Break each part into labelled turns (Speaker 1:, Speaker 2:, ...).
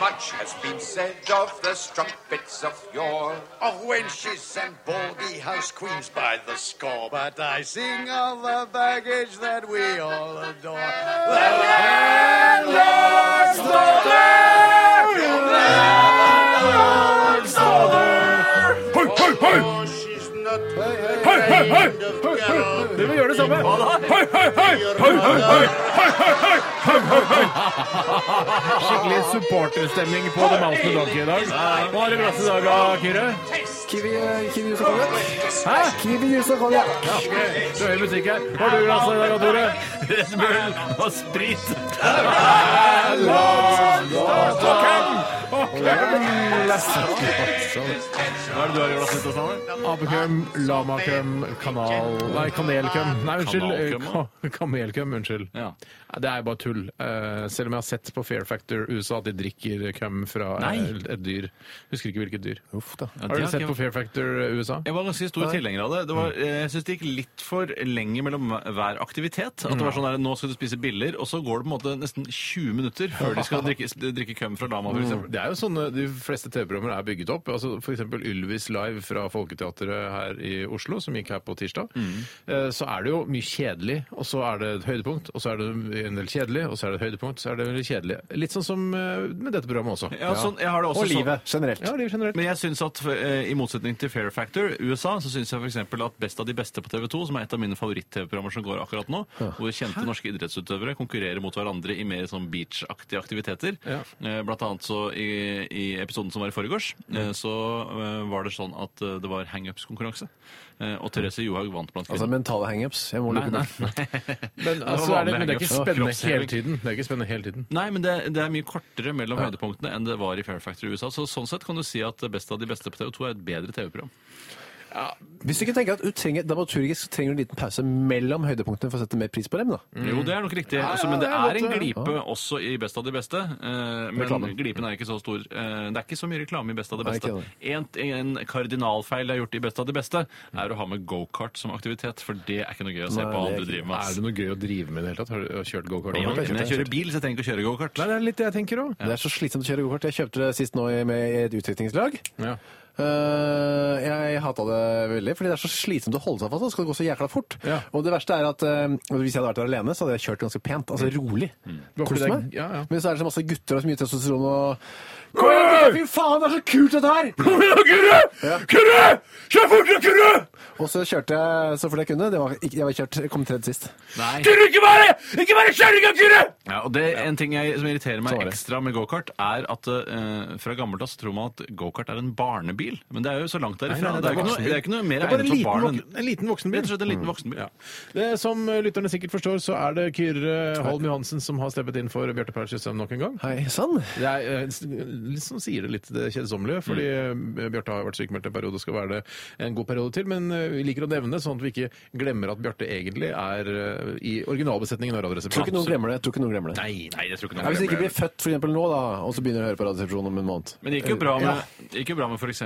Speaker 1: Much has been said of the strumpets of yore, of wenches and baldy house queens by the score. But I sing of the baggage that we all adore. The landlord's daughter! Hey, hey, hey! Oh, she's not hey, hey, hey! Dere gjør det samme. Hei, hei, hei! Hei, hei, hei! Hei, hei, hei!
Speaker 2: Skikkelig supporterstemning på The Mountain Donkey i dag. Hva er det glass i dag, da, Kyrre? Hæ? Ja, Du er i butikk her. Hva har du i glasset i dag, Tore?
Speaker 3: Red Bull og sprit. Hva er det du har i glasset, Ståsane?
Speaker 2: Apekøm, lamakøm, kanal... Nei, kanelkøm. Nei, unnskyld.
Speaker 3: Kanalkøm, ja.
Speaker 2: Ka- Kamelkøm, unnskyld.
Speaker 3: Ja.
Speaker 2: Nei, Det er jo bare tull. Eh, Selv om jeg har sett på Fair Factor USA at de drikker køm fra
Speaker 3: Nei.
Speaker 2: et et dyr. Husker ikke hvilket dyr. Uff da.
Speaker 3: det
Speaker 2: Har
Speaker 3: har
Speaker 2: du sett
Speaker 3: ikke-
Speaker 2: på Fair Factor eh, USA?
Speaker 3: Jeg var ganske stor tilhenger av det. det
Speaker 4: Mm.
Speaker 3: var, eh, jeg syns det gikk litt for lenge mellom hver aktivitet. At det
Speaker 4: Mm.
Speaker 3: var sånn der, Nå skal du spise biller, og så går det på en måte nesten 20 minutter før de skal drikke, drikke køm fra lama,
Speaker 4: Mm.
Speaker 3: f.eks.
Speaker 2: Det er jo sånne, De fleste TV-programmer er bygget opp. altså F.eks. Ylvis Live fra Folketeatret her i Oslo, som gikk her på tirsdag. Eh, Så er det jo mye kjedelig, og så er det et høydepunkt, og så er det en del kjedelig, og så er det et høydepunkt, så er det veldig kjedelig. Litt sånn som eh, med dette programmet også.
Speaker 3: Ja, sånn, jeg har det også
Speaker 4: Og
Speaker 3: sånn-
Speaker 4: livet generelt.
Speaker 2: Ja, livet generelt.
Speaker 3: Men jeg synes at eh, i motsetning til Fair Factor USA, så syns jeg f.eks. at Best av de beste på TV2, som er et av mine favoritt-TV-programmer som går akkurat nå, hvor kjente norske idrettsutøvere konkurrerer mot hverandre i mer sånn beach-aktige aktiviteter.
Speaker 2: Ja.
Speaker 3: Eh, Blant annet så i, i episoden som var i forgårs, eh, så eh, var det sånn at eh, det var hangups-konkurranse. Eh, Og Therese Johaug vant blant
Speaker 4: Altså
Speaker 3: kvinner.
Speaker 4: mentale hangups. Jeg må lukke meg.
Speaker 2: Men, altså,
Speaker 3: var
Speaker 2: er det, men det er ikke
Speaker 3: vanlig,
Speaker 2: spennende
Speaker 3: kroppsheving.
Speaker 2: hele tiden. Det er ikke spennende hele tiden.
Speaker 3: Nei, men det, det er mye kortere mellom høydepunktene enn det var i Fair Factor USA. Så sånn sett kan du si at Best av de beste på TV2 er et bedre TV-program.
Speaker 4: Hvis du ikke tenker at du trenger, dramaturgisk så trenger du en liten pause mellom høydepunktene for å sette mer pris på dem, da.
Speaker 3: Jo, det er nok riktig. altså, men det er en glipe også i Best av de beste. eh, men
Speaker 4: Reklamen.
Speaker 3: glipen er ikke så stor. Eh, det er ikke så mye reklame i Best av de
Speaker 4: Nei,
Speaker 3: beste.
Speaker 4: ikke
Speaker 3: En, en kardinalfeil jeg har gjort i Best av de beste, er å ha med gokart som aktivitet, for det er ikke noe gøy å se
Speaker 4: Nei,
Speaker 3: på
Speaker 4: det
Speaker 3: hva
Speaker 4: er
Speaker 3: andre driver med.
Speaker 2: Er
Speaker 3: ass.
Speaker 2: det noe gøy å drive med i det hele tatt? Har du har du kjørt gokart?
Speaker 3: Ja,
Speaker 2: Nei,
Speaker 3: men jeg kjører bil, så jeg trenger ikke å kjøre gokart.
Speaker 2: det er litt det jeg tenker òg.
Speaker 4: Det er så slitsomt å kjøre gokart. Jeg kjøpte det sist nå i- med i et utviklingslag.
Speaker 2: Ja.
Speaker 4: Eh, jeg hata det veldig, fordi det er så slitsomt å holde seg fast. og Det skal gå så jækla fort.
Speaker 2: Ja.
Speaker 4: Og det verste er at eh, hvis jeg hadde vært der alene, så hadde jeg kjørt ganske pent. Altså rolig.
Speaker 2: Bare fordi
Speaker 4: Kost
Speaker 2: det er-
Speaker 4: meg.
Speaker 2: ja, ja.
Speaker 4: Men så er det så masse gutter og så mye testosteron og Kom igjen, Fy faen, det er så kult, dette her!
Speaker 2: Kjør fortere, kurre!
Speaker 4: Og så kjørte jeg så fort jeg kunne. Det var, ikke- jeg var kjørt, jeg kom tredje sist.
Speaker 3: Nei.
Speaker 2: Ikke bare, ikke bare kjøringa, kurre!
Speaker 3: Ja, og det, En ting jeg, som irriterer meg
Speaker 4: Sånn er det.
Speaker 3: ekstra med gokart, er at eh, fra gammelt av så tror man at gokart er en barnebil. Men det er jo så langt
Speaker 2: Nei,
Speaker 3: derifra.
Speaker 2: nei, nei,
Speaker 3: det, er ikke noe,
Speaker 2: voksenbil.
Speaker 3: det er ikke noe
Speaker 2: Det
Speaker 3: mer
Speaker 2: er bare
Speaker 3: egnet
Speaker 2: en
Speaker 3: for
Speaker 2: liten,
Speaker 3: barn enn
Speaker 2: vok- en liten voksenbil.
Speaker 3: Rett og slett en liten voksenbil.
Speaker 2: Ja. Det, som eh, lytterne sikkert forstår, så er det Kyrre Holm Johansen som har steppet inn for Bjarte Paul Tjøstheim nok en gang.
Speaker 4: Hei sann.
Speaker 2: Det er eh, s- litt som sier det litt det kjedsommelige, fordi eh, Bjarte har vært sykemeldt en periode og skal være det en god periode til. Men eh, vi liker å nevne sånn at vi ikke glemmer at Bjarte egentlig er eh, i originalbesetningen av
Speaker 4: Jeg tror ikke noen
Speaker 2: Radioresepsjonen.
Speaker 4: glemmer det. Jeg tror ikke noen glemmer det.
Speaker 3: Nei, nei, jeg tror ikke
Speaker 4: Ja,
Speaker 3: noe
Speaker 4: hvis de ikke blir
Speaker 3: glemmer det.
Speaker 4: født for eksempel, nå, da, og så begynner de å høre på Radioresepsjonen om en måned.
Speaker 3: Men det gikk jo bra med, det gikk jo bra med f.eks.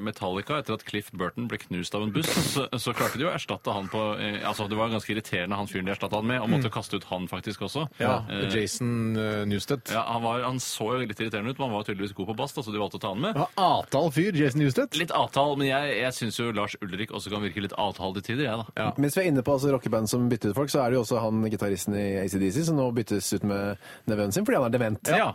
Speaker 3: Metallica. Etter at Cliff Burton ble knust av en buss, så, så klarte de jo å erstatte han på eh, altså Det var ganske irriterende han fyren de erstatta han med, og måtte kaste ut han faktisk også.
Speaker 2: Mm. Ja,
Speaker 3: Eh,
Speaker 2: Jason eh, Newsted.
Speaker 3: ja, han, var, han så jo litt irriterende ut, men han var jo tydeligvis god på bass, da, så de valgte å ta han med.
Speaker 2: Ja, Atal fyr, Jason Newsted.
Speaker 3: Litt avtale, men jeg, jeg syns jo Lars Ulrik også kan virke litt avtale til tider, jeg, da.
Speaker 2: Ja.
Speaker 4: Mens vi er inne på altså, rockeband som bytter ut folk, så er det jo også han gitaristen i ACDC som nå byttes ut med nevøen sin fordi han er dement.
Speaker 3: Ja.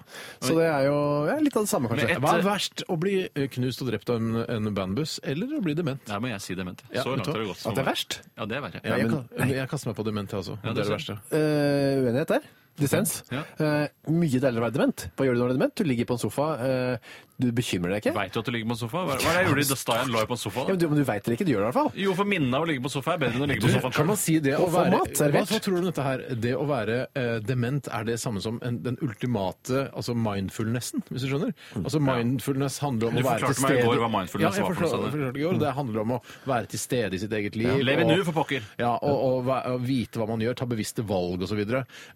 Speaker 4: Så det er jo ja, litt av det samme,
Speaker 3: Men
Speaker 4: kanskje.
Speaker 3: et-
Speaker 2: Hva er verst, å bli eh, knust og drept av en, en bandbuss, eller å bli dement?
Speaker 3: Der må jeg si dement.
Speaker 2: Ja,
Speaker 3: så
Speaker 2: vet
Speaker 3: langt
Speaker 2: du
Speaker 3: har det
Speaker 2: hva?
Speaker 3: gått.
Speaker 4: At det er verst?
Speaker 3: Ja, det er verre.
Speaker 2: Ja,
Speaker 4: jeg
Speaker 2: men,
Speaker 4: kan- nei.
Speaker 2: men jeg kaster meg på dement, jeg også.
Speaker 3: Ja,
Speaker 2: det er det
Speaker 3: du ser.
Speaker 2: verste.
Speaker 4: Eh, uenighet der. Dissens.
Speaker 3: Ja.
Speaker 4: Eh, mye deiligere å være dement. Hva gjør du når du er dement? Du ligger på en sofa. eh, Du bekymrer deg ikke?
Speaker 3: Veit du at du ligger på en sofa? Hva, hva er det jeg gjorde da Stein lå jeg på en sofa?
Speaker 4: Ja, men du, men du veit det ikke, du gjør det i hvert fall.
Speaker 3: Jo, for minnet av å ligge på sofa er bedre enn å ligge på sofaen
Speaker 2: Kan man si det å
Speaker 4: Og få
Speaker 2: være
Speaker 4: mat servert.
Speaker 2: Hva, hva tror du om dette her? Det å være eh, dement, er det samme som en, den ultimate altså mindfulnessen, hvis du skjønner?
Speaker 4: Mm.
Speaker 2: Altså mindfulness handler om
Speaker 3: Du
Speaker 2: å være til
Speaker 3: forklarte meg i
Speaker 2: stede
Speaker 3: går hva mindfulness
Speaker 2: ja, jeg
Speaker 3: var for noe, Mm.
Speaker 2: forklarte-
Speaker 3: sa du.
Speaker 2: forklarte i går. Det handler om å være til stede i sitt eget liv.
Speaker 3: Lev i
Speaker 2: og-
Speaker 3: nuet, for pokker.
Speaker 2: Ja, og, og, væ- og vite hva man gjør, ta bevisste valg osv.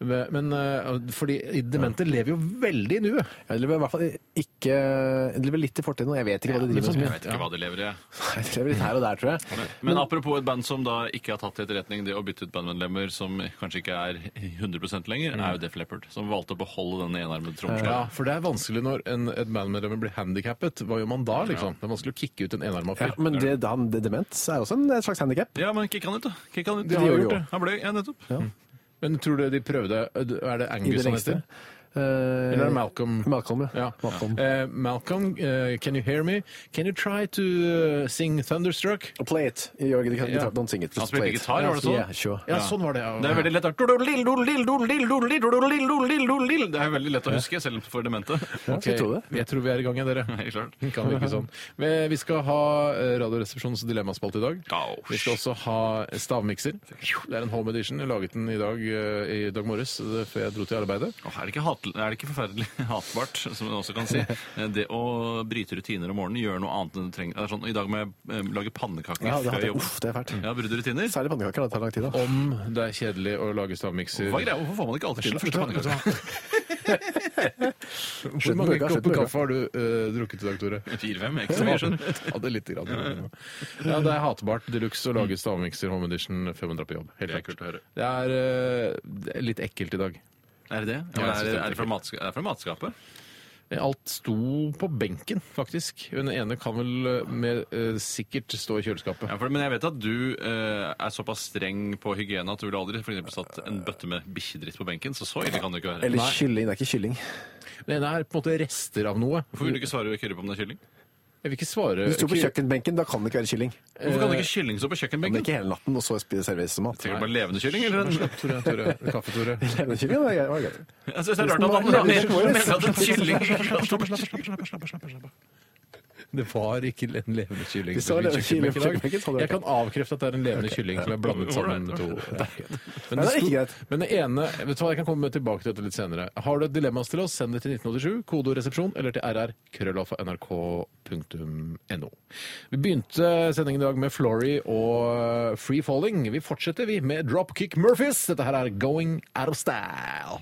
Speaker 2: Men eh, fordi demente lever jo veldig i nuet.
Speaker 4: Jeg lever i hvert fall ikke Jeg lever litt i fortiden, og jeg vet ikke hva de
Speaker 2: men
Speaker 4: driver
Speaker 2: sånn-
Speaker 4: med.
Speaker 3: Jeg vet ikke hva de lever i. jeg.
Speaker 4: Jeg lever litt her og der, tror jeg.
Speaker 3: Men apropos et band som da ikke har tatt til etterretning det å bytte ut bandmedlemmer som kanskje ikke er 100 lenger, er jo Def Leppard, som valgte å beholde denne enarmede
Speaker 2: Ja,
Speaker 3: trommeslageren.
Speaker 2: For det er vanskelig når en, et bandmedlem blir handikappet. Hva gjør man da, liksom? Det er vanskelig å kicke ut en enarma
Speaker 4: Ja,
Speaker 2: fyr.
Speaker 4: men det, da han, det demens er også en eh, slags handikap.
Speaker 3: Ja, men kick han ut, da. Kick han
Speaker 4: Det
Speaker 3: ut. De har
Speaker 4: gjør
Speaker 3: gjort
Speaker 4: jo.
Speaker 3: det. Han ble, ja, nettopp. Mm.
Speaker 2: Men tror du de prøvde Er det
Speaker 4: I det
Speaker 2: Angus han
Speaker 4: lengste. Eh,
Speaker 2: heter? Eller er det Malcolm?
Speaker 4: Malcolm, ja.
Speaker 2: Ja.
Speaker 4: Malcolm.
Speaker 2: Eh, Malcolm, eh, can you hear me? Can you try to eh, sing Thunderstruck?
Speaker 4: Og Play it. Jørgen, du kan
Speaker 2: Ja.
Speaker 4: ikke ta- don't sing it.
Speaker 3: Han
Speaker 4: Just
Speaker 3: spilte
Speaker 4: play it.
Speaker 3: gitar, var det sånn?
Speaker 4: Yeah, sure.
Speaker 2: Ja, sånn var det. Ja.
Speaker 3: Det er veldig lett. da. Det er veldig lett å huske, selv for demente.
Speaker 2: Ok,
Speaker 4: Jeg tror det.
Speaker 2: Jeg tror vi er i gang, ja, dere.
Speaker 3: Helt klart.
Speaker 2: Kan virke sånn. Men Vi skal ha eh, Radioresepsjonens dilemmaspalte i dag.
Speaker 3: Au.
Speaker 4: Oh,
Speaker 2: Vi skal også ha stavmikser. Det er en home edition. Jeg laget den i dag, eh, i dag morges eh, før jeg dro til arbeidet.
Speaker 3: Åh, er, det ikke hat, er det ikke forferdelig hatbart, som man også kan si? Eh, Det å bryte rutiner om morgenen, gjøre noe annet enn du trenger. Det er sånn, I dag må jeg eh, lage pannekaker
Speaker 4: Ja, det
Speaker 3: før
Speaker 4: hadde,
Speaker 3: jeg jobber.
Speaker 4: uff, det er fælt.
Speaker 3: Ja, Brudd rutiner.
Speaker 4: Særlig pannekaker. da, Det tar lang tid, da.
Speaker 2: Om
Speaker 4: Mm.
Speaker 2: det er kjedelig å lage stavmikser
Speaker 3: Hva er greia? Hvorfor får man ikke alltid til den første pannekaka?
Speaker 2: Hvor mange
Speaker 4: Slutt med møkka, slutt
Speaker 2: kopper
Speaker 4: med
Speaker 2: kaffe har du eh, drukket i dag, Tore?
Speaker 3: Fire-fem, ikke så mye, skjønner du.
Speaker 2: Ja, det er lite grann. Ja, det er hatbart de luxe å lage stavmikser Home Edition 500 på jobb. Helt
Speaker 3: Det er
Speaker 2: klart.
Speaker 3: kult å høre.
Speaker 2: Det er, eh, det er litt ekkelt i dag.
Speaker 3: Er det
Speaker 2: Ja, jeg
Speaker 3: det? Ja, er,
Speaker 2: synes det
Speaker 3: det-
Speaker 2: er
Speaker 3: er, det fra matska- er det fra matskapet?
Speaker 2: Alt sto på benken, faktisk. Den ene kan vel eh, med, eh, sikkert stå i kjøleskapet.
Speaker 3: Ja, for, men jeg vet at du eh, er såpass streng på hygiene at du ville aldri for eksempel, satt en bøtte med bikkjedritt på benken, så så ille kan det ikke være.
Speaker 4: Eller kylling. Det er ikke kylling.
Speaker 2: Den ene er på en måte rester av noe.
Speaker 3: Hvorfor vil du ikke svare Kyrre på om det er kylling?
Speaker 2: Jeg vil ikke svare
Speaker 4: Du sto på kjøkkenbenken, da kan det ikke være kylling.
Speaker 3: Hvorfor kan det ikke kylling
Speaker 4: Eh,
Speaker 3: stå på
Speaker 4: Men
Speaker 3: kjøkkenbenken?
Speaker 4: ikke hele natten, og så spi- serveres det som mat.
Speaker 3: Tenker du på en levende kylling, eller en
Speaker 2: Tore, Tore, kaffe, Tore.
Speaker 4: Levende kylling, det er- var greit.
Speaker 3: Jeg synes det er rart at
Speaker 4: Slapp,
Speaker 3: han mener
Speaker 4: slapp, slapp,
Speaker 3: mener at en
Speaker 4: slapp,
Speaker 3: kylling
Speaker 2: Det var ikke en levende kylling.
Speaker 4: Vi sa
Speaker 2: på min
Speaker 4: levende kylling på
Speaker 2: kjøkkenbenk i
Speaker 4: kjøkkenbenken,
Speaker 2: dag.
Speaker 4: sa du.
Speaker 2: Jeg kan avkrefte at det er en levende kylling som er blandet sammen med to.
Speaker 4: Nei, det
Speaker 2: Men
Speaker 4: er ikke greit.
Speaker 2: sto- Men det ene vet du hva, Jeg kan komme tilbake til dette litt senere. Har du et dilemma til oss, send det til 1987, kodoresepsjon, eller til rr.nrk.no. Vi begynte sendingen i dag med Flory og eh, Free Falling. Vi fortsetter, vi, med Dropkick Murphys. Dette her er Going Out of Style.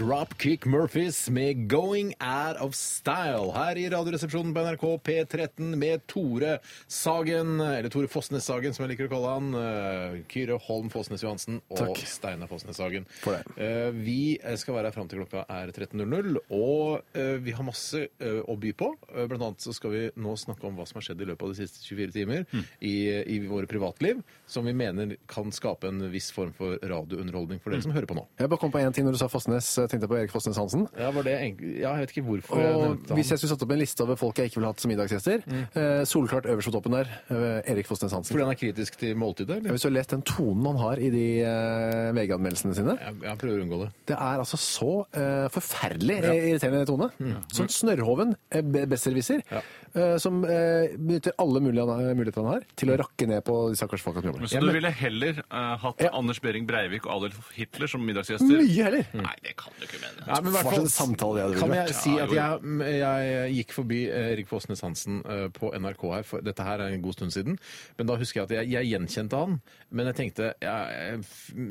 Speaker 2: Dropkick Murphys med 'Going Out of Style' her i Radioresepsjonen på NRK P13 med Tore Sagen, eller Tore Fosnes Sagen som jeg liker å kalle han. eh, Kyrre Holm Fosnes Johansen og
Speaker 4: Takk.
Speaker 2: Steinar Fosnes Sagen.
Speaker 4: For det.
Speaker 2: Eh, Vi skal være her fram til klokka er 13.00, og eh, vi har masse eh, å by på. Eh, Blant annet så skal vi nå snakke om hva som har skjedd i løpet av de siste 24 timer
Speaker 4: Mm.
Speaker 2: i, eh, i våre privatliv, som vi mener kan skape en viss form for
Speaker 4: Mm.
Speaker 2: radiounderholdning for dere som hører på nå.
Speaker 4: Jeg bare kom på én ting når du sa Fosnes. Jeg tenkte på Erik Fosnes Hansen.
Speaker 2: Ja, var det egentlig, ja, jeg vet ikke hvorfor jeg
Speaker 4: Og
Speaker 2: nevnte han.
Speaker 4: hvis jeg skulle satt opp en liste over folk jeg ikke ville hatt som middagsgjester, eh, solklart øverst på toppen der, eh, Erik Fosnes Hansen.
Speaker 2: Fordi han er kritisk til måltidet?
Speaker 4: Ja,
Speaker 2: Eller?
Speaker 4: Hvis du har lest den tonen han har i de eh, VG-anmeldelsene sine
Speaker 2: Jeg, jeg prøver å unngå det.
Speaker 4: Det er altså så eh, forferdelig eh, irriterende tone.
Speaker 3: Mm.
Speaker 4: Sånn snørrhoven eh, be- besserwisser eh, som eh, benytter alle mulige an- muligheter han har til å rakke ned på de stakkars folka som jobber.
Speaker 3: Mm. Så du ville heller eh, hatt
Speaker 4: Ja.
Speaker 3: Anders Behring Breivik og Adolf Hitler som middagsgjester?
Speaker 4: Mye heller.
Speaker 3: Nei, det kan du ikke mene.
Speaker 2: Ja, men i hvert
Speaker 4: Hva
Speaker 2: fall-
Speaker 4: slags samtale det hadde
Speaker 2: Kan
Speaker 4: vært?
Speaker 2: jeg si
Speaker 3: Ja,
Speaker 2: at
Speaker 3: jo,
Speaker 2: jeg, eh, jeg gikk forbi Erik Fosnes Hansen eh, på NRK her, for dette her er en god stund siden, men da husker jeg at jeg, jeg gjenkjente han, men jeg tenkte jeg,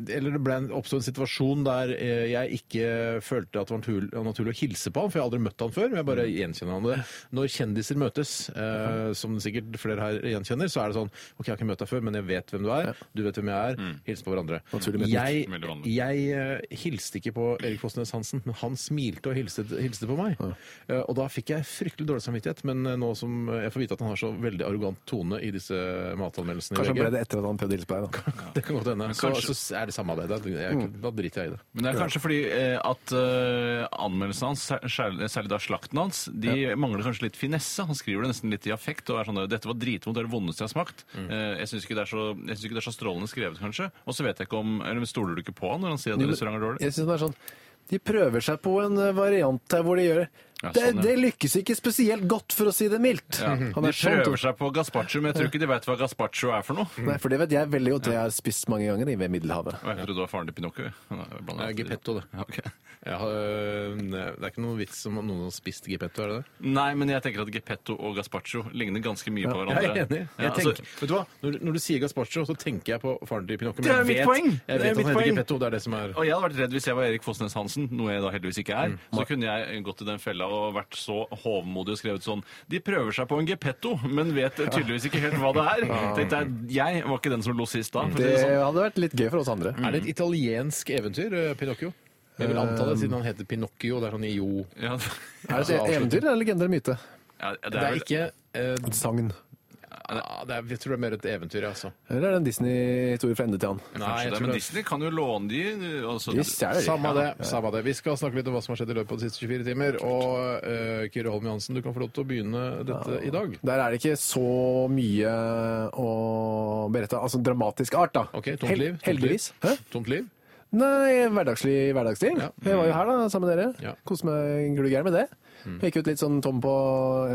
Speaker 2: Eller det ble en, oppstod en situasjon der eh, jeg ikke følte at det var naturlig, naturlig å hilse på han, for jeg har aldri møtt han før, men jeg
Speaker 4: Mm.
Speaker 2: bare gjenkjenner han det. Når kjendiser møtes, eh, som sikkert flere her gjenkjenner, så er det sånn OK, jeg har ikke møtt deg før, men jeg vet hvem du er, du vet hvem jeg er, hils på hverandre.
Speaker 4: Mm. Naturlig møtning.
Speaker 2: Jeg,
Speaker 3: Veldig vanlig.
Speaker 2: jeg eh, hilste ikke på Erik Kåssnes Hansen, men han smilte og hilste, hilste på meg. Eh, Og da fikk jeg fryktelig dårlig samvittighet, men eh, nå som jeg får vite at han har så veldig arrogant tone i disse matanmeldelsene i
Speaker 4: Kanskje han
Speaker 2: VG,
Speaker 4: ble det etter at han prøvde å hilse på deg. da.
Speaker 2: det kan godt hende. Så,
Speaker 3: kanskje-
Speaker 2: så er det samme av det. Da, jeg,
Speaker 4: Mm.
Speaker 2: da driter jeg i det.
Speaker 3: Men det er kanskje fordi eh, at eh, anmeldelsene hans, sær- særlig særlig da slakten hans, de mangler kanskje litt finesse. Han skriver det nesten litt i affekt og er sånn der, dette var dritvondt, det er det vondeste jeg har smakt.
Speaker 4: Mm.
Speaker 3: Eh, jeg syns ikke, det er så- jeg synes ikke det er så strålende skrevet, kanskje. Og så vet jeg ikke om Eller stoler du ikke på han når han sier at restauranten er dårlig?
Speaker 4: Jeg synes det er sånn De prøver seg på en eh, variant her hvor de gjør det.
Speaker 3: Ja,
Speaker 4: det,
Speaker 3: sånn, ja.
Speaker 4: det lykkes ikke spesielt godt, for å si det mildt.
Speaker 3: Ja.
Speaker 4: Han
Speaker 3: De
Speaker 4: er sånn,
Speaker 3: prøver seg på gazpacho, men jeg tror ikke de vet hva gazpacho er for noe.
Speaker 4: Nei, for det vet jeg veldig godt. Jeg har spist mange ganger i- ved Middelhavet.
Speaker 3: Og jeg trodde det var faren til Pinocchio. Nei, jeg
Speaker 2: Det
Speaker 3: blander
Speaker 2: er
Speaker 3: alltid.
Speaker 2: Geppetto, det.
Speaker 3: Ja, ok.
Speaker 2: Jeg har, øh, det er ikke noen vits om at noen har spist Geppetto, er det det?
Speaker 3: Nei, men jeg tenker at Geppetto og gazpacho ligner ganske mye på
Speaker 2: Jeg
Speaker 3: hverandre.
Speaker 2: er enig.
Speaker 3: Ja,
Speaker 2: Jeg
Speaker 3: altså,
Speaker 2: tenker, vet du hva? Når, når du sier gazpacho, så tenker jeg på faren til Pinocchio. men
Speaker 3: Det er
Speaker 2: jeg
Speaker 3: mitt
Speaker 2: vet-
Speaker 3: poeng. Det
Speaker 2: Jeg
Speaker 3: er
Speaker 2: vet at
Speaker 3: mitt
Speaker 2: han heter
Speaker 3: poeng.
Speaker 2: Geppetto, det er det som er
Speaker 3: Og jeg hadde vært redd hvis jeg var Erik Fosnes Hansen, noe jeg da heldigvis ikke
Speaker 2: Mm.
Speaker 3: er. Så kunne jeg gått i den fella og vært så hovmodig og skrevet sånn De prøver seg på en gepetto, men vet tydeligvis ikke helt hva det er. Tenkte jeg, jeg var ikke den som lo sist da. For å si
Speaker 4: Det
Speaker 3: det sånn.
Speaker 4: hadde vært litt gøy for oss andre.
Speaker 2: Er det et italiensk eventyr, øh, Pinocchio? Mm. Jeg vil anta det, siden han heter Pinocchio. Det er sånn i jo Altså,
Speaker 3: Ja,
Speaker 4: Er det et
Speaker 2: avslutning.
Speaker 4: eventyr eller legende eller myte?
Speaker 3: ja,
Speaker 2: Det er
Speaker 3: vel-
Speaker 2: ikke øh,
Speaker 4: Et sagn.
Speaker 2: ja, det er, Jeg tror det er mer et eventyr, jeg, altså.
Speaker 4: Eller er det en Disney-historie fra ende til annen?
Speaker 2: Nei,
Speaker 3: kanskje
Speaker 2: jeg
Speaker 3: det,
Speaker 2: tror
Speaker 3: men
Speaker 2: det.
Speaker 3: Disney kan jo låne de altså,
Speaker 4: De stjeler de.
Speaker 2: Samme det. samme det. Vi skal snakke litt om hva som har skjedd i løpet av de siste 24 timer. Og øh, Kyrre Holm Johansen, du kan få lov til å begynne dette i dag.
Speaker 4: Der er det ikke så mye å berette. Altså dramatisk art, da.
Speaker 2: OK, tomt
Speaker 4: Hel-
Speaker 2: liv. tomt
Speaker 4: Heldigvis.
Speaker 2: liv.
Speaker 4: Hæ?
Speaker 2: Tomt liv.
Speaker 4: Nei, hverdagslig hverdagsliv.
Speaker 2: Ja.
Speaker 4: Jeg var jo her da, sammen med dere.
Speaker 2: Ja. Mm.
Speaker 4: Koste meg glugger med det. Gikk ut litt sånn tom på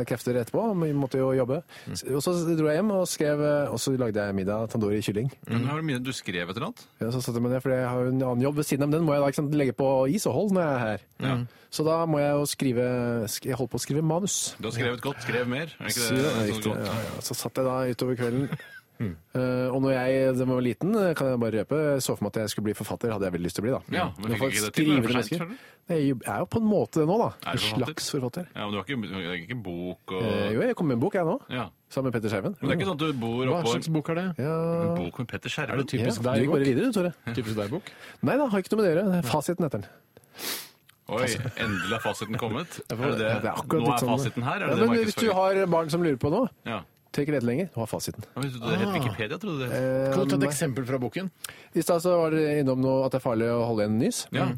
Speaker 4: krefter etterpå, men vi måtte jo jobbe.
Speaker 2: Mm.
Speaker 4: Og så dro jeg hjem og skrev, eh, og så lagde jeg middag tandoori kylling.
Speaker 3: Men har du mye du skrev et eller annet?
Speaker 4: Ja, så satte jeg meg ned, for jeg har jo en annen jobb ved siden av, men den må jeg da ikke sant, legge på is og hold når jeg er her. Så da må jeg jo skrive, sk jeg holdt på å skrive manus.
Speaker 3: Du har skrevet godt, skrev mer. Er ikke
Speaker 4: Så,
Speaker 3: det,
Speaker 4: ja,
Speaker 3: sånn
Speaker 4: riktig,
Speaker 3: godt? Mm.
Speaker 4: ja, ja. så satt jeg da utover kvelden. Eh, og når jeg da jeg var liten, eh, kan jeg bare røpe, så for meg at jeg skulle bli forfatter. Hadde jeg veldig lyst til å bli, da.
Speaker 3: Ja,
Speaker 4: Jeg
Speaker 3: men fikk
Speaker 4: får
Speaker 3: ikke det til,
Speaker 4: skrive
Speaker 3: var det for
Speaker 4: mennesker.
Speaker 3: sent, tror du?
Speaker 4: Nei, Jeg er jo på en måte det nå, da.
Speaker 3: Er
Speaker 4: En
Speaker 3: du forfatter?
Speaker 4: slags forfatter.
Speaker 3: Ja, men du har ikke, du har ikke bok og
Speaker 4: Eh, jo, jeg kom med en bok, jeg nå.
Speaker 3: Ja.
Speaker 4: Sammen med Petter Skjerven.
Speaker 3: Men det er ikke sånn at du bor
Speaker 2: Hva
Speaker 3: oppå
Speaker 2: slags
Speaker 3: en,
Speaker 2: bok er det?
Speaker 3: en
Speaker 4: Ja,
Speaker 3: bok med Petter Skjerven?
Speaker 2: Er det typisk
Speaker 4: ja, du
Speaker 2: deg?
Speaker 4: gikk bare videre, du, Tore.
Speaker 2: Typisk deg-bok?
Speaker 4: Nei da, har ikke noe med det å gjøre. Fasiten heter den.
Speaker 3: Oi, endelig er fasiten kommet. Er det det?
Speaker 4: Ja, det akkurat
Speaker 3: Nå
Speaker 4: litt
Speaker 3: er
Speaker 4: sånn-
Speaker 3: fasiten her? Er
Speaker 4: ja,
Speaker 3: det det
Speaker 4: men hvis du
Speaker 3: markedsføring?
Speaker 4: har barn som lurer på noe,
Speaker 3: Ja.
Speaker 4: tør ikke lete lenger. Du har fasiten.
Speaker 3: Ja, men trodde Det het Wikipedia, trodde du det het.
Speaker 2: Kan du ta et
Speaker 4: Eh,
Speaker 2: eksempel fra boken?
Speaker 4: I stad så var dere innom noe at det er farlig å holde igjen nys.
Speaker 3: Ja.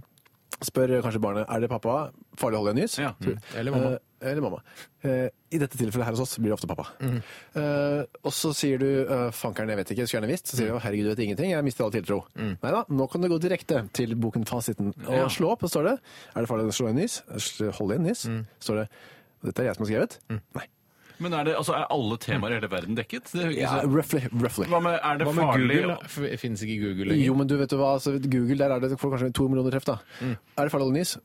Speaker 4: Spør kanskje barnet er det pappa farlig å holde igjen nys.
Speaker 3: Ja. Mm.
Speaker 4: Så-
Speaker 2: Eller mamma.
Speaker 4: Eh, eller mamma. Eh, I dette tilfellet her hos oss blir det ofte pappa.
Speaker 3: Mm.
Speaker 4: Eh, og så sier du eh, 'fankeren, jeg vet ikke, skulle gjerne visst'. Så sier du 'herregud, du vet ingenting, jeg mister all tiltro'. Nei da, nå kan du gå direkte til boken Fasiten og
Speaker 3: Mm. Ja.
Speaker 4: slå opp, og står det 'er det farlig å slå igjen nys'? Sl- Holde igjen nys?
Speaker 3: Mm.
Speaker 4: Står det 'dette er jeg som har skrevet'? Nei.
Speaker 3: Men er, det, altså, er alle temaer i hele verden dekket? Det, er jo ikke
Speaker 4: Ja,
Speaker 3: så-
Speaker 4: roughly. roughly.
Speaker 3: hva med, er det
Speaker 2: Hva med
Speaker 3: farlig
Speaker 2: Google? da? Finnes ikke Google lenger?
Speaker 4: Jo, men du vet jo hva, altså, Google, der er det får kanskje to millioner treff, da. Er det farlig å holde nys?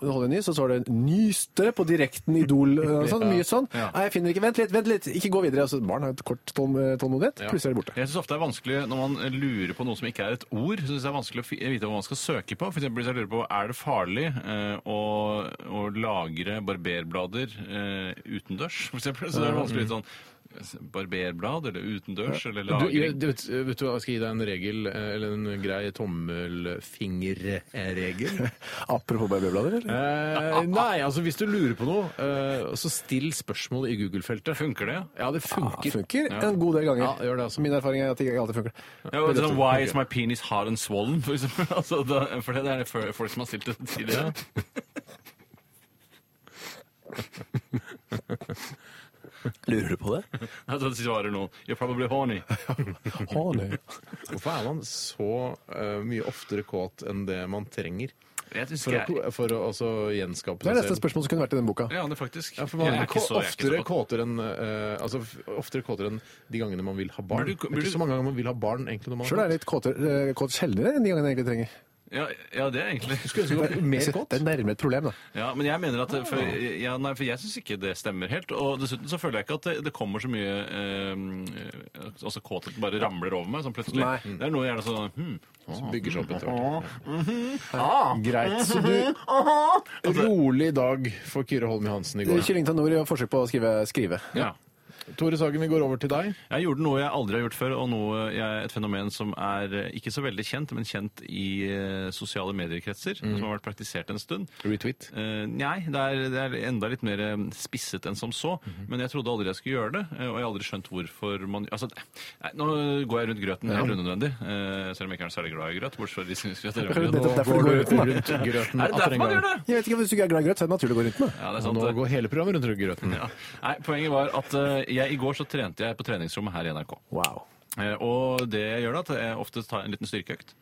Speaker 4: Du holder en nys, og så har du en nys dere på direkten Idol. Og sånn, Mye sånn. Nei, jeg finner ikke Vent litt, vent litt! Ikke gå videre. Altså, barn har et kort tål- tålmodighet. Plutselig er det borte.
Speaker 3: Jeg synes ofte det er vanskelig Når man lurer på noe som ikke er et ord, så synes jeg det er vanskelig å fi- vite hva man skal søke på. For eksempel hvis jeg lurer på er det farlig eh, å, å lagre barberblader eh, utendørs, for eksempel. Så det er vanskelig å vite sånn Barberblad eller utendørs eller
Speaker 2: Mm. Du, jeg,
Speaker 3: lagring.
Speaker 2: du vet, vet du hva, jeg skal gi deg en regel, eh, eller en grei tommelfingerregel.
Speaker 4: Apropos barberblader, eller?
Speaker 2: Eh, nei, altså hvis du lurer på noe, eh, så still spørsmål i Google-feltet.
Speaker 3: Funker det?
Speaker 2: Ja, det
Speaker 4: Ja,
Speaker 2: funker.
Speaker 4: Ah, funker en god del ganger.
Speaker 2: Ja, gjør det, altså.
Speaker 4: Min erfaring er at det ikke alltid funker.
Speaker 3: Ja, og sånn, Why is my penis hard and swollen? For, eksempel. altså, da, for det er det for- folk som har stilt det tidligere.
Speaker 4: Lurer du på det?
Speaker 3: Altså, det svarer noen You're probably horny.
Speaker 4: Å, nei.
Speaker 2: Hvorfor er man så eh, mye oftere kåt enn det man trenger?
Speaker 3: Jeg synes
Speaker 2: For å,
Speaker 3: ikke jeg
Speaker 2: ko- for å altså, gjenskape
Speaker 4: Det er
Speaker 2: seg
Speaker 4: neste
Speaker 2: selv.
Speaker 4: spørsmål som kunne vært i den boka.
Speaker 3: Ja, det er faktisk.
Speaker 2: Ja, for man er
Speaker 3: jeg er ikke
Speaker 2: ko-
Speaker 3: så, jeg er ikke
Speaker 2: oftere
Speaker 3: så kåt.
Speaker 2: kåtere enn eh, altså, f- oftere kåtere enn de gangene man vil ha barn.
Speaker 3: Burde du-
Speaker 2: Det er
Speaker 3: burde
Speaker 2: ikke
Speaker 3: du-
Speaker 2: så mange ganger man vil ha barn, egentlig. når man
Speaker 4: Sjøl er jeg litt kåter- eh, kåt sjeldnere enn de gangene jeg egentlig trenger.
Speaker 3: Ja, ja, det er egentlig
Speaker 2: Skulle ønske det var mer
Speaker 4: Jeg synes
Speaker 2: kåt.
Speaker 4: Det er nærmere et problem, da.
Speaker 3: Ja, men jeg mener at
Speaker 2: Ah.
Speaker 3: For, ja, nei, for jeg syns ikke det stemmer helt. Og dessuten så føler jeg ikke at det, det kommer så mye eh, Altså kåthet bare ramler over meg sånn plutselig.
Speaker 4: Nei.
Speaker 3: Det er noe gjerne sånn hm,
Speaker 2: Bygger seg opp etter hvert.
Speaker 4: Greit. Så du eh,
Speaker 2: Rolig dag for Kyrre Holm Johansen i går.
Speaker 4: Kylling Tanori har forsøk på å skrive. skrive.
Speaker 3: ja.
Speaker 2: Tore Sagen, vi går over til deg.
Speaker 3: Jeg gjorde noe jeg aldri har gjort før, og noe jeg, et fenomen som er eh, ikke så veldig kjent, men kjent i eh, sosiale mediekretser,
Speaker 2: Mm.
Speaker 3: som har vært praktisert en stund.
Speaker 2: Retweet.
Speaker 3: Eh, nei, det er, det er enda litt mer eh, spisset enn som så, men jeg trodde aldri jeg skulle gjøre det, eh, og jeg har aldri skjønt hvorfor man altså, nei, Nå går jeg rundt grøten helt unødvendig, eh, selv om jeg ikke er særlig glad i grøt. bortsett fra risengrynsgrøt og
Speaker 4: Nettopp
Speaker 3: rømmegrøt.
Speaker 4: derfor det går rundt, da.
Speaker 2: rundt grøten
Speaker 3: Er det derfor man gjør det?
Speaker 4: Jeg vet ikke, Hvis du ikke er glad i grøt, så er det naturlig å gå rundt med.
Speaker 3: Ja, det er
Speaker 2: Og
Speaker 3: sant.
Speaker 2: nå
Speaker 3: det.
Speaker 2: går hele programmet rundt grøten.
Speaker 3: Ja. Nei, poenget var at eh, jeg, i går så trente jeg på treningsrommet her i NRK.
Speaker 4: Wow.
Speaker 3: Eh, og det jeg gjør da, at jeg ofte tar en liten styrkeøkt.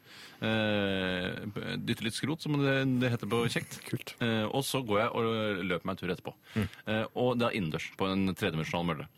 Speaker 3: Eh, b- dytter litt skrot, som det, det heter på kjekt.
Speaker 4: Kult.
Speaker 3: Eh, og så går jeg og løper meg en tur etterpå.
Speaker 2: Mm.
Speaker 3: Eh, og det er innendørs på en tredimensjonal mølle.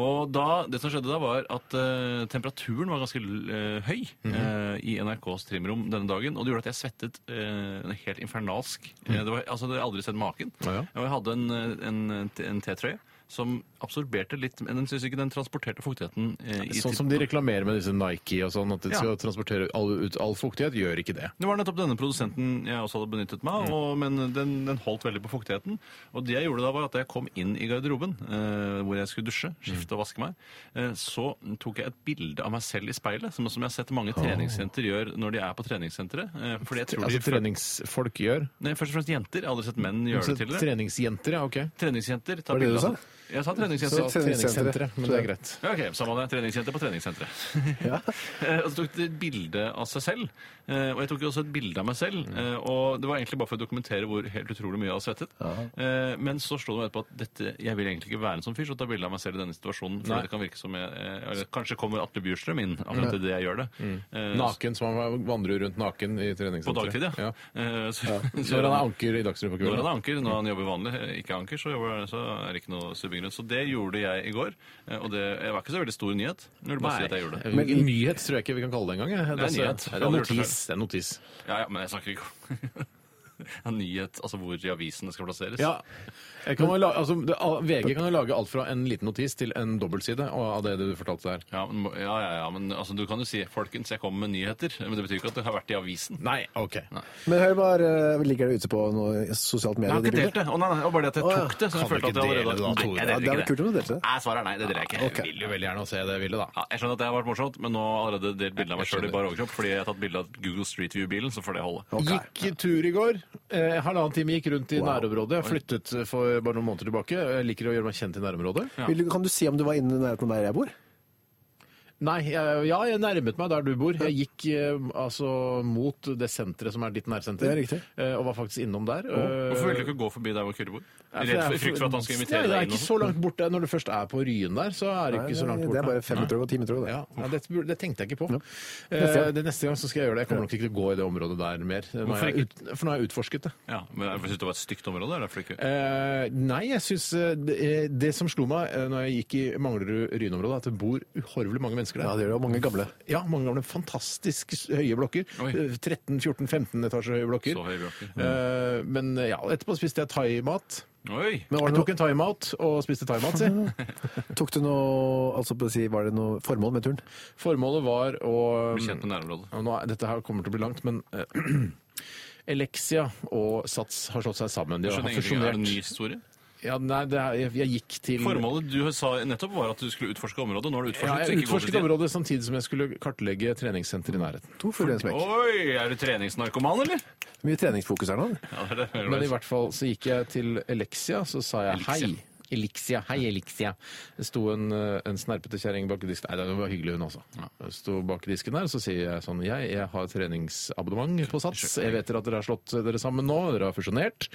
Speaker 3: Og da, det som skjedde da, var at eh, temperaturen var ganske l- eh, høy
Speaker 2: Mm-hmm.
Speaker 3: eh, i NRKs trimrom denne dagen. Og det gjorde at jeg svettet eh, helt infernalsk. Eh, det var, altså, jeg har aldri sett maken.
Speaker 2: Mm. Ja, ja.
Speaker 3: Og jeg hadde en, eh, en, en T-trøye. Som absorberte litt, men den synes ikke den transporterte fuktigheten. eh, i
Speaker 2: Sånn som
Speaker 3: til-
Speaker 2: de reklamerer med disse Nike og sånn, at de
Speaker 3: Ja.
Speaker 2: skal transportere all, ut all fuktighet, gjør ikke det.
Speaker 3: Det var nettopp denne produsenten jeg også hadde benyttet meg
Speaker 4: Mm.
Speaker 3: av, og, men den, den holdt veldig på fuktigheten. Og det jeg gjorde da, var at jeg kom inn i garderoben, eh, hvor jeg skulle dusje,
Speaker 4: Mm.
Speaker 3: skifte og vaske meg. Eh, så tok jeg et bilde av meg selv i speilet, som, som jeg har sett mange treningsjenter gjør når de er på treningssenteret. Eh, fordi jeg tror
Speaker 2: Altså
Speaker 3: de,
Speaker 2: treningsfolk gjør. Altså,
Speaker 3: nei, først og fremst jenter. Jeg har aldri sett menn gjøre det til det.
Speaker 2: Treningsjenter, ja, ok.
Speaker 3: Treningsjenter tar
Speaker 4: Var det det du
Speaker 3: bilde av
Speaker 4: sa?
Speaker 3: seg. Jeg sa
Speaker 2: Så
Speaker 3: treningsjenter.
Speaker 2: treningssentre, men det er greit.
Speaker 3: Ja, ok, Samme det. Treningsjenter på treningssenteret. Eh, og så tok de et bilde av seg selv. eh, Og jeg tok jo også et bilde av meg selv. eh, Og det var egentlig bare for å dokumentere hvor helt utrolig mye jeg hadde svettet. Eh, Men så slo det meg etterpå at dette, jeg vil egentlig ikke være en sånn fyr, så ta bilde av meg selv i denne situasjonen. For det kan virke som jeg, eh, eller Kanskje kommer Atle Bjurstrøm inn akkurat idet jeg gjør det. Eh,
Speaker 2: Naken, som han vandrer rundt naken i
Speaker 3: På
Speaker 2: treningssenteret.
Speaker 3: dagtid, ja. Eh, Så, så-
Speaker 2: Når han er anker i Dagsrevyen på
Speaker 3: når han
Speaker 2: kvelden.
Speaker 3: er anker, når han jobber vanlig, eh, ikke anker, så, jobber, så er det ikke noe subbing rundt. Så det gjorde jeg i går, eh, og det jeg var ikke så veldig stor nyhet. Når du bare sier at jeg gjorde det.
Speaker 2: Men nyhet tror jeg ikke vi kan kalle det engang. jeg.
Speaker 3: Det er nyhet.
Speaker 2: altså- Det er notis. Det er notis.
Speaker 3: Ja, ja, men jeg snakker ikke om ja, nyhet, altså hvor i avisene skal plasseres.
Speaker 2: Ja. Jeg kan vel la, altså, det, al- VG kan jo lage alt fra en liten notis til en dobbeltside og- av det du fortalte der.
Speaker 3: Ja, men, må- ja, ja, ja, men altså, du kan jo si 'folkens, jeg kommer med nyheter', men det betyr ikke at det har vært i avisen.
Speaker 2: Nei, OK.
Speaker 4: Men hør bare, eh, ligger det ute på noe sosialt
Speaker 3: Jeg
Speaker 4: medie?
Speaker 3: har ikke
Speaker 4: bildet?
Speaker 3: delt det. Å, nei, nei, det var bare det at jeg
Speaker 4: Å, ja.
Speaker 3: tok det. Så
Speaker 2: Kan
Speaker 3: jeg
Speaker 2: du
Speaker 3: følte
Speaker 2: ikke
Speaker 3: at jeg
Speaker 2: dele
Speaker 3: allerede
Speaker 2: det
Speaker 4: Ja, det
Speaker 2: da, Tore?
Speaker 3: Nei, jeg deler
Speaker 4: hadde
Speaker 3: ikke
Speaker 4: vært kult om du delte det.
Speaker 3: Nei, svaret er nei. Det deler jeg ikke.
Speaker 2: Jeg vil jo veldig gjerne se det bildet, da.
Speaker 3: Ja, jeg skjønner at det har vært morsomt, men nå har jeg allerede delt bilde av meg
Speaker 2: Jeg
Speaker 3: sjøl i
Speaker 2: skjønner.
Speaker 3: bar overkropp fordi jeg har tatt bilde av Google Street View-bilen, så får det holde.
Speaker 2: Gikk tur i går. Eh, halvannen time gikk rundt i nærområdet. Jeg flyttet for bare noen måneder tilbake. Jeg liker å gjøre meg kjent i nærområdet.
Speaker 3: Ja.
Speaker 4: Vil du- Kan du si om du var inne i nærheten av der jeg bor?
Speaker 2: Nei, jeg, ja, jeg nærmet meg der du bor. Jeg gikk eh, altså mot det senteret som er ditt nærsenter.
Speaker 4: Det er riktig.
Speaker 2: Eh, og var faktisk innom der. Eh,
Speaker 3: Hvorfor vil du ikke gå forbi der hvor Kyrre bor?
Speaker 2: Nei,
Speaker 3: Redd
Speaker 2: jeg
Speaker 3: for-
Speaker 2: er
Speaker 3: I frykt for at han skal
Speaker 2: Nei, Det
Speaker 3: invitere deg
Speaker 2: er
Speaker 3: inn? og
Speaker 2: ikke
Speaker 3: sånn.
Speaker 2: så langt borte. Når du først er på Ryen der, så er det ikke så langt borte.
Speaker 4: det er bare 500 og 1000 og det.
Speaker 2: Ja, ja, det burde- det tenkte jeg ikke på.
Speaker 4: Neste
Speaker 2: Eh,
Speaker 4: gang.
Speaker 2: det neste gang så skal jeg gjøre det. Jeg kommer nok ikke til å gå i det området der mer. Nå har jeg ut, for nå har jeg utforsket det.
Speaker 3: Ja, men jeg synes det var et stygt område. Er det derfor du ikke...
Speaker 2: Eh, nei, jeg syns det, eh, det som slo meg eh, når jeg gikk i Manglerud-Ryn-området, er at det bor uhorvelig mange mennesker
Speaker 4: Ja, det
Speaker 2: der.
Speaker 4: gjør det. Og mange gamle.
Speaker 2: Ja, mange gamle fantastisk s- høye blokker.
Speaker 3: Oi.
Speaker 2: Eh, 13-14-15 etasjer høye blokker.
Speaker 3: Så høye blokker.
Speaker 2: Eh, men ja, etterpå spiste jeg thaimat.
Speaker 3: Oi!
Speaker 4: Men var det
Speaker 2: Jeg tok en thaimat og spiste thaimat, si.
Speaker 4: noe, tok du noe altså på å si, Var det noe formål med turen?
Speaker 2: Formålet var å
Speaker 3: Bli kjent med nærområdet.
Speaker 2: Og nå, er- dette her kommer til å bli langt, men eh, Elexia og Sats har slått seg sammen. De
Speaker 3: Jeg
Speaker 2: har
Speaker 3: skjønner ingenting. Er det en ny
Speaker 2: fusjonert.
Speaker 3: historie?
Speaker 2: Ja, nei, det er, jeg, jeg gikk til
Speaker 3: Formålet du sa nettopp var at du skulle utforske området. Nå har du utforsket.
Speaker 2: Ja,
Speaker 3: så
Speaker 2: jeg
Speaker 3: ikke gå
Speaker 2: utforsket
Speaker 3: til det.
Speaker 2: området samtidig som jeg skulle kartlegge treningssenter i nærheten.
Speaker 4: To fugler i en smekk.
Speaker 3: Oi, er du treningsnarkoman, eller?
Speaker 4: Mye treningsfokus her nå.
Speaker 3: Ja, det er det. jeg
Speaker 2: Men i
Speaker 3: hører.
Speaker 2: hvert fall så gikk jeg til Elexia, så sa jeg
Speaker 3: Elixia.
Speaker 2: hei. Elixia, hei Elixia. Det sto en, eh, en snerpete kjerring bak i disken. Nei, det var hyggelig hun også. Hun sto bak i disken der, så sier jeg sånn, jeg, jeg har treningsabonnement på Sats. Jeg vet dere at dere har slått dere sammen nå, dere har fusjonert.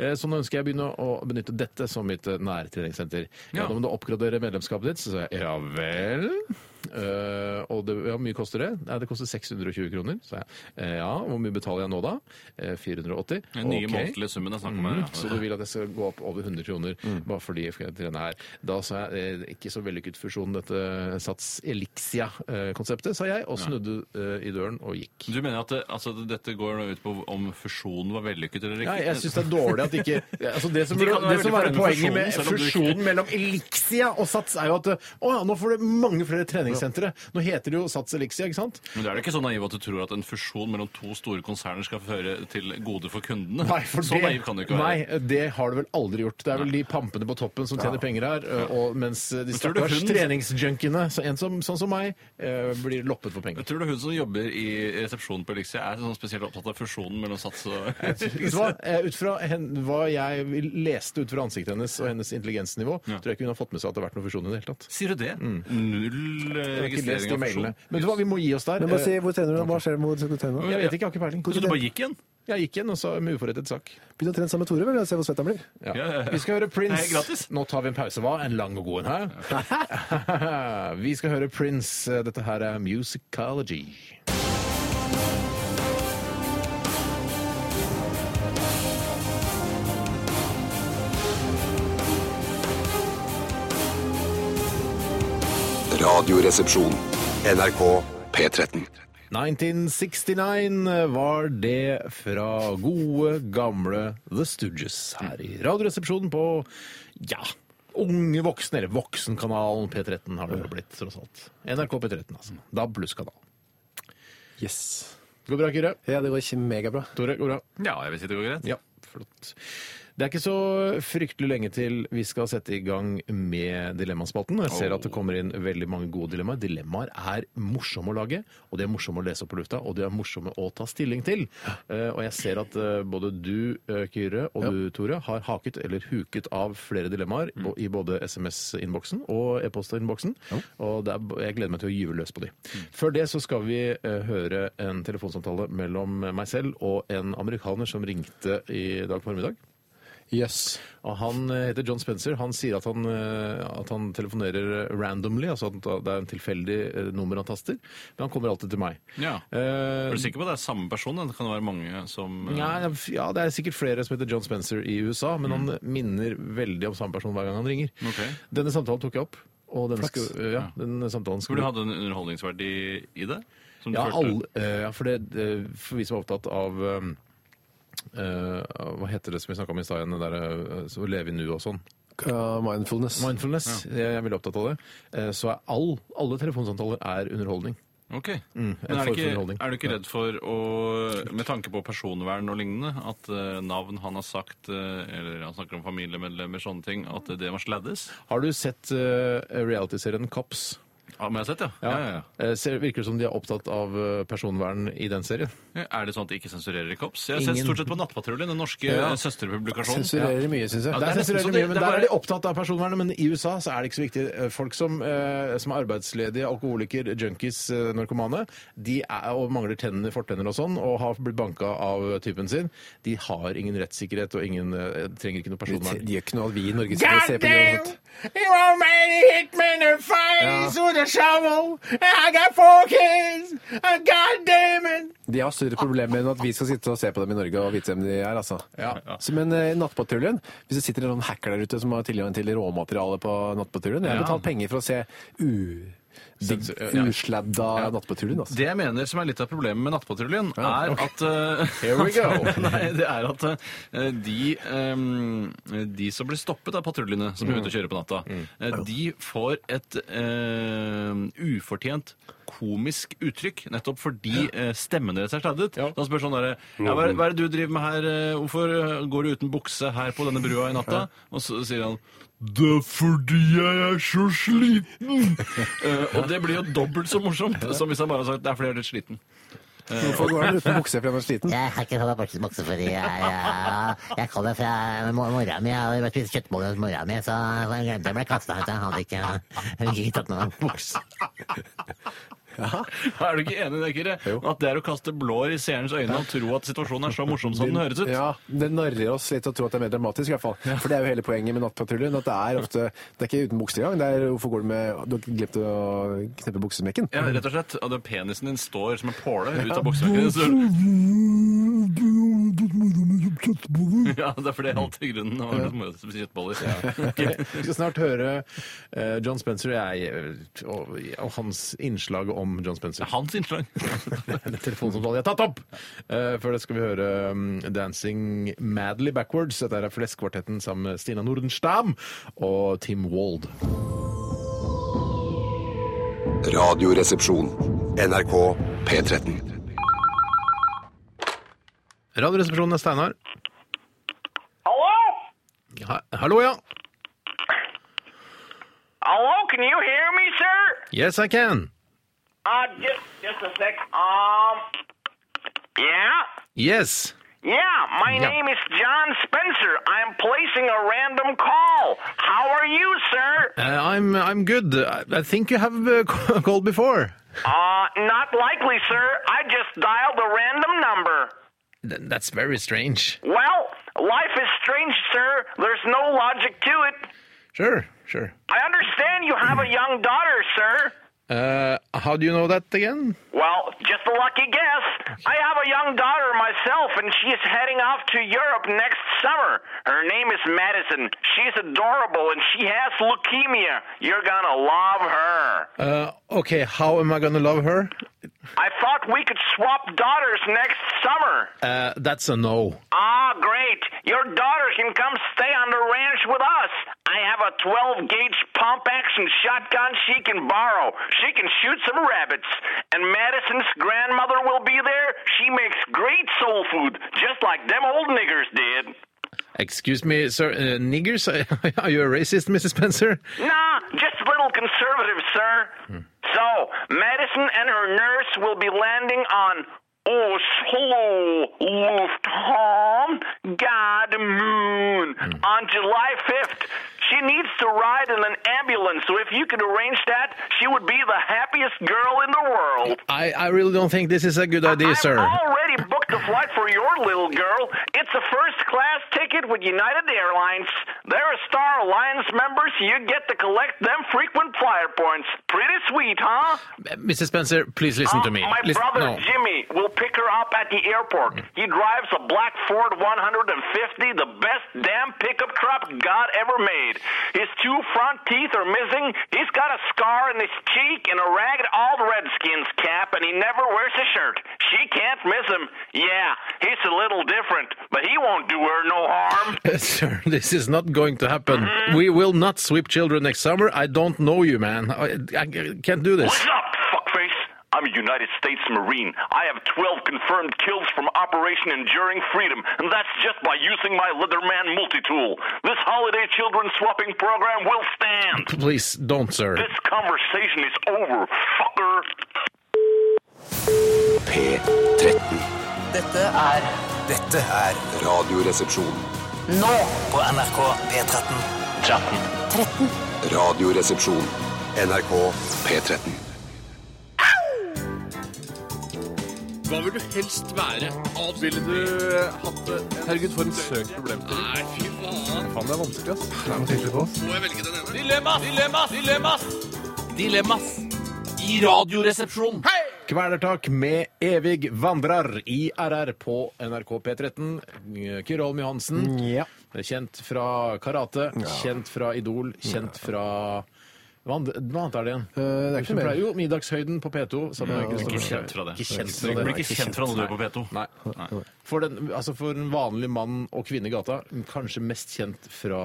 Speaker 2: Eh, Så nå ønsker jeg å begynne å benytte dette som mitt eh, nærtreningssenter. Ja,
Speaker 3: Ja.
Speaker 2: da må du oppgradere medlemskapet ditt. Så sa jeg, ja vel. Eh, og det, ja, hvor mye koster det? Nei, det koster 620 kroner. Så jeg, eh, ja, hvor mye betaler jeg nå da? Eh, 480.
Speaker 3: Den nye
Speaker 2: Ok. Mm,
Speaker 3: månedlige summen jeg snakker om her.
Speaker 2: Så du
Speaker 3: ja. Mm.
Speaker 2: vil at jeg skal gå opp over 100 kroner bare fordi jeg skal trene her. Da sa jeg eh, ikke så vellykket fusjon, dette Sats Elixia-konseptet, sa jeg, og snudde eh, i døren og gikk.
Speaker 3: Du mener at det, altså, dette går nå ut på om fusjonen var vellykket eller ikke?
Speaker 2: Nei, jeg syns det er dårlig at ikke altså Det som,
Speaker 3: De kan være
Speaker 2: det som
Speaker 3: veldig
Speaker 2: er
Speaker 3: fornøyd
Speaker 2: poenget
Speaker 3: med
Speaker 2: med
Speaker 3: fusjonen, selv om du ikke-
Speaker 2: fusjonen mellom Elixia og Sats, er jo at eh, å ja, nå får du mange flere Elixia-senteret. Nå heter det jo Sats Elixia, ikke sant?
Speaker 3: Men det er det ikke så naiv at du tror at en fusjon mellom to store konserner skal føre til gode for kundene? så naiv kan du ikke være.
Speaker 2: Nei, det har du vel aldri gjort. Det er vel de pampene på toppen som tjener penger her, og mens de
Speaker 3: tror du
Speaker 2: stakkars
Speaker 3: hun-
Speaker 2: treningsjunkiene, så en som, sånn som meg, eh, blir loppet for penger.
Speaker 3: Jeg tror du hun som jobber i resepsjonen på Elixia er sånn spesielt opptatt av fusjonen mellom Sats og
Speaker 2: Vet du hva? Eh, Ut fra hen, hva jeg vil- leste ut fra ansiktet hennes og hennes intelligensnivå,
Speaker 3: Ja.
Speaker 2: tror jeg ikke hun har fått med seg at det har vært noen fusjon i det hele tatt.
Speaker 3: Sier du det? Null eh,
Speaker 2: Mm. Jeg har ikke lest
Speaker 3: registrering
Speaker 2: de
Speaker 3: av fusjon.
Speaker 2: mailene. Men vet du hva, vi må gi oss der.
Speaker 4: Men bare si,
Speaker 2: Eh,
Speaker 4: hvor trener du? Hva skjer med hvor skal du trene?
Speaker 2: Jeg vet ikke, jeg har ikke peiling.
Speaker 3: Så du bare gikk igjen?
Speaker 2: Jeg gikk igjen og sa med uforrettet sak.
Speaker 4: Begynn å trene sammen med Tore, vel? og Se hvor svett han blir.
Speaker 2: Ja.
Speaker 3: Ja, ja, ja.
Speaker 2: Vi skal høre
Speaker 3: Det er
Speaker 2: Prince.
Speaker 3: gratis.
Speaker 2: Nå tar vi en pause, hva? En lang og god en her. vi skal høre Prince. Dette her er Musicology.
Speaker 5: Radioresepsjon. NRK P13.
Speaker 2: 1969 var det fra gode, gamle The Stooges her i Radioresepsjonen på ja, unge voksne, eller Voksenkanalen P13 har det vel blitt, tross alt. NRK P13, altså. DAB pluss-kanalen.
Speaker 4: Yes.
Speaker 2: Går bra, Kyrre?
Speaker 4: Ja, det går ikke megabra.
Speaker 2: Tore, går bra?
Speaker 3: Ja, jeg vil si det går greit.
Speaker 2: Ja, flott. Det er ikke så fryktelig lenge til vi skal sette i gang med Dilemmaspalten. Jeg ser at det kommer inn veldig mange gode dilemmaer. Dilemmaer er morsomme å lage, og de er morsomme å lese opp på lufta, og de er morsomme å ta stilling til. Eh, og jeg ser at eh, både du, eh, Kyrre, og du, Tore, har haket eller huket av flere dilemmaer bo- i både SMS-innboksen og e-postinnboksen. Og det er, b- jeg gleder meg til å gyve løs på de. Før det så skal vi eh, høre en telefonsamtale mellom meg selv og en amerikaner som ringte i dag formiddag.
Speaker 4: Yes.
Speaker 2: Og han eh, heter John Spencer. Han sier at han, eh, at han telefonerer randomly, altså at det er en tilfeldig eh, nummer han taster. Men han kommer alltid til meg.
Speaker 3: Ja.
Speaker 2: Eh,
Speaker 3: Er du sikker på at det er samme person? Det kan være mange som eh,
Speaker 2: Nei, ja, det er sikkert flere som heter John Spencer i USA, men han minner veldig om samme person hver gang han ringer.
Speaker 3: Mm. Ok.
Speaker 2: Denne samtalen tok jeg opp. Og denne skal, ja, denne samtalen
Speaker 3: Tror
Speaker 2: skal
Speaker 3: du det hadde en underholdningsverdi i det? Som du
Speaker 2: ja,
Speaker 3: følte?
Speaker 2: alle, eh, ja, for, det, eh, for vi som er opptatt av eh, eh, Hva heter det som vi snakka om i stad igjen? Det derre uh, å leve i nuet og sånn.
Speaker 4: Uh, mindfulness.
Speaker 2: Mindfulness. Jeg er veldig opptatt av det. Eh, så er all, alle telefonsamtaler er underholdning.
Speaker 3: Ok.
Speaker 2: en
Speaker 3: Men er
Speaker 2: Mm, form
Speaker 3: du,
Speaker 2: for
Speaker 3: ikke,
Speaker 2: underholdning.
Speaker 3: er du ikke redd for å Med tanke på personvern og lignende, at eh, navn han har sagt, eh, eller han snakker om familiemedlemmer, sånne ting, at det må sladdes?
Speaker 2: Har du sett eh, realityserien Cops?
Speaker 3: Ja, men jeg har sett, ja. Ja, ja, ja.
Speaker 2: Eh, ser, virker det som de er opptatt av eh, personvern i den serien?
Speaker 3: Er det sånn at de ikke sensurerer i kops? Jeg har sett
Speaker 2: Ingen-
Speaker 3: stort sett på Nattpatruljen, den norske
Speaker 2: Ja.
Speaker 3: eh, søsterpublikasjonen.
Speaker 4: Sensurerer mye, syns jeg.
Speaker 3: Ja,
Speaker 2: Der,
Speaker 3: det er
Speaker 2: sensurerer
Speaker 3: nesten så
Speaker 2: de
Speaker 3: det-
Speaker 2: mye, men
Speaker 3: det er
Speaker 2: der
Speaker 3: bare-
Speaker 2: er de opptatt av personvernet, men i USA så er det ikke så viktig. Eh, Folk som, eh, som er arbeidsledige, alkoholiker, junkies, eh, narkomane, de er, og mangler tenner, fortenner og sånn, og har blitt banka av typen sin, de har ingen rettssikkerhet og ingen, eh, trenger ikke noe
Speaker 4: De
Speaker 2: personvern.
Speaker 4: gjør ikke noe at vi i Norge skal se på det. og sånt.
Speaker 2: You are many hitmen and fires with a shovel. I got four kids. Oh, God damn it.
Speaker 4: De har større problemer enn at vi skal sitte og se på dem i Norge og vite hvem de er, altså.
Speaker 2: Ja.
Speaker 4: Så, men eh, Nattpatruljen, hvis det sitter en sånn hacker der ute som har tilgang til råmateriale på Nattpatruljen Jeg har
Speaker 3: Ja.
Speaker 4: betalt penger for å se u... digg-
Speaker 2: ja.
Speaker 4: usladda Nattpatruljen, altså.
Speaker 3: Det jeg mener som er litt av problemet med Nattpatruljen, er at eh,
Speaker 2: Here we go.
Speaker 3: Nei, det er at eh, de, eh, de som blir stoppet av patruljene som er ute og kjører på natta, eh, de får et eh, ufortjent komisk uttrykk, nettopp fordi eh, stemmen deres er sladdet.
Speaker 2: Ja.
Speaker 3: Da spør sånn derre ja, hva, er- 'Hva er det du driver med her? eh, Hvorfor eh, går du uten bukse her på denne brua i natta?' Og så sier han det er fordi jeg er så sliten! Eh, og det blir jo dobbelt så morsomt som hvis han bare har sagt det er fordi jeg er litt sliten.
Speaker 4: Hvorfor går han uten bukse fordi han er sliten?
Speaker 6: Jeg har ikke fått meg bukse- bukse fordi jeg, jeg, jeg kommer fra
Speaker 7: uh,
Speaker 6: mo- mora mi. Jeg har bare spist kjøttboller hos mora mi, så jeg glemte jeg ble kasta ut. så Jeg hadde ikke,
Speaker 7: uh,
Speaker 6: jeg hadde ikke tatt med meg bukse.
Speaker 3: Er du ikke enig i det, Kyrre? At det er å kaste blår i seerens øyne og tro at situasjonen er så morsom som den høres ut?
Speaker 4: Ja, det narrer oss litt å tro at det er mer dramatisk, i hvert fall. For det er jo hele poenget med Nattpatruljen. At det er ofte Det er ikke uten bukse engang. Det er hvorfor går du med Du har glemt å kneppe buksesmekken.
Speaker 3: Ja, rett og slett. Og den penisen din står som en påle ut av buksevekken. Så... Ja, det er fordi alt i grunnen var litt moro som kjøttboller.
Speaker 2: Vi skal snart høre eh, John Spencer og, jeg, eh, og, og hans innslag om John Spencer.
Speaker 3: Hans innslag.
Speaker 2: en telefonsamtale jeg har tatt opp! Eh, før det skal vi høre mm, 'Dancing Madly Backwards'. Dette er Fleskvartetten sammen med Stina Nordenstam og Tim Wald.
Speaker 5: Radioresepsjon. NRK P13.
Speaker 2: Radioresepsjonen er Steinar.
Speaker 7: Hello?
Speaker 2: Ha Hallo, ja.
Speaker 7: Hello, can you hear me, sir?
Speaker 2: Yes, I can.
Speaker 7: Uh, just, just a sec. Um, yeah?
Speaker 2: Yes.
Speaker 7: Yeah, my
Speaker 2: Yeah.
Speaker 7: name is John Spencer. I'm placing a random call. How are you, sir?
Speaker 2: Uh, I'm, I'm good. I, I think you have uh, called before.
Speaker 7: Uh, not likely, sir. I just dialed a random number.
Speaker 2: Th- that's very strange.
Speaker 7: Well, life is strange, sir. There's no logic to it.
Speaker 2: Sure, sure.
Speaker 7: I understand you have a young daughter, sir.
Speaker 2: Uh, how do you know that again?
Speaker 7: Well, just a lucky guess. I have a young daughter myself, and she is heading off to Europe next summer. Her name is Madison. She's adorable, and she has leukemia. You're gonna love her.
Speaker 2: Uh, okay, how am I gonna love her?
Speaker 7: I thought we could swap daughters next summer.
Speaker 2: Uh, that's a no.
Speaker 7: Ah, great. Your daughter can come stay on the ranch with us. I have a 12 gauge pump action shotgun she can borrow. She can shoot some rabbits. And Madison's grandmother will be there. She makes great soul food, just like them old niggers did.
Speaker 2: Excuse me, sir. Uh, niggers? Are you a racist, Mrs. Spencer?
Speaker 7: Nah, just a little conservative, sir. So, Madison and her nurse will be landing on Oslo Lufthavn God Moon on July 5th. She needs to ride in an ambulance, so if you could arrange that, she would be the happiest girl in the world.
Speaker 2: I, I really don't think this is a good idea,
Speaker 7: I've
Speaker 2: sir.
Speaker 7: already booked a flight for your little girl. It's a first class ticket with United Airlines. They're a Star Alliance member, so you get to collect them frequent flyer points. Pretty sweet, huh?
Speaker 2: Mrs. Spencer, please listen to me.
Speaker 7: Uh, My
Speaker 2: Listen-
Speaker 7: brother
Speaker 2: no. Mm.
Speaker 7: Jimmy will pick her up at the airport. He drives a black Ford 150, the best damn pickup truck God ever made. His two front teeth are missing. He's got a scar in his cheek and a ragged old Redskins cap, and he never wears a shirt. She can't miss him. Yeah, he's a little different, but he won't do her no harm.
Speaker 2: Sir, this is not going to happen.
Speaker 7: Mm-hmm.
Speaker 2: We will not sweep children next summer. I don't know you, man. I, I can't do this.
Speaker 7: What's up, fuckface? I'm a United States Marine. I have 12 confirmed kills from Operation Enduring Freedom, and that's just by using my Leatherman multi tool. This holiday children swapping program will stand.
Speaker 2: Please don't, sir.
Speaker 7: This conversation is over, fucker.
Speaker 5: P13.
Speaker 8: Dette er
Speaker 9: Dette er
Speaker 5: Radioresepsjon.
Speaker 8: nå
Speaker 9: på NRK P13.
Speaker 5: Radioresepsjon. NRK P13.
Speaker 3: Hva vil du helst være? Ville du eh, hatt det? Herregud, for en søk problemstilling. Nei, fy faen.
Speaker 4: Faen, det er vanskelig, ass.
Speaker 3: Må jeg velge den ene? Dilemmas! Dilemmas! Dilemmas! Dilemmas! I radioresepsjonen. Hei!
Speaker 2: Kvelertak med evig vandrer i RR på NRK P13. Kyrre Holm Johansen.
Speaker 4: Ja.
Speaker 2: Kjent fra karate, kjent fra Idol, kjent fra hva andre- hva annet er det igjen?
Speaker 4: Eh, det er ikke noe mer.
Speaker 2: Jo, Middagshøyden på P2. sammen med Kristoffer
Speaker 3: Ikke
Speaker 2: Schau.
Speaker 3: kjent fra det.
Speaker 2: Ikke kjent
Speaker 3: Du
Speaker 2: fra
Speaker 3: blir
Speaker 2: det.
Speaker 3: ikke kjent fra når du er på P2.
Speaker 2: Nei. For, den, altså for en vanlig mann og kvinne i gata, kanskje mest kjent fra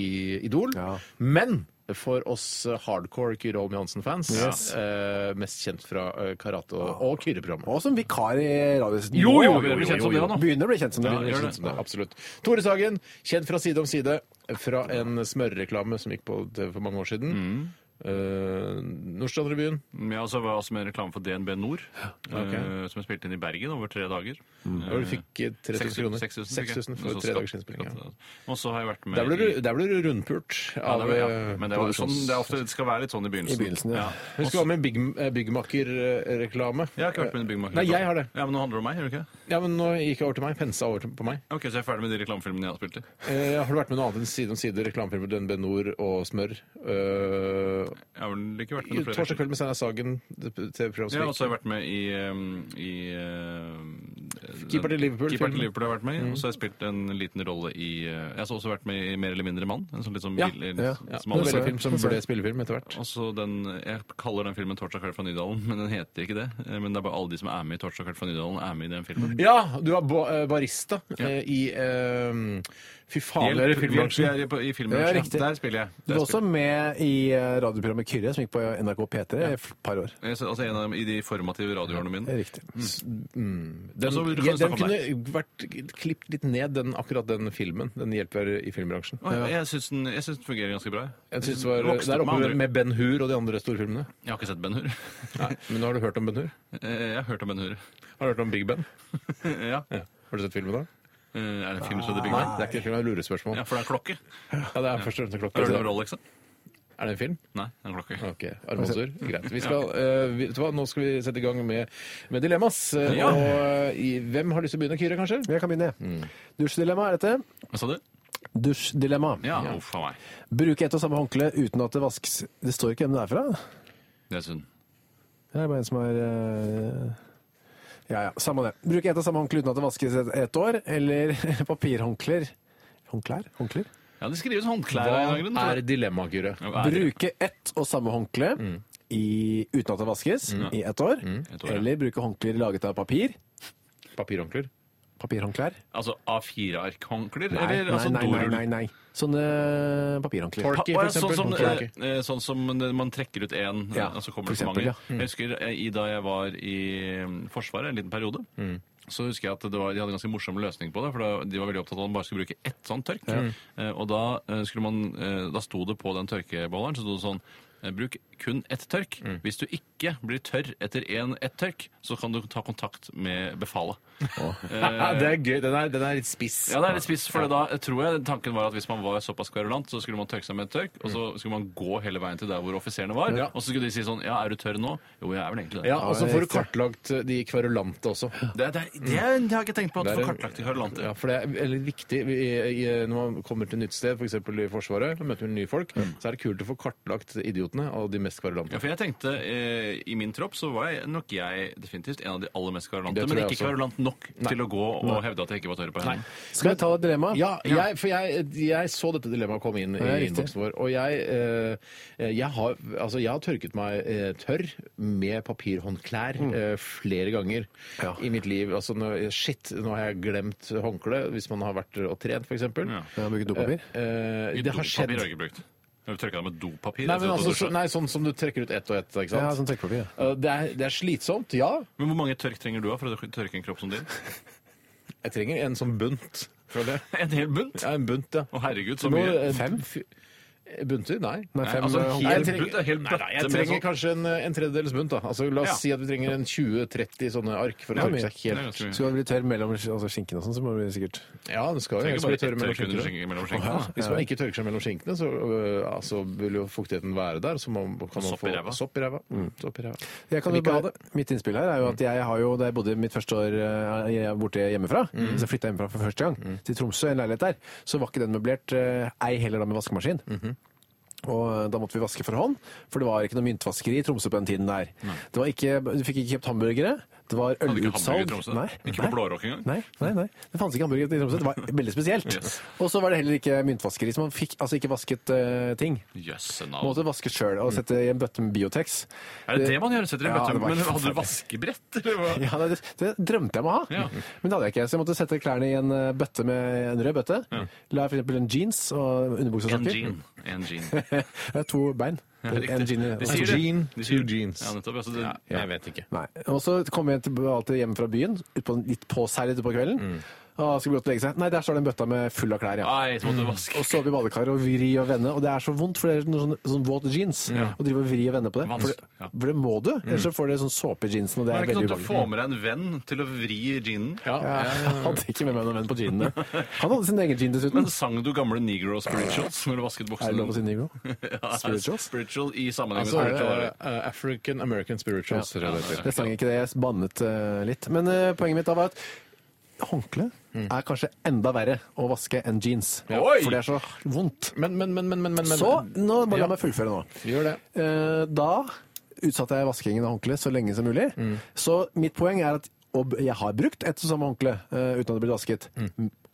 Speaker 2: i Idol.
Speaker 4: Ja.
Speaker 2: Men for oss hardcore Kyrre Holm Johansen-fans,
Speaker 4: Yes.
Speaker 2: eh, mest kjent fra eh, karate- og, og Kyrre-programmet.
Speaker 4: Og som vikar i radiosen.
Speaker 3: Jo, jo,
Speaker 2: jo, jo, jo, jo.
Speaker 4: Begynner å bli kjent som det.
Speaker 2: Ja, gjør det. Absolutt. Tore Sagen, kjent fra Side om side, fra en smørreklame som gikk på TV for mange år siden. Eh, Nordstrandrevyen.
Speaker 3: Ja, og så var jeg også med en reklame for DNB Nord, eh, som jeg spilte inn i Bergen over tre dager.
Speaker 2: Og du fikk eh, 3000 kroner.
Speaker 3: 6000
Speaker 2: 6000 for tre dagers innspilling. Ja.
Speaker 3: Og så har jeg vært med
Speaker 2: Der ble du,
Speaker 3: i-
Speaker 2: der ble du rundpurt
Speaker 3: Ja,
Speaker 2: av
Speaker 3: det var- ja.
Speaker 2: eh,
Speaker 3: Men det, var sånn,
Speaker 2: produksjons-
Speaker 3: det, er ofte, det skal være litt sånn i begynnelsen.
Speaker 4: I begynnelsen, ja.
Speaker 2: Hun skal være med i bygg, eh, byggmakerreklame.
Speaker 3: Jeg har ikke vært med i Byggmaker.
Speaker 2: Nei, jeg har det.
Speaker 3: Ja, men nå handler det om meg, gjør det ikke?
Speaker 2: Ja, men nå gikk jeg over til meg. Pensa over til- på meg.
Speaker 3: Ok, så jeg er ferdig med de reklamefilmene jeg har spilt i.
Speaker 2: Eh, har du vært med noe annet enn Side om side, reklamefilmer, DNB Nord og smør? Eh,
Speaker 3: Jeg har vel ikke vært med
Speaker 2: i
Speaker 3: i flere
Speaker 2: Torsdag kveld med Steinar Sagen, det- TV-program
Speaker 3: Ja,
Speaker 2: som
Speaker 3: og
Speaker 2: gikk
Speaker 3: så har jeg vært med i, um, i um,
Speaker 2: Keeper til Liverpool,
Speaker 3: Keeper til
Speaker 2: filmen. Mm.
Speaker 3: Liverpool har jeg vært med i, Og så har jeg spilt en liten rolle i uh, Jeg har også vært med i Mer eller mindre mann. En sånn litt sånn
Speaker 2: Ja,
Speaker 3: vill-
Speaker 4: ja,
Speaker 2: ja,
Speaker 3: smal
Speaker 4: det er
Speaker 3: film.
Speaker 2: novellefilm som ble spillefilm etter hvert.
Speaker 3: Og så den, Jeg kaller den filmen 'Torsdag kveld fra Nydalen', men den heter ikke det. Eh, Men det er bare alle de som er med i 'Torsdag kveld fra Nydalen', er med i den filmen.
Speaker 2: Ja, du var ba- eh, barista eh, i eh, Fy faen,
Speaker 3: Hjelp,
Speaker 2: dere i
Speaker 3: hjelp, vi
Speaker 2: filmbransjen.
Speaker 3: er i, i
Speaker 4: Ja,
Speaker 3: filmbransjen.
Speaker 4: riktig.
Speaker 3: Der spiller jeg.
Speaker 4: Du
Speaker 3: Der
Speaker 4: var også
Speaker 3: spiller jeg.
Speaker 4: med i eh, radioprogrammet Kyrre, som gikk på NRK P3 i et par år.
Speaker 3: Jeg er Altså en av, I de formative radioårene mine.
Speaker 4: Riktig.
Speaker 2: Den,
Speaker 3: Altså, du kan
Speaker 2: ja, den
Speaker 3: snakke om
Speaker 2: kunne vært klippet litt ned, den, akkurat den filmen. Den hjelper i filmbransjen.
Speaker 3: Å, jeg- Jeg syns den, jeg syns den fungerer ganske bra.
Speaker 2: Jeg synes det var,
Speaker 3: Vokste
Speaker 2: der
Speaker 3: opp med
Speaker 2: oppe
Speaker 3: andre.
Speaker 2: med Ben Hur og de andre storfilmene.
Speaker 3: Jeg har ikke sett Ben Hur.
Speaker 2: Nei, men nå har du hørt om Ben Hur?
Speaker 3: Eh, Jeg har hørt om Ben Hur.
Speaker 2: Har du hørt om Big Ben?
Speaker 3: Ja.
Speaker 2: Ja. Har du sett filmen da?
Speaker 3: Eh, Er det en film som heter Big
Speaker 2: Nei,
Speaker 3: Bang?
Speaker 2: det er ikke en film, det er et lurespørsmål.
Speaker 3: Ja, for det er en klokke.
Speaker 2: Ja, det er først og fremst en klokke.
Speaker 3: Hører du om Rolex? da?
Speaker 2: Er det en film?
Speaker 3: Nei, det er en klokke.
Speaker 2: Ok, armbåndsur. Greit. Vi skal, eh, vi- vet du hva, nå skal vi sette i gang med, med dilemmas. Eh,
Speaker 3: Ja.
Speaker 2: Og eh, i, hvem har lyst til å begynne? Kyrre, kanskje?
Speaker 4: Jeg kan begynne. jeg. Dusjdilemma er dette.
Speaker 3: Hva sa du?
Speaker 4: Dusjdilemma.
Speaker 3: Ja, uff a meg.
Speaker 4: Bruke ett og samme håndkle uten at det vasks. Det står ikke hvem det er fra.
Speaker 3: Det er synd.
Speaker 4: Det er bare en som er eh, Ja ja, samme det. Bruke ett og samme håndkle uten at det vaskes et, et år, eller papirhåndklær. Håndklær? Håndklær?
Speaker 3: Ja, det skrives håndklær av en eller annen grunn.
Speaker 2: Hva
Speaker 3: tror
Speaker 2: er
Speaker 3: jeg.
Speaker 2: dilemmaet, Kyrre?
Speaker 3: Ja, hva er det? Mm.
Speaker 4: Bruke ett og samme håndkle i, uten at det vaskes i ett år,
Speaker 3: Et Mm, år, ja.
Speaker 4: eller bruke håndklær laget av papir.
Speaker 2: Papirhåndklær?
Speaker 4: Papirhåndklær.
Speaker 3: Altså A4-arkhåndklær?
Speaker 4: Nei,
Speaker 3: Eller
Speaker 4: nei,
Speaker 3: altså
Speaker 4: nei, nei,
Speaker 3: dorull?
Speaker 4: nei, nei. Sånne papirhåndklær.
Speaker 2: Torky, for
Speaker 3: Pa- å, ja,
Speaker 2: eksempel.
Speaker 3: Sånn som,
Speaker 2: Torky.
Speaker 3: eh, eh, sånn som det- man trekker ut én,
Speaker 4: Ja,
Speaker 3: og så kommer
Speaker 4: for
Speaker 3: det så
Speaker 4: eksempel,
Speaker 3: mange.
Speaker 4: ja. Mm.
Speaker 3: Jeg husker eh, i da jeg var i mm, Forsvaret en liten periode.
Speaker 4: Mm.
Speaker 3: Så husker jeg at det var, De hadde en ganske morsom løsning på det. for da, De var veldig opptatt av at man bare skulle bruke ett sånt tørk. Eh, og da, eh, skulle man, eh, da sto det på den tørkebeholderen så sto det sånn eh, Bruk kun ett tørk.
Speaker 4: Mm.
Speaker 3: Hvis du ikke blir tørr etter én ett tørk, så kan du ta kontakt med befalet.
Speaker 2: Ja, det er gøy. Den er, den er litt spiss.
Speaker 3: Ja, det er litt spiss, for da tror jeg tanken var at hvis man var såpass kverulant, så skulle man tørke seg med et tørk, og så skulle man gå hele veien til der hvor offiserene var,
Speaker 2: Mm. Ja.
Speaker 3: og så skulle de si sånn, ja, er du tørr nå? Jo, jeg er vel egentlig det.
Speaker 2: Ja, altså og så får du kartlagt eh, de kverulante også.
Speaker 3: Det, det, det, det har jeg ikke tenkt på, at
Speaker 2: Det
Speaker 3: du
Speaker 2: er-
Speaker 3: får kartlagt i kverulanter.
Speaker 2: Ja, for det er veldig viktig i, i, når man kommer til nytt sted, f.eks. i Forsvaret, og møter nye folk, så er det kult å få kartlagt idiotene og de mest
Speaker 3: Ja,
Speaker 2: kverulante.
Speaker 3: for jeg tenkte, eh, I min tropp så var jeg, nok jeg definitivt en av de aller mest kverulante.
Speaker 2: Det tror
Speaker 3: Men
Speaker 2: jeg
Speaker 3: ikke
Speaker 2: også.
Speaker 3: kverulant nok til å gå og hevde at jeg ikke var tørr på hendene.
Speaker 4: Skal vi ta et dilemma?
Speaker 2: Ja, jeg, for jeg, jeg så dette dilemmaet komme inn
Speaker 4: Ja,
Speaker 2: i
Speaker 4: riktig.
Speaker 2: innboksen vår. Og jeg, eh, jeg, har, altså, jeg har tørket meg eh, tørr med papirhåndklær eh, flere ganger
Speaker 4: Ja.
Speaker 2: i mitt liv. Altså, nå, shit, nå har jeg glemt håndkle, hvis man har vært og trent, f.eks.
Speaker 3: Ja.
Speaker 4: Ja, bruke dopapir?
Speaker 2: Eh, det har
Speaker 3: Dopapir
Speaker 2: skjedd.
Speaker 3: har jeg ikke brukt. Jeg tørka det med dopapir.
Speaker 2: Nei,
Speaker 3: etter
Speaker 2: men
Speaker 3: at
Speaker 2: altså,
Speaker 3: du
Speaker 2: så,
Speaker 3: dusja.
Speaker 2: nei, sånn som du trekker ut ett og ett. Ikke sant?
Speaker 4: Ja, sånn trekkpapir, ja.
Speaker 2: Eh, Det er, det er slitsomt, ja.
Speaker 3: men hvor mange tørk trenger du av for å tørke en kropp som din?
Speaker 2: Jeg trenger en sånn bunt. Føler jeg.
Speaker 3: En hel bunt?
Speaker 2: Ja, en bunt, ja.
Speaker 3: Å herregud, så
Speaker 2: Nå,
Speaker 3: mye.
Speaker 2: eh, fy- eh, Bunter? Nei.
Speaker 4: Nei,
Speaker 3: Nei,
Speaker 4: fem,
Speaker 3: altså,
Speaker 4: eh,
Speaker 3: en
Speaker 2: Jeg
Speaker 3: hel
Speaker 2: trenger-
Speaker 3: bunt, en hel
Speaker 2: Nei, nei, jeg
Speaker 3: bøtte med
Speaker 2: trenger
Speaker 3: sånn-
Speaker 2: kanskje en, en tredjedels bunt. da. Altså, la oss
Speaker 3: Ja.
Speaker 2: si at vi trenger en 20-30 sånne ark for å
Speaker 4: men-
Speaker 2: tørke seg
Speaker 3: Det er
Speaker 2: helt.
Speaker 3: ganske mye.
Speaker 4: Skal du bli tørr mellom altså, skinkene og sånn, så må du sikkert
Speaker 2: Ja, det skal jo
Speaker 3: Trenger
Speaker 2: helst bli
Speaker 3: bare
Speaker 2: tørre
Speaker 3: ett
Speaker 2: mellom
Speaker 3: tørk
Speaker 2: skinkene.
Speaker 3: under skink- mellom skinkene. da.
Speaker 2: Hvis man altså. ikke tørker seg mellom skinkene, så øh, altså, vil jo fuktigheten være der. Så man, kan man
Speaker 3: Sopp i
Speaker 2: få
Speaker 3: ræva.
Speaker 2: sopp i ræva. Mm, sopp i ræva.
Speaker 4: Jeg kan
Speaker 2: vil
Speaker 4: jo
Speaker 2: ikke ha
Speaker 4: bare, mitt innspill her er jo at jeg har jo, da jeg bodde mitt første år eh, jeg- borte hjemmefra,
Speaker 3: Mm.
Speaker 4: så flytta jeg hjemmefra for første gang, til Tromsø, en leilighet der, så var ikke den møblert, eh, ei heller da med vaskemaskin.
Speaker 3: Mhm.
Speaker 4: Og eh, da måtte vi vaske for hånd, for det var ikke noe myntvaskeri i Tromsø på den tiden der. Det var ikke, du fikk ikke kjøpt hamburgere, det var
Speaker 3: Hadde ikke hamburger i
Speaker 4: ølutsalg.
Speaker 3: Tromsø?
Speaker 4: Nei,
Speaker 3: Ikke
Speaker 4: nei.
Speaker 3: på Blårock engang?
Speaker 4: Nei, nei, nei. Det fantes ikke hamburger i Tromsø. Det var veldig spesielt.
Speaker 3: Yes.
Speaker 4: Og så var det heller ikke myntvaskeri, så man fikk altså ikke vasket eh, ting.
Speaker 3: Jøsse
Speaker 4: Man
Speaker 3: navn.
Speaker 4: måtte vaske sjøl og sette i en bøtte med Biotex.
Speaker 3: Er det det man gjør? Setter i
Speaker 4: Ja,
Speaker 3: bøtte,
Speaker 4: det var
Speaker 3: men
Speaker 4: helt
Speaker 3: hadde du
Speaker 4: forferdelig.
Speaker 3: vaskebrett, eller hva?
Speaker 4: Ja, det, det drømte jeg om å ha,
Speaker 3: Ja.
Speaker 4: men det hadde jeg ikke. Så jeg måtte sette klærne i en eh, bøtte med en rød bøtte. La for eksempel en jeans og underbukse og
Speaker 3: En
Speaker 4: sokker.
Speaker 3: jean. En jean.
Speaker 4: Jeg har to bein. en jean i
Speaker 3: De
Speaker 4: altså,
Speaker 3: sier det.
Speaker 2: jean,
Speaker 3: De sier
Speaker 2: two
Speaker 3: det.
Speaker 2: jeans.
Speaker 3: Ja, nettopp. Altså, det,
Speaker 2: Ja, jeg vet ikke.
Speaker 4: Nei. Og så kom jeg til, alltid hjem fra byen, ut på, en- litt påseilet utpå kvelden.
Speaker 3: Mm.
Speaker 4: Og skulle gå til å legge seg. Nei, der står den bøtta med full av klær, ja.
Speaker 3: Nei, så
Speaker 2: Mm.
Speaker 3: måtte du vaske.
Speaker 4: Og så opp i badekaret og vri og vende. Og det er så vondt, for det er noe sånn, sånn våt jeans. Og drive og vri og vende på det. For
Speaker 3: Vanskelig,
Speaker 4: det,
Speaker 3: ja. Mm.
Speaker 4: for det må du, ellers så får du sånn såpe i jeansen, og det
Speaker 3: Men er
Speaker 4: er veldig
Speaker 3: det ikke sånn at
Speaker 4: ubehagelig.
Speaker 3: du får med deg en venn til å vri jeanen?
Speaker 2: Ja,
Speaker 4: Ja,
Speaker 2: ja.
Speaker 4: jeg hadde ikke med meg noen venn på jeanene. Han hadde sin egen jean dessuten.
Speaker 3: Men sang du gamle Negro spirituals når du vasket
Speaker 4: Er det lov å si
Speaker 3: buksene?
Speaker 4: negro?
Speaker 3: Ja,
Speaker 4: Spirituals?
Speaker 3: Spiritual i sammenheng med
Speaker 2: Altså,
Speaker 3: spiritual.
Speaker 2: eh, eh, African American Spirituals. tror jeg det heter.
Speaker 4: Jeg sang ikke det, jeg bannet eh, litt. Men eh, poenget mitt da var at håndkle er kanskje enda verre å vaske enn jeans.
Speaker 3: Oi!
Speaker 4: For det er så vondt.
Speaker 2: Men, men, men, men, men, men
Speaker 4: Så, nå må
Speaker 2: Ja.
Speaker 4: la meg fullføre nå.
Speaker 2: Gjør det.
Speaker 4: Eh, Da utsatte jeg vaskingen av håndkle så lenge som mulig.
Speaker 2: Mm.
Speaker 4: Så mitt poeng er
Speaker 2: Mm.
Speaker 4: at og jeg har brukt et og samme håndkle eh, uten at det ble vasket.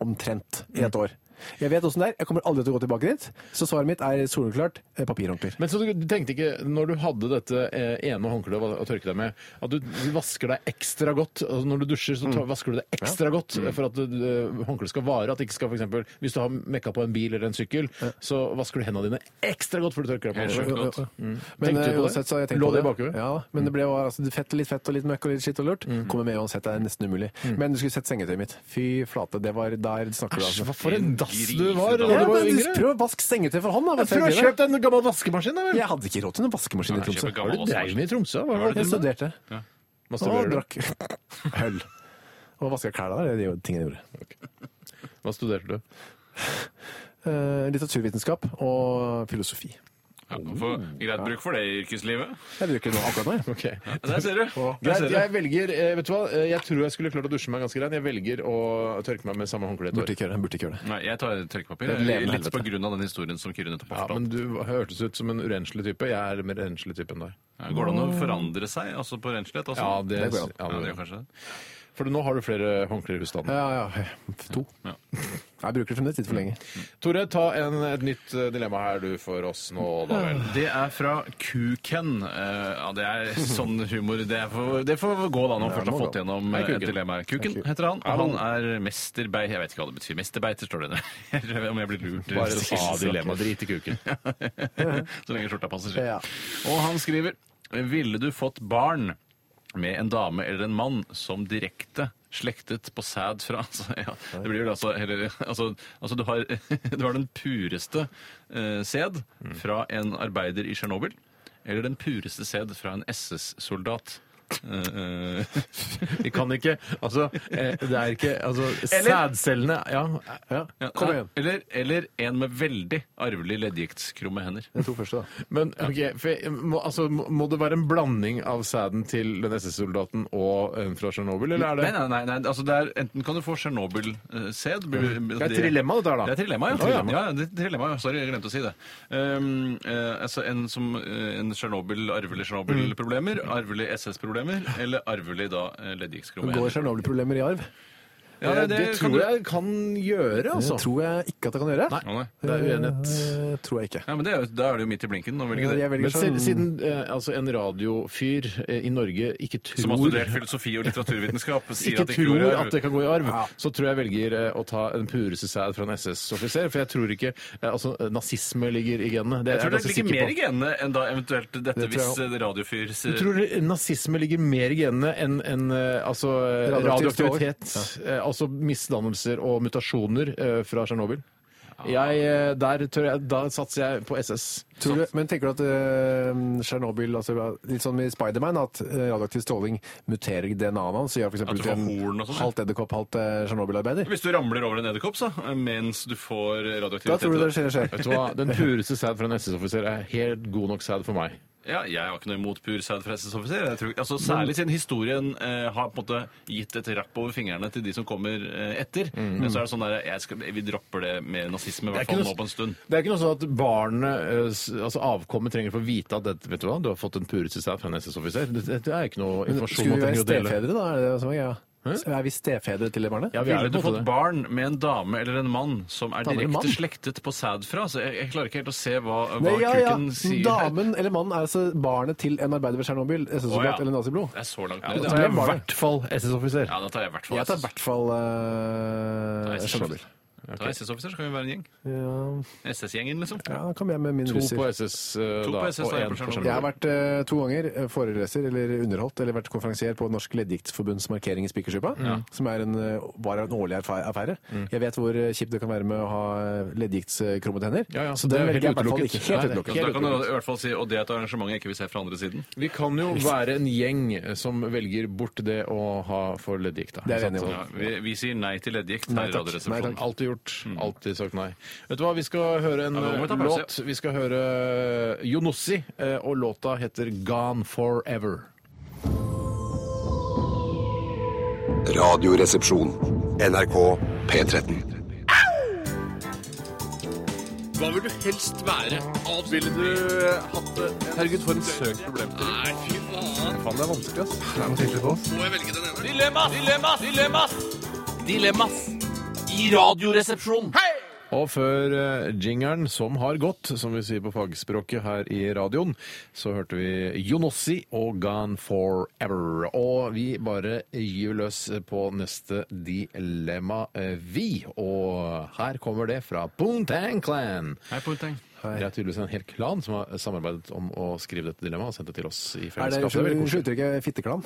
Speaker 4: Omtrent i et år. Jeg vet åssen det er, jeg kommer aldri til å gå tilbake dit. Så svaret mitt er soleklart eh, papirhåndklær.
Speaker 2: Men så du, du tenkte ikke, når du hadde dette eh, ene håndkleet å, å tørke deg med, at du vasker deg ekstra godt? Altså, når du dusjer, så tar, vasker du deg ekstra godt eh, for at du- du- håndkleet skal vare. At det ikke skal, for eksempel, hvis du har mekka på en bil eller en sykkel, så vasker du hendene dine ekstra godt før du tørker deg på.
Speaker 3: Helt
Speaker 2: håndkleet.
Speaker 3: sjukt.
Speaker 4: Ja,
Speaker 3: godt.
Speaker 4: ja. Men eh,
Speaker 2: Tenkte du på det?
Speaker 4: uansett så har jeg tenkt
Speaker 2: Lå
Speaker 4: på
Speaker 2: det i bakhodet? Mm.
Speaker 4: Ja, men det ble jo altså, fett, litt fett og litt møkk og litt skitt og lurt. Kommer med uansett, det er nesten umulig.
Speaker 2: Mm.
Speaker 4: Men du skulle sett sengetøyet mitt. Fy flate, det var der snakker du
Speaker 2: Æsj,
Speaker 4: altså.
Speaker 2: hva for en dass du var da
Speaker 4: Ja,
Speaker 2: du var
Speaker 4: men
Speaker 2: yngre!
Speaker 4: prøv å vaske sengetøy for hånd, da. hva
Speaker 2: Prøv å
Speaker 4: tenker dere?
Speaker 2: kjøpe deg en gammel vaskemaskin, da vel!
Speaker 4: Jeg hadde ikke råd til noen vaskemaskin i
Speaker 3: kjøp
Speaker 4: Tromsø.
Speaker 3: en
Speaker 2: Hva er
Speaker 3: gammel
Speaker 2: det du dreiv med i Tromsø? Hva
Speaker 3: Hva
Speaker 2: var det
Speaker 4: Jeg
Speaker 2: du med?
Speaker 4: studerte og
Speaker 2: Masturberer du?
Speaker 4: drakk øl. Og vaska klær der. Det er de tingene jeg gjorde.
Speaker 2: Hva studerte du?
Speaker 4: Eh, litteraturvitenskap og filosofi.
Speaker 3: Ja, for,
Speaker 2: Mm.
Speaker 3: greit bruk for det i yrkeslivet.
Speaker 4: Jeg bruker det nå akkurat nå, jeg.
Speaker 2: Ok.
Speaker 3: Der ser du. Der
Speaker 2: Greit,
Speaker 3: ser du.
Speaker 2: jeg velger eh, Vet du hva, Eh, jeg tror jeg skulle klart å dusje meg ganske rein. Jeg velger å tørke meg med samme håndkle et
Speaker 4: Burde
Speaker 2: år.
Speaker 4: ikke gjøre det. Burde ikke gjøre det.
Speaker 3: Nei, jeg tar tørkepapir.
Speaker 4: Det er et levende
Speaker 3: Litt på
Speaker 4: helvete.
Speaker 3: grunn av den historien som Kyrre nettopp
Speaker 2: Ja,
Speaker 3: har fortalt.
Speaker 2: men du hørtes ut som en urenslig type. Jeg er mer renslig type enn deg.
Speaker 3: Ja, Går det an å forandre seg altså på renslighet? Altså?
Speaker 2: Ja, det,
Speaker 4: Det går an.
Speaker 2: ja,
Speaker 3: Ja, det
Speaker 2: det
Speaker 3: gjør kanskje det.
Speaker 2: For nå har du flere håndklær i husstanden.
Speaker 4: Ja, ja. To.
Speaker 3: Ja. Mm.
Speaker 4: Jeg bruker det fremdeles litt for lenge.
Speaker 2: Tore, ta en, et nytt eh, dilemma her du for oss nå, da vel.
Speaker 3: Det er fra Kuken. Eh, ja, det er sånn humor. Det, er for, det får gå da, når man først har
Speaker 4: må
Speaker 3: fått
Speaker 4: gå.
Speaker 3: gjennom
Speaker 2: Hei,
Speaker 3: eh, et
Speaker 2: Kuken.
Speaker 3: dilemma. her. Kuken heter han, og han er mesterbei... Jeg vet ikke hva det betyr. Mestebeiter, står det der. Jeg vet ikke Om jeg blir lurt.
Speaker 2: Bare ta dilemma, drit i kuken.
Speaker 3: Så lenge skjorta passer seg.
Speaker 4: Ja.
Speaker 3: Og han skriver Ville du fått barn med en dame eller en mann som direkte slektet på sæd fra altså, ja, Det blir vel altså heller Altså, altså du, har, du har den pureste eh, sæd fra en arbeider i Tsjernobyl, eller den pureste sæd fra en SS-soldat. Eh, eh,
Speaker 2: Vi kan ikke Altså, eh, det er ikke Altså,
Speaker 3: Eller-
Speaker 2: sædcellene Ja. ja.
Speaker 3: ja,
Speaker 4: Kom igjen.
Speaker 3: Eller, eller en med veldig arvelig leddgiktkrumme hender.
Speaker 4: De to første, da.
Speaker 2: Men ok, for jeg, må, altså, må må det være en blanding av sæden til den SS-soldaten og en fra Tsjernobyl, eller er det
Speaker 3: Nei, nei, nei, nei. Altså, det er, enten kan du få Tsjernobyl-sæd
Speaker 2: Det er et dilemma, dette her, da.
Speaker 3: Det er trilemma, ja.
Speaker 2: Å, ja.
Speaker 3: ja. ja det er trilemma, ja. Sorry, jeg glemte å si det. Um, eh, altså en som eh, en Tsjernobyl, arvelig
Speaker 2: Mm.
Speaker 3: Tsjernobyl-problemer, arvelig SS-problemer, eller arvelig da eh, leddgiktskrumme.
Speaker 4: Går Tsjernobyl-problemer i arv?
Speaker 3: Ja,
Speaker 2: det, tror jeg kan gjøre,
Speaker 4: Det
Speaker 2: altså.
Speaker 4: tror jeg ikke at jeg kan gjøre.
Speaker 3: Ja, nei.
Speaker 2: Det er uenighet.
Speaker 4: Eh, tror jeg ikke.
Speaker 3: Ja, men det er, jo- da er det jo midt i blinken å velge
Speaker 4: Jeg
Speaker 3: det.
Speaker 4: velger
Speaker 2: Men
Speaker 4: selv-
Speaker 2: siden, siden eh, altså en radiofyr eh, i Norge ikke tror
Speaker 3: Som har studert filosofi og litteraturvitenskap, sier
Speaker 2: ikke
Speaker 3: at det ikke
Speaker 2: tror
Speaker 3: gjorde
Speaker 2: at det kan gå i arv, så tror jeg velger eh, å ta en pureste sæd fra en SS-offiser. For jeg tror ikke eh, altså, nazisme ligger i genene. Det
Speaker 3: Jeg tror
Speaker 2: er
Speaker 3: det
Speaker 2: jeg ganske
Speaker 3: ligger
Speaker 2: sikker på.
Speaker 3: mer i genene enn da eventuelt dette
Speaker 4: Det tror jeg
Speaker 3: hvis eh, radiofyrs
Speaker 2: Du tror nazisme ligger mer i genene enn enn, eh, altså, eh,
Speaker 4: Radioaktivt
Speaker 2: radioaktivitet? eh, Altså misdannelser og mutasjoner eh, fra Tsjernobyl? Jeg, eh, der tør jeg, da satser jeg på SS.
Speaker 4: Tror du, men tenker du at eh, Tsjernobyl, altså, litt sånn i Spiderman, at eh, radioaktiv stråling muterer DNA-en hans? så Gjør for eksempel
Speaker 3: At du
Speaker 4: til
Speaker 3: får horn
Speaker 4: en
Speaker 3: og sånn, ja.
Speaker 4: halvt edderkopp, halvt eh, Tsjernobyl-arbeider?
Speaker 3: Hvis du ramler over en edderkopp så, eh, mens du får radioaktivitet
Speaker 4: Da tror du det skjer.
Speaker 2: Vet
Speaker 4: skjer.
Speaker 2: du hva? Den pureste sæd fra en SS-offiser er helt god nok sæd for meg.
Speaker 3: Ja, Jeg har ikke noe imot pur sæd fra SS-offiser. Jeg tror- Altså, særlig siden historien eh, har på en måte gitt et rapp over fingrene til de som kommer eh, etter.
Speaker 4: Mm.
Speaker 3: Men Så er det sånn der, jeg skal, Vi dropper det med nazisme, i hvert fall nå på en stund.
Speaker 2: det er ikke noe sånn at barnet, eh, s- altså avkommet, trenger å få vite at det, vet du hva, du har fått en pureste sæd fra en SS-offiser. Det, det er ikke noe
Speaker 3: sånn
Speaker 2: informasjon
Speaker 4: Skulle vi
Speaker 2: man
Speaker 4: være
Speaker 2: trenger å dele.
Speaker 4: stefedre, da? Er det det som er greia? Er vi stefedre til det barnet?
Speaker 2: Ja, vi er
Speaker 3: Ville
Speaker 2: jo på en
Speaker 3: du
Speaker 2: måte
Speaker 3: fått
Speaker 2: det.
Speaker 3: barn med en dame eller en mann som er
Speaker 4: Dame eller
Speaker 3: direkte
Speaker 4: mann?
Speaker 3: slektet på sæd fra? Så jeg, jeg klarer ikke helt å se hva, hva
Speaker 4: Nei, ja, ja.
Speaker 3: kuken sier.
Speaker 4: Damen eller mannen er altså barnet til en arbeider ved Tsjernobyl,
Speaker 3: Å, ja.
Speaker 4: SS-soldat eller naziblod.
Speaker 3: Det er så langt
Speaker 2: Ja,
Speaker 3: ned.
Speaker 2: Da
Speaker 3: Ja,
Speaker 2: tar jeg i
Speaker 4: barnet.
Speaker 2: hvert fall SS-offiser.
Speaker 3: da tar jeg i hvert fall
Speaker 4: Jeg tar i hvert fall eh,
Speaker 3: SS.
Speaker 4: Tsjernobyl.
Speaker 3: Tar jeg SS-offiser, så kan vi være en gjeng.
Speaker 4: Ja,
Speaker 3: SS-gjengen, liksom.
Speaker 4: ja, da kommer jeg med min
Speaker 2: To
Speaker 4: russer.
Speaker 2: på SS, eh,
Speaker 3: To på
Speaker 2: da,
Speaker 3: SS,
Speaker 2: og
Speaker 3: da er
Speaker 2: én
Speaker 3: jeg på
Speaker 2: på
Speaker 3: Tsjernobyl.
Speaker 4: Jeg
Speaker 2: Tsjernobyl.
Speaker 4: har vært eh, to ganger eh, foreleser eller underholdt eller vært konferansier på Norsk Leddgiktforbunds markering i Spikersuppa, som er en, eh, var en årlig erfa- affære.
Speaker 2: Mm.
Speaker 4: Jeg vet hvor eh, kjipt det kan være med å ha leddgiktskrummete hender,
Speaker 2: Ja, ja,
Speaker 4: så
Speaker 2: det
Speaker 4: den velger
Speaker 2: er helt
Speaker 4: jeg i hvert fall
Speaker 2: utelukket.
Speaker 4: ikke. Helt
Speaker 2: Nei, det er
Speaker 4: utelukket.
Speaker 3: Så da kan du i hvert fall si, og det er et arrangement jeg ikke vil se fra andre siden.
Speaker 2: Vi kan jo være en gjeng eh, som velger bort det å ha for leddgikt. da.
Speaker 4: Det er jeg enig i.
Speaker 3: Ja, vi, vi sier nei til leddgikt
Speaker 4: Nei
Speaker 3: her i
Speaker 4: takk. Nei
Speaker 3: Radioresepsjonen.
Speaker 4: takk.
Speaker 2: Alltid gjort. Alltid sagt nei. Vet du hva, vi skal høre en
Speaker 3: Mm. Ja, nå må vi ta
Speaker 2: eh,
Speaker 3: pause,
Speaker 2: låt. Vi skal høre Jonossi, eh, og låta heter Gone Forever.
Speaker 5: Radioresepsjon. NRK P13.
Speaker 8: Dilemmas! Dilemmas! Dilemmas! I Radioresepsjonen!
Speaker 2: Og før eh, jingeren som har gått, som vi sier på fagspråket her i radioen, så hørte vi Jonossi og Gone Forever. Og vi bare gyver løs på neste dilemma, eh, vi. Og her kommer det fra Poontang Clan.
Speaker 3: Hei, Ponteng.
Speaker 2: Det er tydeligvis en hel klan som har samarbeidet om å skrive dette dilemmaet og sendt det til oss
Speaker 4: Er
Speaker 2: i
Speaker 4: det
Speaker 2: fellesskap. Det er veldig koselig.
Speaker 4: uttrykket fitteklan?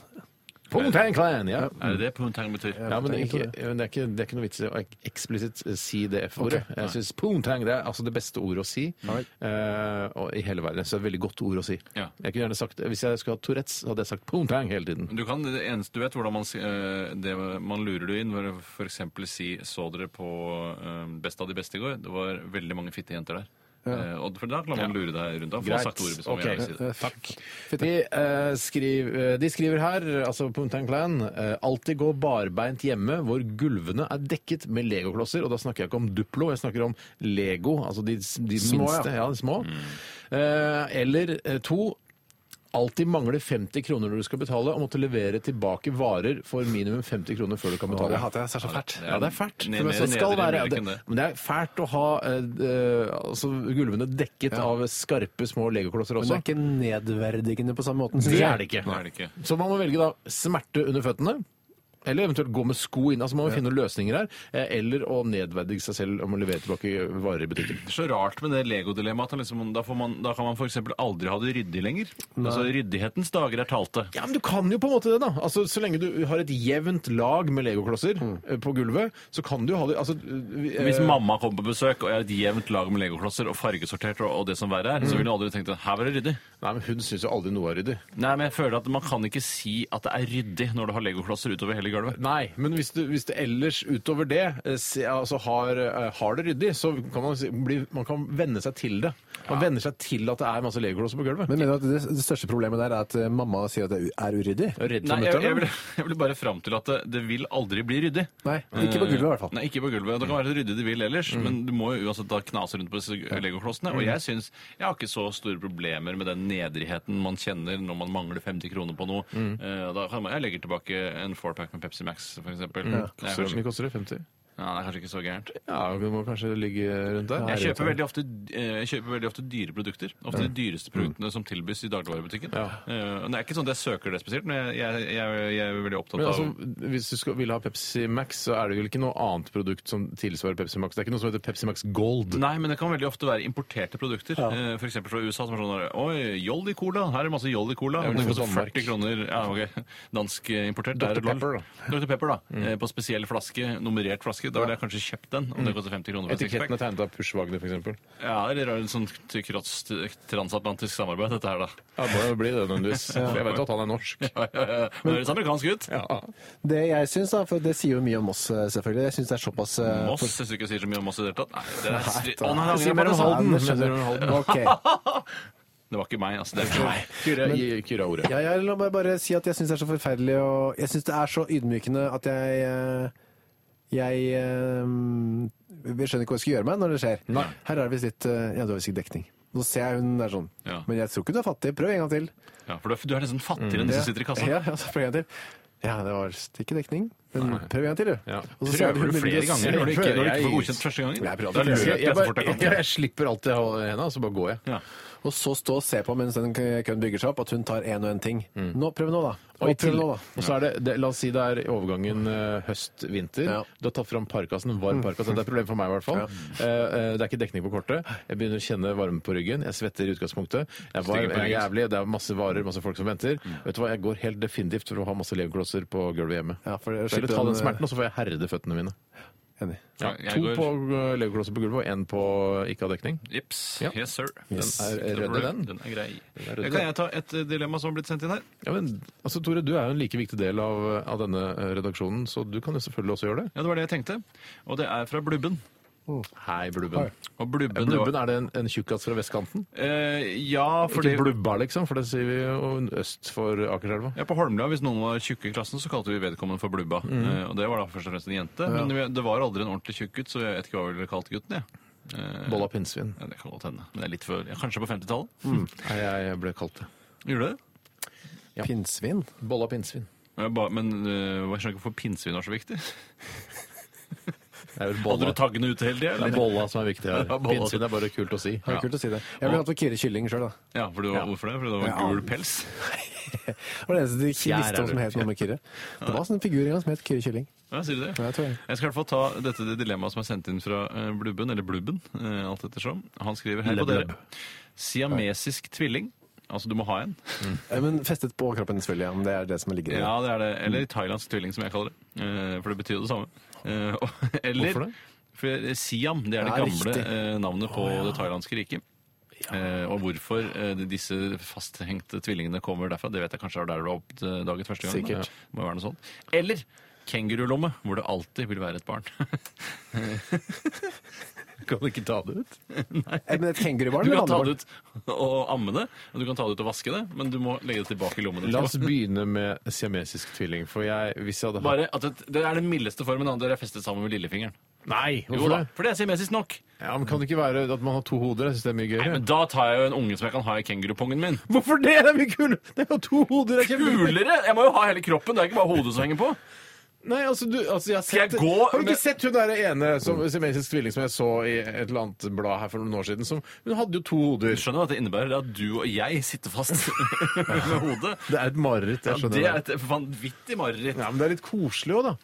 Speaker 2: Poontang Clan, ja.
Speaker 3: Er det det Ponteng betyr?
Speaker 2: Ja, men
Speaker 4: jeg
Speaker 2: ikke,
Speaker 4: tror
Speaker 2: det, er ikke, det er ikke noe vits i å ek- eksplisitt eh, si det F-ordet. Jeg synes poontang det er altså det beste ordet å si eh, og i hele verden. Så det er et veldig godt ord å si.
Speaker 3: Ja.
Speaker 2: Jeg kunne gjerne sagt, Hvis jeg skulle hatt Tourettes, så hadde jeg sagt poontang hele tiden.
Speaker 3: Du kan, det eneste du vet hvordan man, si- eh, det, man lurer det inn ved å for eksempel si så dere på eh, Best av de beste i går. Det var veldig mange fitte jenter der. Eh, Og for da klarer man å lure deg rundt. Da får man sagt ordet hvis man
Speaker 2: Ok,
Speaker 3: vil si det.
Speaker 2: Takk. De, eh, skriv, eh, de skriver her, altså Poontang Clan, eh, alltid gå barbeint hjemme hvor gulvene er dekket med legoklosser. Og da snakker jeg ikke om Duplo, jeg snakker om Lego, altså de, de
Speaker 4: Små, ja.
Speaker 2: minste. Ja, de små.
Speaker 3: Mm.
Speaker 2: Eh, eller eh, to Alltid mangler 50 kroner når du skal betale, og måtte levere tilbake varer for minimum 50 kroner før du kan betale.
Speaker 4: det hater jeg, så er det så fælt.
Speaker 2: Ja, det er fælt.
Speaker 3: Ned-
Speaker 2: Men så
Speaker 3: ned-
Speaker 2: skal
Speaker 3: nedre
Speaker 2: være, ja,
Speaker 3: American,
Speaker 2: det,
Speaker 3: det.
Speaker 2: men det er fælt å ha eh, eh, altså, gulvene dekket av skarpe, små legoklosser
Speaker 4: Men det
Speaker 2: også.
Speaker 4: er ikke nedverdigende på samme måten. synes
Speaker 2: Det
Speaker 4: jeg.
Speaker 2: er det ikke.
Speaker 3: Nei, det er det ikke.
Speaker 2: Så man må velge da smerte under føttene. Eller eventuelt gå med sko inn. altså Man må finne noen løsninger her. eh, Eller å nedverdige seg selv om å levere tilbake varer i butikken.
Speaker 3: Det er så rart med det legodilemmaet. at Liksom, da, får man- da kan man f.eks. aldri ha det ryddig lenger. Altså, Ryddighetens dager er talte.
Speaker 2: Ja, men du kan jo på en måte det, da. Altså, Så lenge du har et jevnt lag med legoklosser
Speaker 3: Mm.
Speaker 2: eh, på gulvet, så kan du ha det altså, eh,
Speaker 3: Hvis mamma kommer på besøk og jeg har et jevnt lag med legoklosser og fargesortert, og, og det som verre
Speaker 2: Mm.
Speaker 3: er, så ville hun aldri tenkt at her var det ryddig.
Speaker 2: Nei, men Hun syns jo aldri noe er ryddig.
Speaker 3: Nei, men jeg føler at Man kan ikke si at det er ryddig når du har legoklosser utover hele gulvet.
Speaker 2: Nei, men hvis du, hvis du ellers utover det eh, se, altså har, eh, har det ryddig, så kan man, si- bli, man kan venne seg til det. Man venner seg til at det er masse legoklosser på gulvet.
Speaker 4: Men mener du at det, det største problemet der er at eh, mamma sier at det er uryddig?
Speaker 2: Jeg er redd for
Speaker 3: Nei, jeg,
Speaker 2: nøtter,
Speaker 3: jeg,
Speaker 2: eller?
Speaker 3: vil, jeg vil bare fram til at det, det vil aldri bli ryddig.
Speaker 4: Nei, ikke på gulvet i hvert fall. Mm.
Speaker 3: Nei, ikke på gulvet. Det kan være ryddig det vil ellers, men du må jo uansett da knase rundt på disse legoklossene. Og jeg syns jeg har ikke så store problemer med den nedrigheten man kjenner når man mangler 50 kroner på noe.
Speaker 4: Mm.
Speaker 3: Eh, Da kan man, jeg legger tilbake en fourpack med Pepsi Max, for eksempel. Det er
Speaker 2: Hvor
Speaker 3: kanskje,
Speaker 2: mye koster det? 50?
Speaker 3: ja, det er kanskje ikke så gærent.
Speaker 2: Ja, det må kanskje ligge rundt der.
Speaker 3: Jeg kjøper, veldig ofte, eh, jeg kjøper veldig ofte dyre produkter. Ofte de dyreste produktene som tilbys i dagligvarebutikken. Eh, og Det er ikke sånn at jeg søker det spesielt, men jeg, jeg, jeg, jeg er veldig opptatt
Speaker 2: Men
Speaker 3: av
Speaker 2: altså, Hvis du skal, vil ha Pepsi Max, så er det vel ikke noe annet produkt som tilsvarer Pepsi Max? Det er ikke noe som heter Pepsi Max Gold?
Speaker 3: Nei, men det kan veldig ofte være importerte produkter. Eh, For eksempel fra USA som er sånn der, Oi, Jolly Cola! Her er det masse Jolly Cola.
Speaker 2: Ja,
Speaker 3: men det
Speaker 2: men
Speaker 3: koster
Speaker 2: Danmark.
Speaker 3: 40 kroner. Ja, ok. Dansk eh, importert.
Speaker 2: Dr.
Speaker 3: Det er et lol.
Speaker 2: sånn Pepper, Mm.
Speaker 3: Dr. Pepper, da. Eh, På spesiell flaske, nummerert flaske. Da ville jeg kanskje kjøpt den, om
Speaker 2: Mm.
Speaker 3: det koster 50 kroner. for en
Speaker 2: Etiketten er
Speaker 3: sixpack.
Speaker 2: tegnet av Push Wagner, f.eks.
Speaker 3: Ja, eller er det en sånn t- kross- t- transatlantisk samarbeid, dette her, da.
Speaker 2: Ja, det må jo bli det, nødvendigvis. For jeg vet jo at han er norsk.
Speaker 3: Ja, ja, ja. Men høres amerikansk ut.
Speaker 4: Det jeg syns, da, for det sier jo mye om oss, eh, selvfølgelig. Jeg syns det er såpass eh,
Speaker 3: Moss jeg synes ikke jeg sier så mye om Moss i det hele tatt. Nei, det er
Speaker 4: Nei,
Speaker 3: stri-
Speaker 4: da-
Speaker 3: Å, nei, jeg
Speaker 4: Si mer om
Speaker 3: angrer på det, altså.
Speaker 4: Halden,
Speaker 2: det sa-
Speaker 4: skjønner du. Ok.
Speaker 3: Det var ikke meg, altså. Det er ikke meg.
Speaker 2: Kyrre, gi Kyrre ordet.
Speaker 4: Ja, jeg, la meg bare si at jeg syns det er så forferdelig, og jeg syns det er så ydmykende at jeg eh, jeg, eh, jeg skjønner ikke hva jeg skal gjøre meg når det skjer. Her er det visst litt eh, Ja, du har visst ikke dekning. Nå ser jeg hun der sånn.
Speaker 3: Ja.
Speaker 4: Men jeg tror ikke du er fattig. Prøv en gang til.
Speaker 3: Ja, for du er- du er nesten fattigere
Speaker 2: Mm.
Speaker 3: enn de som sitter i kassa.
Speaker 4: Ja, ja, så prøv en gang til. Ja, det var ikke dekning. Men prøv en gang til, du.
Speaker 2: Ja.
Speaker 4: Og så ser
Speaker 3: Prøver du
Speaker 4: hun
Speaker 3: flere
Speaker 4: begynner å se-
Speaker 3: ganger når du ikke, når du ikke får
Speaker 2: Jeg-
Speaker 3: godkjent første gangen?
Speaker 4: Jeg prøver
Speaker 3: Da
Speaker 4: alltid
Speaker 3: lurer
Speaker 2: Jeg,
Speaker 3: jeg
Speaker 2: jeg,
Speaker 3: så fort
Speaker 2: bare,
Speaker 3: jeg
Speaker 2: jeg,
Speaker 3: kan.
Speaker 2: slipper alltid å holde henda, så bare går jeg.
Speaker 3: Ja.
Speaker 4: Og så stå og se på mens den køen bygger seg opp, at hun tar én og én ting.
Speaker 3: Mm.
Speaker 4: Nå, prøv nå, da.
Speaker 2: Og,
Speaker 4: Og
Speaker 2: i
Speaker 4: prøv
Speaker 2: tillegg-
Speaker 4: nå, da.
Speaker 2: og så er det, det, La oss si det er i overgangen eh, høst-vinter.
Speaker 4: Ja.
Speaker 2: Du har tatt fram parkasen, en varm parkas. Det er et problem for meg i hvert fall. Eh, eh, det er ikke dekning på kortet. Jeg begynner å kjenne varme på ryggen. Jeg svetter i utgangspunktet. Jeg er varm,
Speaker 3: Stiger
Speaker 2: jeg er
Speaker 3: på ryggen.
Speaker 2: jævlig, det er masse varer, masse folk som venter. Vet du hva, Jeg går helt definitivt for å ha masse legoklosser på gulvet hjemme.
Speaker 4: Ja, for det
Speaker 2: Så jeg vil
Speaker 4: slipper
Speaker 2: ta den
Speaker 4: den- eh,
Speaker 2: smerten, og så får jeg herde føttene mine.
Speaker 4: Enig.
Speaker 2: Ja,
Speaker 3: Ja, jeg
Speaker 2: to
Speaker 3: går-
Speaker 2: på eh, legoklosser på gulvet, og én på ikke ha dekning.
Speaker 3: Jips.
Speaker 2: Ja.
Speaker 3: Yes, sir.
Speaker 2: er- er
Speaker 3: Det
Speaker 2: redd i den.
Speaker 3: problem. Den er grei.
Speaker 2: er redd i
Speaker 3: kan
Speaker 2: den.
Speaker 3: jeg ta et eh, dilemma som har blitt sendt inn her?
Speaker 2: Ja, men altså, Tore, du er jo en like viktig del av, av denne eh, redaksjonen, så du kan jo selvfølgelig også gjøre det.
Speaker 3: Ja, det var det jeg tenkte. Og det er fra Blubben.
Speaker 2: Hei, Blubben.
Speaker 3: Og Blubben, det var-
Speaker 2: Blubben, er det en, en tjukkas fra vestkanten?
Speaker 3: Eh, ja, fordi
Speaker 2: Ikke blubba, liksom, for det sier vi jo øst for Akerselva.
Speaker 3: ja, På Holmlia, hvis noen var tjukke i klassen, så kalte vi vedkommende for Blubba.
Speaker 4: Mm.
Speaker 3: Eh, og det var da først og fremst en jente. Men vi- det var aldri en ordentlig tjukk gutt, så jeg vet ikke hva vi ville kalt gutten, jeg. Eh,
Speaker 2: Bolla pinnsvin.
Speaker 3: ja, det kan godt hende. Men det er litt før, ja, kanskje på 50-tallet?
Speaker 4: Mm.
Speaker 2: Nei, jeg ble kalt det.
Speaker 3: Gjorde det?
Speaker 4: Pinnsvin?
Speaker 2: Bolla pinnsvin.
Speaker 3: Men jeg ba- Men eh, jeg skjønner ikke hvorfor pinnsvin var så viktig.
Speaker 2: er vel bolla.
Speaker 3: Hadde du taggene ute hele tida?
Speaker 2: Det er
Speaker 3: eller?
Speaker 2: bolla som er viktig her.
Speaker 3: Ja, bolla.
Speaker 2: Pinnsvin er bare kult å si.
Speaker 4: Det er kult å si det. Jeg ville hatt Vakire kylling sjøl, da.
Speaker 3: Ja, for du, Hvorfor det? Fordi det var
Speaker 4: Ja.
Speaker 3: gul pels?
Speaker 4: Det var det eneste de ikke
Speaker 2: Fjær er
Speaker 4: visste om
Speaker 2: du.
Speaker 4: som het noe med Kyrre. Det var en sånn figur en gang som het Kyrre Kylling.
Speaker 3: Ja, sier du det?
Speaker 4: Ja, jeg tror det.
Speaker 3: Jeg skal i hvert fall ta dette det dilemmaet som er sendt inn fra eh, Blubben, eller Blubben, eh, alt ettersom. Han skriver her på dere. Siamesisk tvilling. Altså, du må ha en.
Speaker 4: Eh, Men festet på overkroppen, selvfølgelig, om det er det som ligger i det.
Speaker 3: Ja, det er det. Eller thailandsk tvilling, som jeg kaller det. Eh, For det betyr jo det samme. Eh, og- Eller,
Speaker 2: Hvorfor det?
Speaker 3: For Siam, det er det
Speaker 4: Ja,
Speaker 3: gamle
Speaker 4: riktig.
Speaker 3: eh, navnet på det thailandske riket. Eh, og hvorfor eh, disse fasthengte tvillingene kommer derfra, det vet jeg kanskje er der du har oppdaget første gang.
Speaker 4: Sikkert.
Speaker 3: Ja, Må være noe sånt. Eller kengurulomme, hvor det alltid vil være et barn.
Speaker 2: Kan du ikke ta det ut?
Speaker 4: Eh, Men et kengurubarn
Speaker 3: Du
Speaker 4: eller
Speaker 3: kan ta
Speaker 4: mannebarn?
Speaker 3: det ut og amme det, og du kan ta det ut og vaske det, men du må legge det tilbake i lommen.
Speaker 2: La oss begynne med siamesisk tvilling. For jeg, hvis jeg hadde hatt
Speaker 3: Bare at det, det er den mildeste formen. Den andre er festet sammen med lillefingeren.
Speaker 2: Nei!
Speaker 3: Jo
Speaker 2: Hvorfor
Speaker 3: da,
Speaker 2: det?
Speaker 3: for det er siamesisk nok.
Speaker 2: Ja, men Kan det ikke være at man har to hoder? Jeg synes det er mye
Speaker 3: Nei,
Speaker 2: gøyere.
Speaker 3: men Da tar jeg jo en unge som jeg kan ha i kengurupongen min.
Speaker 2: Hvorfor det? Det er mye kulere! Det er jo to hoder! det er kjempe-
Speaker 3: Kulere! Jeg må jo ha hele kroppen, det er ikke bare hodet som henger på.
Speaker 2: Nei, altså, du, altså jeg har
Speaker 3: Skal jeg
Speaker 2: sett,
Speaker 3: gå
Speaker 2: Har du
Speaker 3: med-
Speaker 2: ikke sett hun der ene som siamesisk tvilling som jeg så i et eller annet blad her for noen år siden? Som, hun hadde jo to
Speaker 3: Du
Speaker 2: hoder.
Speaker 3: skjønner at det innebærer at du og jeg sitter fast med hodet.
Speaker 2: Det er et mareritt.
Speaker 3: Ja,
Speaker 2: jeg skjønner
Speaker 3: det er et vanvittig mareritt.
Speaker 2: Ja, men det er litt koselig òg, da.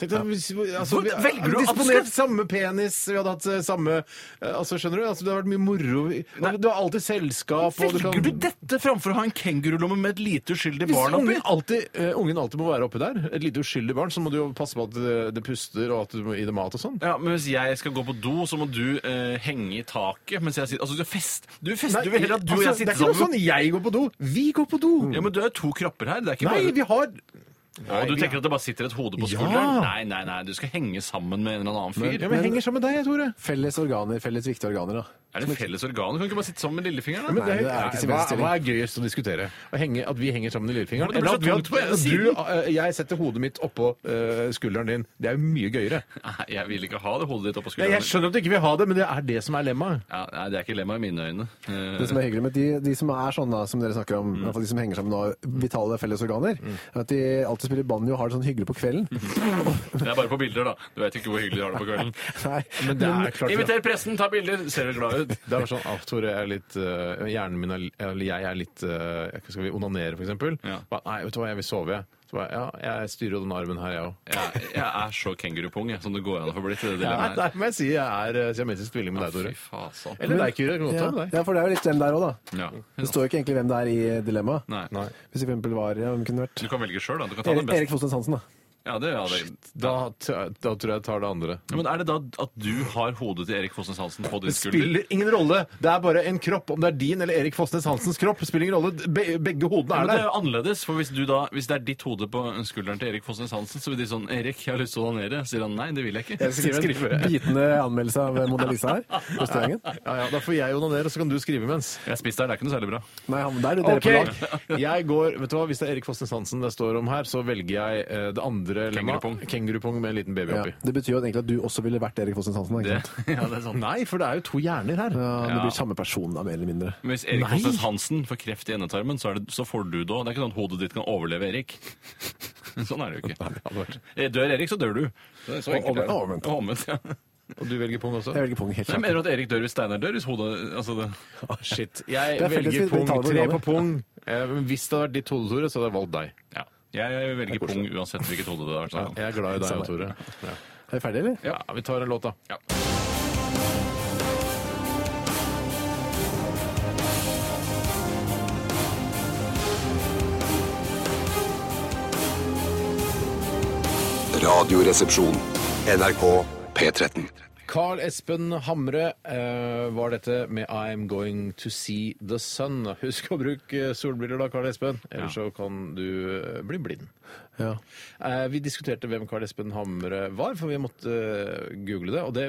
Speaker 2: Tenk deg, hvis, altså,
Speaker 3: Hvor-
Speaker 2: vi,
Speaker 3: velger du
Speaker 2: vi disponert
Speaker 3: absolutt-
Speaker 2: samme penis, vi hadde hatt eh, samme eh, altså, Skjønner du? Altså, det har vært mye moro. Vi- Du har alltid selskap. og
Speaker 3: Velger
Speaker 2: kan-
Speaker 3: du dette framfor å ha en kengurulomme med et lite uskyldig
Speaker 2: Hvis
Speaker 3: barn oppi?
Speaker 2: ungen alltid, eh, ungen alltid må være oppi der, et lite uskyldig barn, så må du jo passe på at det, det puster og at du må gi det mat og sånn.
Speaker 3: Ja, men Hvis jeg skal gå på do, så må du eh, henge i taket mens jeg sitter Altså, du fest. Du fester jo heller at du og jeg
Speaker 2: altså, det er
Speaker 3: sitter
Speaker 2: ikke noe
Speaker 3: sammen.
Speaker 2: sånn jeg går på do. Vi går på do.
Speaker 3: Ja, men du er to kropper her. Det er ikke
Speaker 2: Nei,
Speaker 3: bare
Speaker 2: vi har
Speaker 3: Å, du tenker at det bare sitter et hode på
Speaker 2: Ja.
Speaker 3: skulderen? Nei, nei, nei, du skal henge sammen med en eller annen fyr.
Speaker 2: Ja, men jeg henger sammen med deg, jeg, Tore.
Speaker 4: Felles organer, felles viktige organer, da.
Speaker 3: Er det felles organ? Kan du ikke bare sitte sammen med lillefingeren?
Speaker 2: Men
Speaker 3: da?
Speaker 4: Nei, det er ikke
Speaker 2: helt-
Speaker 4: sin
Speaker 2: hva,
Speaker 4: beste stilling.
Speaker 2: hva er gøyest å diskutere? Å henge, at vi henger sammen i lillefingeren?
Speaker 3: Ja, men det
Speaker 2: Eller at vi
Speaker 3: blir så
Speaker 2: har,
Speaker 3: tungt på den
Speaker 2: at du,
Speaker 3: siden.
Speaker 2: eh, jeg setter hodet mitt oppå eh, skulderen din. Det er jo mye gøyere.
Speaker 3: Nei, jeg vil ikke ha det hodet ditt
Speaker 2: Nei,
Speaker 3: oppå skulderen.
Speaker 2: jeg skjønner at du ikke vil ha det, men det er det som er lemmaet.
Speaker 3: Ja, nei, det er ikke lemma i mine øyne. Eh,
Speaker 4: Det som er hyggelig med de, de som er sånn da, som dere snakker om, i hvert fall de som henger sammen og har vitale felles organer, er at de alltid spiller banjo og har det sånn hyggelig på kvelden.
Speaker 3: det er bare på bilder, da. Du veit ikke hvor hyggelig de har det på kvelden.
Speaker 4: Nei,
Speaker 2: Men det er klart
Speaker 3: Inviter pressen, ta bilder! Ser vel glad ut.
Speaker 2: Det er sånn, ah, Tore, jeg er litt, eh, hjernen min er, eller jeg er litt eh, jeg- Skal vi onanere, for eksempel?
Speaker 3: Ja.
Speaker 2: Ba, Nei, vet du hva, jeg vil sove, jeg. Så ba, ja, jeg styrer jo den armen her, jeg òg.
Speaker 3: Jeg, jeg er så kengurupung jeg, som det går an å få blitt. i
Speaker 2: Nei,
Speaker 3: Det dilemmaet her.
Speaker 2: der må jeg si jeg er eh, siamesisk tvilling med deg,
Speaker 3: Fy
Speaker 2: Tore.
Speaker 3: fasan.
Speaker 2: Eller deg, Kyrre. Jeg kan godt
Speaker 4: ja.
Speaker 2: ta med deg.
Speaker 4: ja, for det er jo litt hvem det er òg, da.
Speaker 3: Ja.
Speaker 4: Det står jo ikke egentlig hvem det er i dilemmaet.
Speaker 3: Nei.
Speaker 2: Nei.
Speaker 4: Hvis det for eksempel var ja, hvem kunne det
Speaker 3: Du
Speaker 4: vært
Speaker 3: kan velge sjøl, da. Du kan ta den
Speaker 4: Erik, Erik
Speaker 3: beste.
Speaker 4: Fosternes Hansen, da.
Speaker 3: Ja, det, ja, det.
Speaker 2: Da, t- da tror jeg jeg tar det andre.
Speaker 3: Ja, men er det da at du har hodet til Erik Fossnes Hansen på din
Speaker 2: Det
Speaker 3: skulder?
Speaker 2: spiller ingen rolle! Det er bare en kropp. Om det er din eller Erik Fosnes Hansens kropp, spiller ingen rolle. Be begge hodene
Speaker 3: Ja,
Speaker 2: er
Speaker 3: men det er
Speaker 2: der.
Speaker 3: jo annerledes, for hvis, du da, hvis det er ditt hode på skulderen til Erik Fosnes Hansen, så blir de sånn 'Erik, jeg har lyst til å onanere'. Sier han 'nei, det vil jeg ikke'.
Speaker 4: Jeg skal skrive en bitende anmeldelse av Mona Lisa her. på restauranten.
Speaker 2: Ja, ja, da får jeg onanere, så kan du skrive mens.
Speaker 3: Jeg spiste her, det er ikke noe særlig bra.
Speaker 4: Nei, han, der er dere
Speaker 2: Ok,
Speaker 4: på lag.
Speaker 2: jeg går, vet du hva, Hvis det er Erik Fosnes Hansen det står om her, så velger jeg eh, det andre lemma.
Speaker 3: Kengurupung.
Speaker 2: Kengurupung med en liten baby
Speaker 4: Ja,
Speaker 2: oppi.
Speaker 4: det betyr jo egentlig at du også ville vært Erik Fosternes Hansen. da, Ikke
Speaker 3: Det,
Speaker 4: sant?
Speaker 3: ja, det er sånn.
Speaker 2: Nei, for det er jo to hjerner her.
Speaker 4: Ja, det
Speaker 3: Ja.
Speaker 4: blir samme person, da, mer eller mindre.
Speaker 3: Men hvis Erik
Speaker 2: Nei.
Speaker 3: Fosnes Hansen får kreft i endetarmen, så, er det, så får du det òg. Det er ikke sånn at hodet ditt kan overleve Erik. Sånn er det jo ikke. Eh, Dør Erik, så dør du. Det er så enkelt.
Speaker 4: Og- og omvendt.
Speaker 3: Og omvendt, ja.
Speaker 2: Og du velger pung også?
Speaker 4: Jeg velger pung helt
Speaker 3: Jeg
Speaker 4: klart.
Speaker 3: mener du at Erik dør hvis Steinar dør? Hvis hodet altså det.
Speaker 2: Shit. Jeg
Speaker 4: Det er felles vi-
Speaker 2: velger
Speaker 4: vi
Speaker 2: pung.
Speaker 4: tar det
Speaker 2: Tre
Speaker 4: programmet.
Speaker 2: på pung. Eh, men hvis det hadde vært ditt hode, Tore, så hadde jeg valgt deg.
Speaker 3: Ja. Jeg, jeg velger pung uansett hvilket hode det er. Sånn.
Speaker 2: Jeg er glad i deg,
Speaker 4: Samme.
Speaker 2: Tore. Ja.
Speaker 4: Er vi ferdige, eller?
Speaker 2: Ja, vi tar en låt, da.
Speaker 3: Ja.
Speaker 5: Radioresepsjon. NRK P13.
Speaker 2: Carl Espen Hamre eh, var dette med I'm going to see the sun. Husk å bruke eh, solbriller da, Carl Espen, ellers så kan du eh, bli blind.
Speaker 4: Ja.
Speaker 2: Eh, vi diskuterte hvem Carl Espen Hamre var, for vi måtte eh, google det. Og det,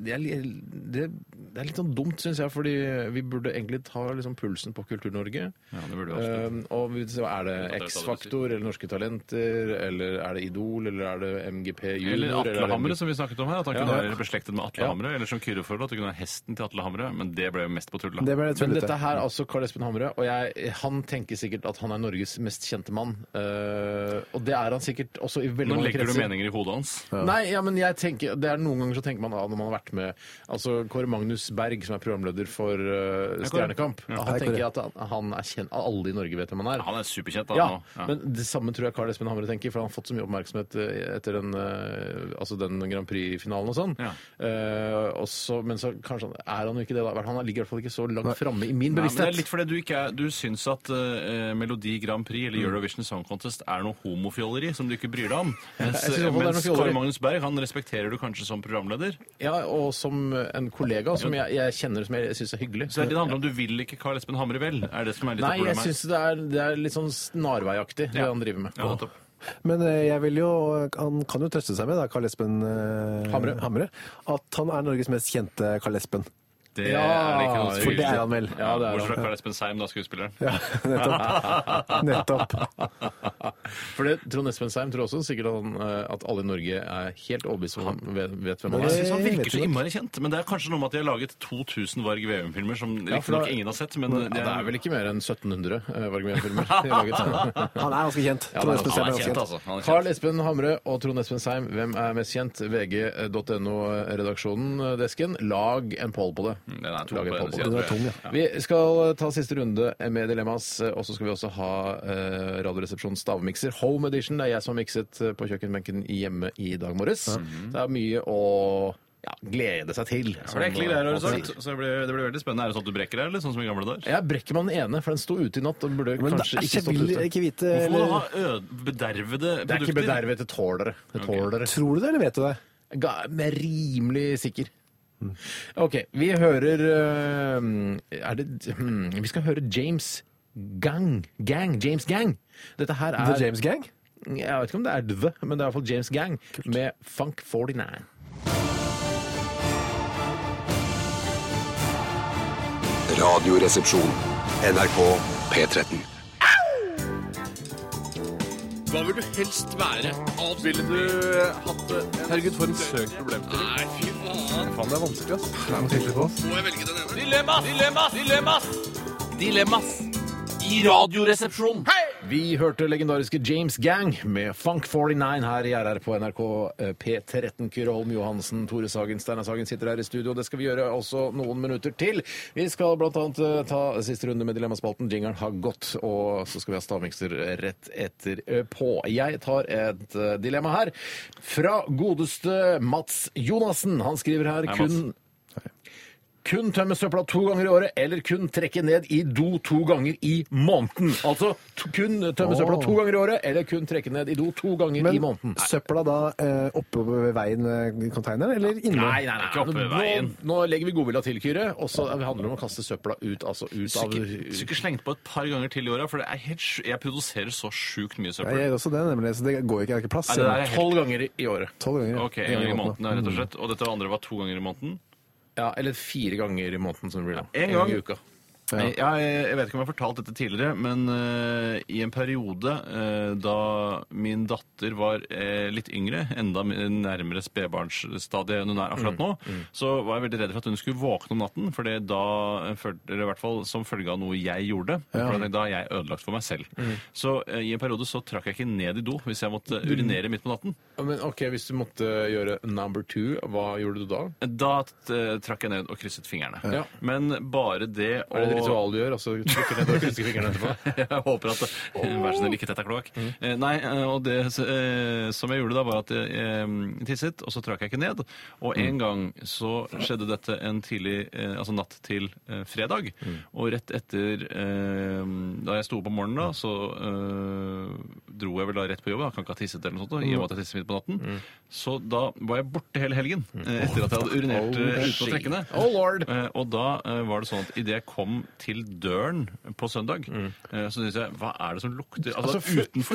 Speaker 2: det, er, li- det, det er litt sånn dumt, syns jeg, fordi vi burde egentlig ta liksom, pulsen på Kultur-Norge.
Speaker 3: Ja, det burde vi absolutt.
Speaker 2: Eh, og vi- så er det X-Faktor eller Norske Talenter, eller er det Idol, eller er det MGP Junior?
Speaker 3: Eller
Speaker 2: er det
Speaker 3: Atle
Speaker 2: MGP?
Speaker 3: Hamre, som vi snakket om her. At han
Speaker 2: Ja,
Speaker 3: kunne
Speaker 2: ja.
Speaker 3: være Perfected med Atle Hamre, eller som Kyrre foreslår, at det kunne være hesten til Atle Hamre, men det ble jo mest på tulla.
Speaker 4: Det ble
Speaker 2: Men
Speaker 4: tullete.
Speaker 2: dette her er altså Karl Espen Hamre, og jeg, han tenker sikkert at han er Norges mest kjente mann. Eh, og det er han sikkert også i veldig
Speaker 3: Nå
Speaker 2: mange
Speaker 3: legger du
Speaker 2: kretser.
Speaker 3: meninger i hodet hans.
Speaker 2: Nei, ja, men jeg tenker, det er noen ganger så tenker man ah, når man har vært med altså Kåre Magnus Berg, som er programleder for eh, Stjernekamp. Han
Speaker 4: Hei, Kåre.
Speaker 2: tenker at han, han er kjent, alle i Norge vet hvem han er.
Speaker 3: Han er superkjent, da.
Speaker 2: Ja,
Speaker 3: nå. Ja.
Speaker 2: men det samme tror jeg Karl Espen Hamre tenker, for han har fått så mye oppmerksomhet eh, etter den, eh, altså den Grand Prix-finalen og sånn.
Speaker 3: Ja.
Speaker 2: Eh, og så- men så kanskje han, er han jo ikke det, da. Han ligger i hvert fall ikke så langt framme i min
Speaker 3: Nei, men det er
Speaker 2: bevissthet.
Speaker 3: litt fordi du ikke er, du syns at eh, Melodi Grand Prix eller Eurovision Song Contest er noe homofjolleri som du ikke bryr deg om. Mens, eh,
Speaker 2: Jeg synes i hvert fall det er
Speaker 3: mens
Speaker 2: noe fjolleri.
Speaker 3: Kåre Magnus Berg han respekterer du kanskje som programleder.
Speaker 2: Ja, og som en kollega som jeg, jeg kjenner som jeg syns er hyggelig.
Speaker 3: Så det er det det handler om. Du vil ikke Karl Espen Hamre vel? Er det som er litt
Speaker 2: Nei,
Speaker 3: av
Speaker 2: jeg
Speaker 3: problemet?
Speaker 2: syns det, er- det er litt sånn snarveiaktig, det
Speaker 3: Ja.
Speaker 2: han driver med.
Speaker 3: Ja, nettopp.
Speaker 4: Men eh, jeg vil jo, han kan jo trøste seg med, da, Karl Espen eh,
Speaker 2: Hamre.
Speaker 4: at han er Norges mest kjente Karl Espen.
Speaker 3: Det
Speaker 2: Ja,
Speaker 3: er det ikke noe
Speaker 4: For
Speaker 3: tvil
Speaker 4: det er
Speaker 3: om.
Speaker 4: han vel.
Speaker 2: Ja, det er
Speaker 3: Bortsett
Speaker 2: han.
Speaker 3: fra Karl Espen Seim, da, skuespilleren.
Speaker 4: Ja, nettopp. nettopp.
Speaker 2: For det, Trond Espen Seim tror også sikkert at, han, eh, at alle i Norge er helt overbevist om han vet, vet hvem han er.
Speaker 3: Jeg
Speaker 4: Det-
Speaker 3: synes Han
Speaker 4: vet
Speaker 3: virker
Speaker 4: ikke
Speaker 3: så
Speaker 4: det.
Speaker 3: innmari kjent, men det er kanskje noe med at de har laget 2000 Varg Veum-filmer som
Speaker 2: for da-
Speaker 3: riktignok ingen har sett, men
Speaker 2: Ja, det er vel ikke mer enn 1700 eh, Varg Veum-filmer de har laget.
Speaker 4: Han er ganske kjent. Trond
Speaker 2: Ja, han er-
Speaker 4: Espen
Speaker 3: Han
Speaker 4: Seim ganske
Speaker 3: er kjent,
Speaker 4: kjent.
Speaker 3: altså. Han er
Speaker 2: Carl
Speaker 3: kjent.
Speaker 2: Espen Hamre og Trond Espen Seim, hvem er mest kjent? VG.no-redaksjonen-desken. Lag en poll på det.
Speaker 3: Mm, Den er tung
Speaker 2: Lag en
Speaker 3: på
Speaker 2: poll på
Speaker 3: den siden,
Speaker 4: Den er
Speaker 2: det.
Speaker 4: tung, ja.
Speaker 2: Vi skal ta siste runde med Dilemmas, og så skal vi også ha eh, Radioresepsjonens stavmikser. Home Edition det er jeg som har mikset eh, på kjøkkenbenken hjemme i dag morges. Det er mye å ja, glede seg til.
Speaker 3: Så
Speaker 2: som
Speaker 3: Mhm. det er ekle
Speaker 2: eh,
Speaker 3: greier, har du
Speaker 2: man
Speaker 3: sagt.
Speaker 2: Sånn sier.
Speaker 3: Så det blir, det blir veldig spennende. Er det sånn at du brekker deg, eller sånn som i gamle dager?
Speaker 2: Jeg brekker meg den ene, for den sto ute i natt og burde
Speaker 4: Men
Speaker 2: kanskje
Speaker 4: det-
Speaker 2: ikke
Speaker 4: jeg
Speaker 2: stått
Speaker 4: vil
Speaker 2: ute.
Speaker 4: ikke vite
Speaker 3: Hvorfor må du ha
Speaker 4: eller,
Speaker 3: ø- bedervede produkter?
Speaker 2: Det er ikke bedervet, det tåler det. Det tåler det.
Speaker 4: Tror du det, eller vet du det?
Speaker 2: Ga- med rimelig sikker. OK, vi hører eh, Er det hmm, Vi skal høre James Gang. Gang. James Gang. Dette her er
Speaker 4: The James Gang?
Speaker 2: Jeg vet ikke om det er The, men det er iallfall James Gang med Funk 49.
Speaker 5: Radioresepsjon. NRK P13.
Speaker 2: Vi hørte legendariske James Gang med Funk 49 her i RR på NRK eh, P13. Kyrre Holm Johansen, Tore Sagen, Steinar Sagen sitter her i studio. Det skal vi gjøre også noen minutter til. Vi skal bl.a. ta siste runde med Dilemmaspalten. Jingeren har gått, og så skal vi ha stavmikser rett etterpå. Jeg tar et eh, dilemma her fra godeste Mats Jonassen. Han skriver her
Speaker 3: Hei, Mats.
Speaker 2: kun kun tømme søpla to ganger i året, eller kun trekke ned i do to ganger i måneden. Altså t kun tømme søpla to ganger i året, eller kun trekke ned i do to ganger i måneden.
Speaker 4: Men søpla da eh, oppe ved veien ved containeren, eller inne?
Speaker 2: Nei, nei, nei.
Speaker 3: Ikke oppe ved
Speaker 2: Nå-
Speaker 3: veien.
Speaker 2: Nå, nå legger vi godvilja til, Kyrre. Og så handler det om å kaste søpla ut, altså ut av
Speaker 3: Sikkert, sikkert slengt på et par ganger til i åra, for det er helt, sj- jeg produserer så sjukt mye
Speaker 4: Jeg
Speaker 3: søppel.
Speaker 4: gjør også det, nemlig. Så det går ikke, jeg har ikke plass.
Speaker 3: Nei, det der er helt-
Speaker 2: Tolv ganger i året.
Speaker 4: Tolv ganger. ja.
Speaker 3: Ok, en gang i måneden, mm. ja, rett og slett. Og dette andre var to ganger i måneden.
Speaker 2: Ja, eller fire ganger i måneden, som det blir da.
Speaker 3: En gang.
Speaker 2: i uka.
Speaker 3: Jeg, jeg vet ikke om jeg har fortalt dette tidligere, men eh, i en periode eh, da min datter var eh, litt yngre, enda mi- nærmere spedbarnsstadiet enn hun er akkurat nå, så var jeg veldig redd for at hun skulle våkne om natten, for da, eh, føl- eller i hvert fall som følge av noe jeg gjorde, for da er jeg ødelagt for meg selv. Så eh, i en periode så trakk jeg ikke ned i do hvis jeg måtte urinere midt på natten.
Speaker 2: Ja, Men OK, hvis du måtte gjøre number two, hva gjorde du da?
Speaker 3: Da eh, trakk jeg ned og krysset fingrene.
Speaker 2: Ja.
Speaker 3: Men bare det å
Speaker 2: Er det et ritual du gjør? Altså trykke ned og krysse fingrene etterpå? Mm.
Speaker 3: Jeg håper at Vær så snill, ikke tett er kloakk. Eh, Nei, eh, og det eh, som jeg gjorde da, var at jeg eh, tisset, og så trakk jeg ikke ned. Og
Speaker 2: Mm.
Speaker 3: en gang så skjedde dette en tidlig eh, Altså natt til eh, fredag.
Speaker 2: Mm.
Speaker 3: Og rett etter eh, Da jeg sto opp om morgenen, da,
Speaker 2: Mm.
Speaker 3: så eh, dro jeg vel da rett på jobb. da. Jeg kan ikke ha tisset eller noe sånt, da, i
Speaker 2: Mm.
Speaker 3: og med at jeg tisser midt på natten. Så da var jeg borte hele helgen eh, etter at jeg hadde urinert eh, ute på
Speaker 2: shit.
Speaker 3: trekkene.
Speaker 2: Oh, lord.
Speaker 3: Eh, Og da eh, var det sånn at idet jeg kom til døren på søndag, eh, så syns jeg Hva er det som lukter
Speaker 2: Mm.
Speaker 3: Altså,
Speaker 2: Altså,
Speaker 3: utenfor,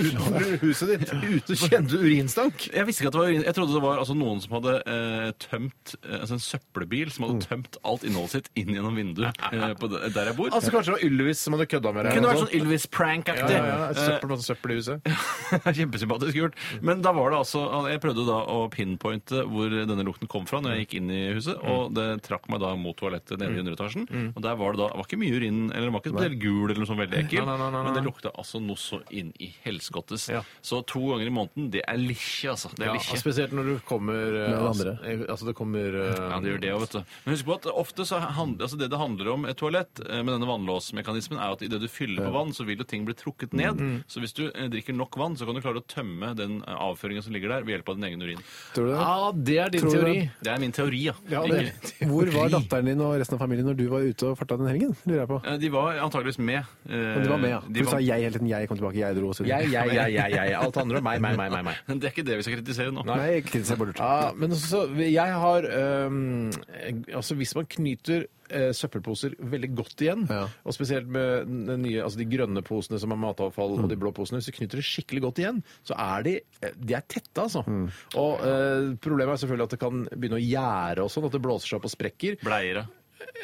Speaker 2: huset ditt. Ute kjente du urinstank.
Speaker 3: Jeg visste ikke at det var urin. Jeg trodde det var altså, noen som hadde eh, tømt eh, altså en søppelbil som
Speaker 2: Mm.
Speaker 3: hadde tømt alt innholdet sitt inn gjennom vinduet eh, på det, der jeg bor.
Speaker 2: Altså Kanskje det var Ylvis som hadde kødda med deg.
Speaker 3: kunne
Speaker 2: eller
Speaker 3: vært
Speaker 2: noe
Speaker 3: sånn Ylvis-prank-aktig.
Speaker 2: Ja, ja, ja.
Speaker 3: Eh,
Speaker 2: Søppel, masse søppel i huset.
Speaker 3: Kjempesympatisk gjort. Men da var det altså Jeg prøvde da å pinpointe hvor denne lukten kom fra når jeg gikk inn i huset, og
Speaker 2: Mm.
Speaker 3: det trakk meg da mot toalettet nede i underetasjen. Og der var det da det var ikke mye urin, eller det var ikke spesielt gul eller noe sånn veldig ekkel,
Speaker 2: Nei, nei, nei, nei,
Speaker 3: men det
Speaker 2: nei.
Speaker 3: lukta altså noe så inn i helskottes.
Speaker 2: Ja.
Speaker 3: Så to ganger i måneden, det er likkje, altså. Det er
Speaker 2: Ja,
Speaker 3: likkje.
Speaker 2: spesielt når du kommer eh,
Speaker 4: Med
Speaker 2: altså,
Speaker 4: andre.
Speaker 2: eh, altså, det kommer eh,
Speaker 3: Ja, det gjør det òg, vet du. Men husk på at ofte så handler, altså det det handler om et toalett eh, med denne vannlåsmekanismen, er at idet du fyller på vann, så vil jo ting bli trukket ned.
Speaker 4: Mm.
Speaker 3: Så hvis du eh, drikker nok vann, så kan du klare å tømme den eh, avføringen som ligger der, ved hjelp av din egen urin.
Speaker 4: Tror du det?
Speaker 2: Ja, det er din
Speaker 4: Tror du
Speaker 2: teori.
Speaker 3: Det er min teori, ja.
Speaker 4: det-
Speaker 3: Ikke-
Speaker 4: Hvor var datteren din og resten av familien når du var ute og farta den helgen? Lurer jeg på.
Speaker 3: Eh, De var antageligvis med. eh,
Speaker 4: Men de var med, ja.
Speaker 3: de
Speaker 4: For du
Speaker 3: var-
Speaker 4: sa jeg hele tiden. Jeg kom tilbake, jeg dro osv.
Speaker 2: Jeg, jeg, jeg, jeg, jeg. Alt handler om meg, meg, meg, meg. meg.
Speaker 3: Men Det er ikke det vi skal kritisere nå.
Speaker 4: Nei, jeg kritiserer bare lurt.
Speaker 2: Ja, men også, så jeg har øhm, Altså, hvis man knyter eh, søppelposer veldig godt igjen,
Speaker 4: Ja.
Speaker 2: og spesielt med den nye, altså de grønne posene som er matavfall,
Speaker 3: Mm.
Speaker 2: og de blå posene, hvis du knyter det skikkelig godt igjen, så er de eh, de er tette, altså.
Speaker 3: Mm.
Speaker 2: Og eh, problemet er selvfølgelig at det kan begynne å gjære og sånn, at det blåser seg opp og sprekker.
Speaker 3: Bleiere.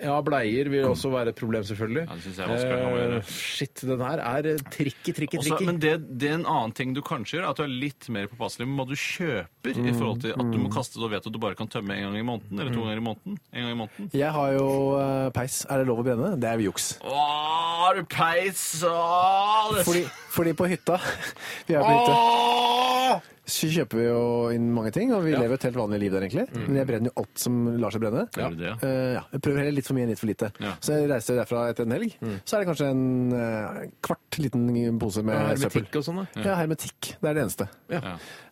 Speaker 2: Ja, bleier vil også være et problem, selvfølgelig.
Speaker 3: Ja, det synes jeg er vanskelig å gjøre.
Speaker 2: Eh, shit, den her er eh, tricky, tricky,
Speaker 3: Også,
Speaker 2: tricky.
Speaker 3: men det, det er en annen ting du kanskje gjør, er at du er litt mer påpasselig med hva du kjøper, i forhold til at du må
Speaker 2: Mm.
Speaker 3: kaste det og vet at du bare kan tømme en gang i måneden, eller to ganger i måneden. En gang i måneden.
Speaker 4: Jeg har jo eh, peis. Er det lov å brenne? Det er juks.
Speaker 3: Åh, du peis! Åh, det...
Speaker 4: Fordi, fordi på hytta Vi er på hytta. Så kjøper vi jo inn mange ting, og vi lever et helt vanlig liv der, egentlig. Men jeg brenner jo alt som lar seg brenne.
Speaker 3: Gjør du det, Mm. ja?
Speaker 4: Eh, ja. Jeg prøver heller litt for mye enn litt for lite.
Speaker 3: Ja. Mm.
Speaker 4: Så jeg reiser derfra etter en helg. Så er det kanskje en eh, kvart liten pose med søppel.
Speaker 2: Hermetikk og sånn, da.
Speaker 4: Ja, hermetikk. Det er det eneste.
Speaker 3: Ja.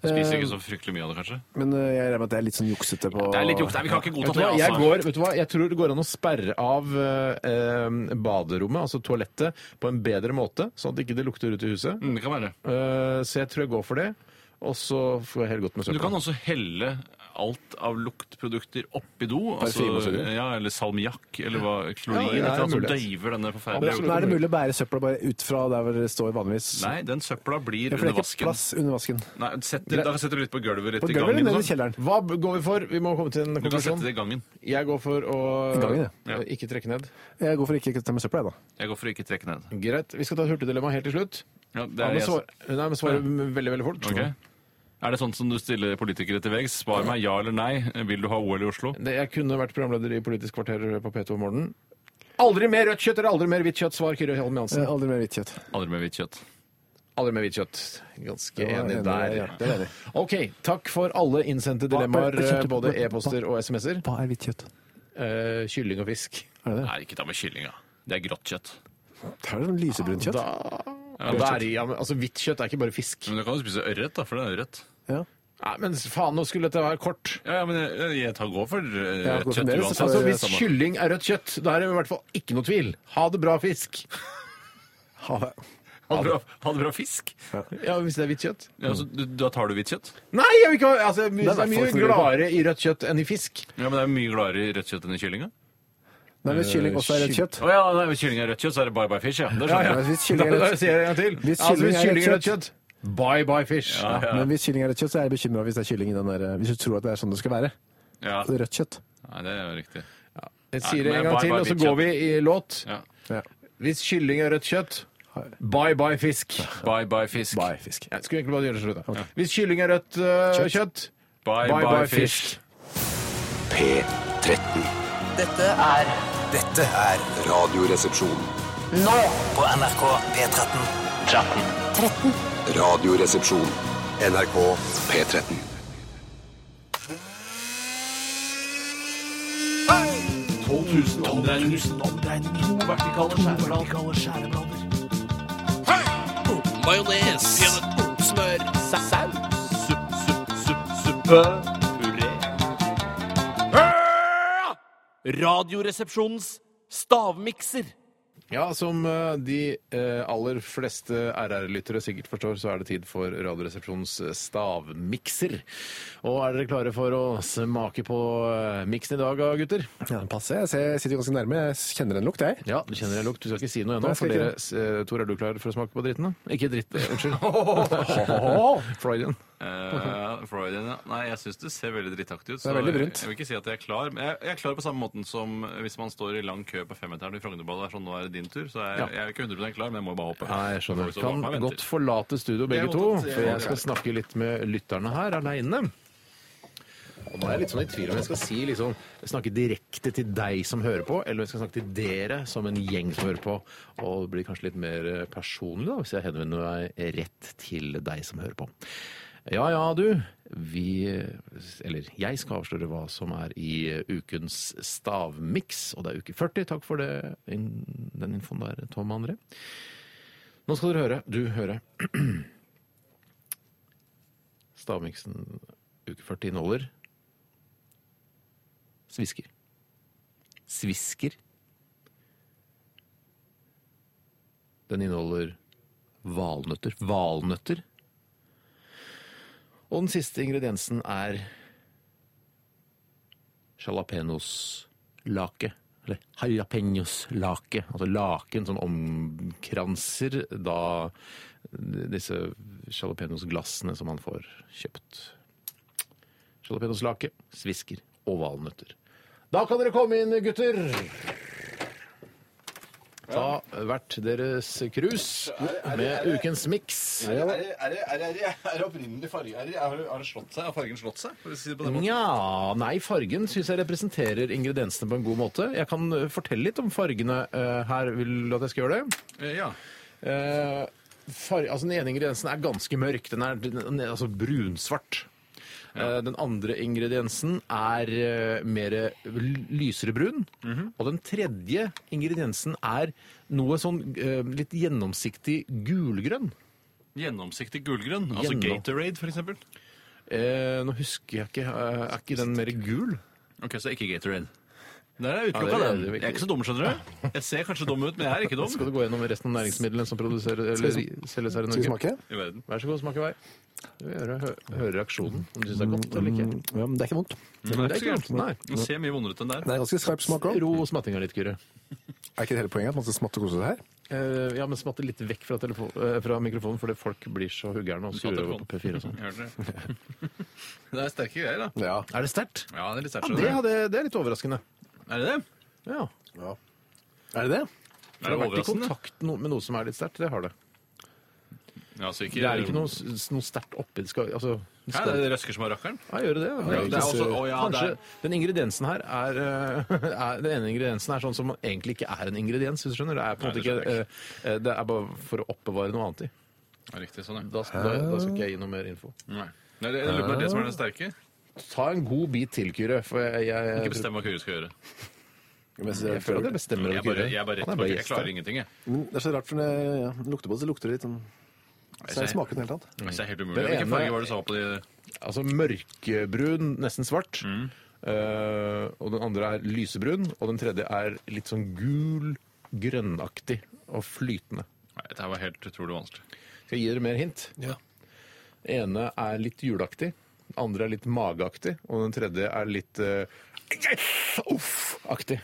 Speaker 3: Spiser
Speaker 4: Eh,
Speaker 3: ikke så fryktelig mye av det, kanskje?
Speaker 4: Men eh, jeg regner med at det er litt sånn juksete på
Speaker 3: Det er litt juks. Nei, vi kan ikke godta
Speaker 2: Vet du,
Speaker 3: det,
Speaker 2: hva? Jeg
Speaker 3: altså.
Speaker 2: går, vet du hva, jeg tror det går an å sperre av eh, eh, baderommet, altså toalettet, på en bedre måte, sånn at ikke det lukter ut i huset.
Speaker 3: Mm, det kan være.
Speaker 2: Eh, så jeg tror jeg går for det. Og så får jeg helt godt med
Speaker 3: Du kan
Speaker 2: søpla.
Speaker 3: også helle alt av luktprodukter oppi do. altså,
Speaker 4: Parfyme og så videre.
Speaker 3: ja, eller salmiakk eller hva, klorin.
Speaker 2: Ja, det er
Speaker 3: et eller annet som
Speaker 2: mulighet.
Speaker 3: døyver denne
Speaker 4: Men
Speaker 3: forferdelige
Speaker 2: Absolutt.
Speaker 4: men er det mulig å bære søpla bare ut fra der hvor det står vanligvis?
Speaker 3: Nei, den søpla blir
Speaker 4: Ja, for det
Speaker 3: under
Speaker 4: er ikke
Speaker 3: vasken.
Speaker 4: plass under vasken.
Speaker 3: Nei, setter, da setter du litt på gulvet
Speaker 4: På
Speaker 3: rett i
Speaker 4: gulvet eller
Speaker 3: gangen.
Speaker 4: nede i
Speaker 3: sånn.
Speaker 4: kjelleren?
Speaker 2: Hva b- går vi for? Vi må komme til en
Speaker 3: Du kan sette
Speaker 2: konklusjon.
Speaker 3: det i gangen.
Speaker 2: Jeg går for å
Speaker 4: Gangen, ja.
Speaker 2: eh, ikke trekke ned.
Speaker 4: Jeg går for ikke å temme søpla, jeg, da.
Speaker 3: Jeg går for å ikke trekke ned.
Speaker 2: Greit. Vi skal ta et hurtigdilemma helt til slutt.
Speaker 3: Ja, det
Speaker 2: Ja,
Speaker 3: er,
Speaker 2: men
Speaker 3: jeg-
Speaker 2: svar, nei, men svarer veldig, veldig fort.
Speaker 3: Ok. er det sånn som du stiller politikere til veggs? Svar meg ja eller nei. Vil du ha OL i Oslo?
Speaker 2: Det, jeg kunne vært programleder i Politisk kvarter på P2 om morgenen. Aldri mer rødt kjøtt eller aldri mer hvitt kjøtt, svar Kyrre Holm Jansen.
Speaker 4: Eh, Aldri mer hvitt kjøtt.
Speaker 3: Aldri med hvitt kjøtt.
Speaker 2: Aldri med hvitt kjøtt. Ganske
Speaker 4: Ja,
Speaker 2: enig
Speaker 4: enig
Speaker 2: der.
Speaker 4: der, ja. Det er enig.
Speaker 2: OK. Takk for alle innsendte dilemmaer, eh,
Speaker 4: Hva er-
Speaker 2: både e-poster og SMS-er.
Speaker 4: Hva er hvitt kjøtt?
Speaker 2: Eh, kylling og fisk.
Speaker 4: Er det det?
Speaker 3: Nei, ikke ta med kylling, da. Det er grått kjøtt.
Speaker 4: Det er sånn lysebrunt kjøtt.
Speaker 2: Da, ja, da er, ja, men, altså, hvitt kjøtt er ikke bare fisk.
Speaker 3: Men du kan jo spise ørret, da, for det er ørret.
Speaker 4: Ja.
Speaker 2: Nei, men faen, nå skulle dette være kort.
Speaker 3: Ja, ja, men jeg, jeg tar gå for eh,
Speaker 4: Ja,
Speaker 3: rødt
Speaker 4: gå for
Speaker 3: kjøtt
Speaker 4: det, så
Speaker 3: uansett.
Speaker 4: tar
Speaker 2: Altså,
Speaker 4: det
Speaker 2: Hvis
Speaker 4: samme.
Speaker 2: kylling er rødt kjøtt, da er det i hvert fall ikke noe tvil. Ha det bra, fisk.
Speaker 4: Ha det.
Speaker 3: Ha det bra, ha det bra fisk.
Speaker 2: Ja, Hvis det er hvitt kjøtt.
Speaker 3: Ja, altså, du, da tar du hvitt kjøtt?
Speaker 2: Nei, jeg vil ikke ha altså, Det
Speaker 4: hvert
Speaker 2: er
Speaker 4: fall
Speaker 2: mye
Speaker 4: ikke noe
Speaker 2: gladere i rødt kjøtt enn i fisk.
Speaker 3: Ja, men det er mye gladere i rødt kjøtt enn i kyllinga.
Speaker 4: Nei, hvis kylling også er rødt kjøtt.
Speaker 3: Å ja, nei, hvis kylling er rødt kjøtt, så er det bye bye fish, ja. Det
Speaker 4: Ja,
Speaker 3: skjønner
Speaker 4: Hvis kylling
Speaker 2: Da,
Speaker 3: jeg.
Speaker 4: er
Speaker 2: da
Speaker 4: rødt
Speaker 2: sier jeg en gang til.
Speaker 4: Hvis
Speaker 2: altså,
Speaker 4: kylling
Speaker 2: hvis
Speaker 4: er
Speaker 2: kylling er
Speaker 4: rødt
Speaker 2: rødt kjøtt, bye bye fish. Ja.
Speaker 4: men hvis kylling er rødt kjøtt, så er jeg bekymra hvis det er kylling i den der Hvis du tror at det er sånn det skal være.
Speaker 3: Ja.
Speaker 4: Det er Rødt kjøtt.
Speaker 3: Nei, det er jo riktig.
Speaker 2: Jeg sier
Speaker 3: Nei,
Speaker 2: det en
Speaker 3: men
Speaker 2: gang
Speaker 3: bye,
Speaker 2: til,
Speaker 3: bye,
Speaker 2: og så
Speaker 3: hvitt
Speaker 2: går
Speaker 3: kjøtt.
Speaker 2: vi i låt.
Speaker 3: Ja.
Speaker 4: Ja.
Speaker 2: Hvis kylling er rødt kjøtt, bye bye fisk.
Speaker 3: Bye bye fisk.
Speaker 4: Bye, fisk.
Speaker 2: Jeg skulle egentlig bare gjøre det slutt. da. Hvis kylling er rødt øh,
Speaker 4: Kjøtt.
Speaker 2: kjøtt,
Speaker 3: Bye,
Speaker 2: bye bye
Speaker 3: fish.
Speaker 2: fisk.
Speaker 5: P13.
Speaker 8: Dette er
Speaker 9: Dette er
Speaker 5: Radioresepsjon.
Speaker 8: nå
Speaker 9: på NRK P13.
Speaker 5: Radioresepsjon. NRK P13.
Speaker 2: Ja, som eh, de eh, aller fleste RR-lyttere sikkert forstår, så er det tid for Radioresepsjonens eh, stavmikser. Og er dere klare for å smake på eh, miksen i dag, ah, gutter?
Speaker 4: Ja, den passer. Jeg ser- jeg sitter jo ganske nærme. Jeg kjenner en lukt, jeg.
Speaker 2: Ja, du kjenner jeg lukt. Du skal ikke si noe ennå.
Speaker 4: Nei, jeg skal
Speaker 2: For dere, eh, Tor, er du klar for å smake på dritten? da? Ikke dritt, eh, unnskyld. Freudian.
Speaker 3: Eh, Freudian, ja. Nei, jeg syns det ser veldig drittaktig ut.
Speaker 4: er
Speaker 3: så
Speaker 4: veldig brunt.
Speaker 3: Jeg, jeg vil ikke si at jeg er klar, men jeg, jeg er klar på samme måten som hvis man står i lang kø på femmeteren i Frognerbadet og er sånn, nå er det din tur. Så jeg,
Speaker 2: Ja.
Speaker 3: jeg er ikke 100 klar, men jeg må bare hoppe.
Speaker 2: Nei, jeg skjønner.
Speaker 3: Folk står bak meg
Speaker 2: Kan
Speaker 3: og venter.
Speaker 2: godt forlate studio begge
Speaker 3: Jeg
Speaker 2: to,
Speaker 3: måtte-
Speaker 2: for jeg skal snakke litt med lytterne her aleine. Og nå er jeg litt sånn i tvil om jeg skal si liksom, snakke direkte til deg som hører på, eller om jeg skal snakke til dere som en gjeng som hører på. Og det blir kanskje litt mer eh, personlig da, hvis jeg henvender meg rett til deg som hører på. Ja ja, du. Vi eh, Eller jeg skal avsløre hva som er i eh, ukens stavmiks. Og det er uke 40. Takk for det, in- den infoen der, Tom og André. Nå skal dere høre. Du hører. Stavmiksen uke 40 inneholder svisker. Svisker. Den inneholder valnøtter. Valnøtter. Og den siste ingrediensen er jalapeños-lake. Eller jalapeños-lake. Altså laken som omkranser da disse jalapeños-glassene som man får kjøpt. Jalapeños-lake, svisker og valnøtter. Da kan dere komme inn, gutter! Ta hvert deres krus med ukens miks.
Speaker 3: Er det opprinnelig farge? har, fargen slått seg?
Speaker 2: Nja, nei, fargen syns jeg representerer ingrediensene på en god måte. Jeg kan eh, fortelle litt om fargene eh, her. Vil du at jeg skal gjøre det?
Speaker 3: Ja.
Speaker 2: Eh, far, altså Den ene ingrediensen er ganske mørk. Den er den, den er altså brunsvart. Eh, Den andre ingrediensen er eh, mer l- lysere brun. Og den tredje ingrediensen er noe sånn eh, litt gjennomsiktig gulgrønn.
Speaker 3: Gjennomsiktig gulgrønn. Altså
Speaker 2: Gjennom-
Speaker 3: Gatorade, for eksempel.
Speaker 2: Eh, nå husker jeg ikke eh, Er ikke den mer gul?
Speaker 3: Ok, så ikke Gatorade. Der er jeg
Speaker 2: Ja,
Speaker 3: utelukka,
Speaker 2: det er- det
Speaker 3: den.
Speaker 2: er
Speaker 3: Jeg
Speaker 2: viktig.
Speaker 3: er ikke så dum, skjønner du. Jeg ser kanskje dum ut, men jeg er ikke
Speaker 2: Skal du
Speaker 3: dum.
Speaker 2: gå gjennom resten av næringsmidlene som produserer eller
Speaker 4: vi
Speaker 2: selges her
Speaker 4: Skal
Speaker 2: i
Speaker 4: vi
Speaker 2: Norge?
Speaker 4: smake?
Speaker 3: I verden.
Speaker 2: Vær så god, smak i vei. Vi vil gjøre- hø- Høre reaksjonen. Om du syns det er godt eller ikke.
Speaker 4: Mm, Ja, men det er ikke vondt.
Speaker 3: Det er ikke
Speaker 2: gærent. Nei.
Speaker 3: Den ser mye vondere ut enn der.
Speaker 4: Det er ganske skarp smak òg.
Speaker 2: Ro smattinga litt, Kyrre.
Speaker 4: Er ikke det hele poenget at man skal smatte og kose seg her?
Speaker 2: Eh, ja, men smatte litt vekk fra, telefon, eh, fra mikrofonen, fordi folk blir så huggerne og sure over på P4 og sånn.
Speaker 3: Hørte du? Det er sterke greier, da.
Speaker 4: Ja.
Speaker 2: Er det sterkt?
Speaker 3: Ja, det er litt
Speaker 2: Ja,
Speaker 3: sært.
Speaker 2: det, hadde- det er litt overraskende.
Speaker 3: Er det det?
Speaker 2: Ja.
Speaker 4: Er det det?
Speaker 3: Er det
Speaker 2: har vært i
Speaker 3: overraskende?
Speaker 2: kontakt no- med noe som er litt sterkt. Det har det.
Speaker 3: Ja, altså ikke,
Speaker 2: Det er ikke noe, s- noe sterkt oppi. Det skal, altså, det
Speaker 3: Ja,
Speaker 2: skal,
Speaker 3: det er det røsker som har rakkeren.
Speaker 2: Ja, gjør det det?
Speaker 3: Ja, det er også, å, ja, det
Speaker 2: Kanskje
Speaker 3: er,
Speaker 2: den ingrediensen her er, eh, er Den ene ingrediensen er sånn som egentlig ikke er en ingrediens, hvis du skjønner. Det er på en
Speaker 3: Nei,
Speaker 2: måte
Speaker 3: det
Speaker 2: ikke
Speaker 3: skjønner jeg
Speaker 2: eh, Det er bare for å oppbevare noe annet i.
Speaker 3: ja, riktig sånn, ja.
Speaker 2: Da, da, da skal ikke jeg gi noe mer info.
Speaker 3: Nei. Nei, det, jeg lurer på om det er det som er det sterke.
Speaker 2: Ta en god bit til, Kyrre. For jeg, jeg,
Speaker 3: Ikke
Speaker 2: jeg,
Speaker 3: bestem hva Kyrre skal gjøre.
Speaker 2: føler at jeg bestemmer
Speaker 3: Jeg er
Speaker 2: over
Speaker 3: bare,
Speaker 2: Kyrre.
Speaker 3: jeg er
Speaker 2: Han
Speaker 3: bare rett
Speaker 2: er Mm.
Speaker 3: bak.
Speaker 2: gjest
Speaker 3: Jeg klarer
Speaker 2: her.
Speaker 3: ingenting, jeg.
Speaker 4: Men Det er så rart, for når jeg ja, lukter på det, så lukter det litt sånn Så jeg smaker den helt annet.
Speaker 3: Nei, så Altså, Det er helt umulig.
Speaker 2: Den
Speaker 3: Hvilken
Speaker 2: ene-
Speaker 3: farge var det du sa på de
Speaker 2: Altså mørkebrun, nesten svart. Eh, og den andre er lysebrun. Og den tredje er litt sånn gul, grønnaktig og flytende.
Speaker 3: Nei, dette her var helt utrolig vanskelig.
Speaker 2: Skal jeg gi dere mer hint? Ja. ene er litt julaktig, den andre er litt mageaktig, og den tredje er litt eh, yes! uff-aktig.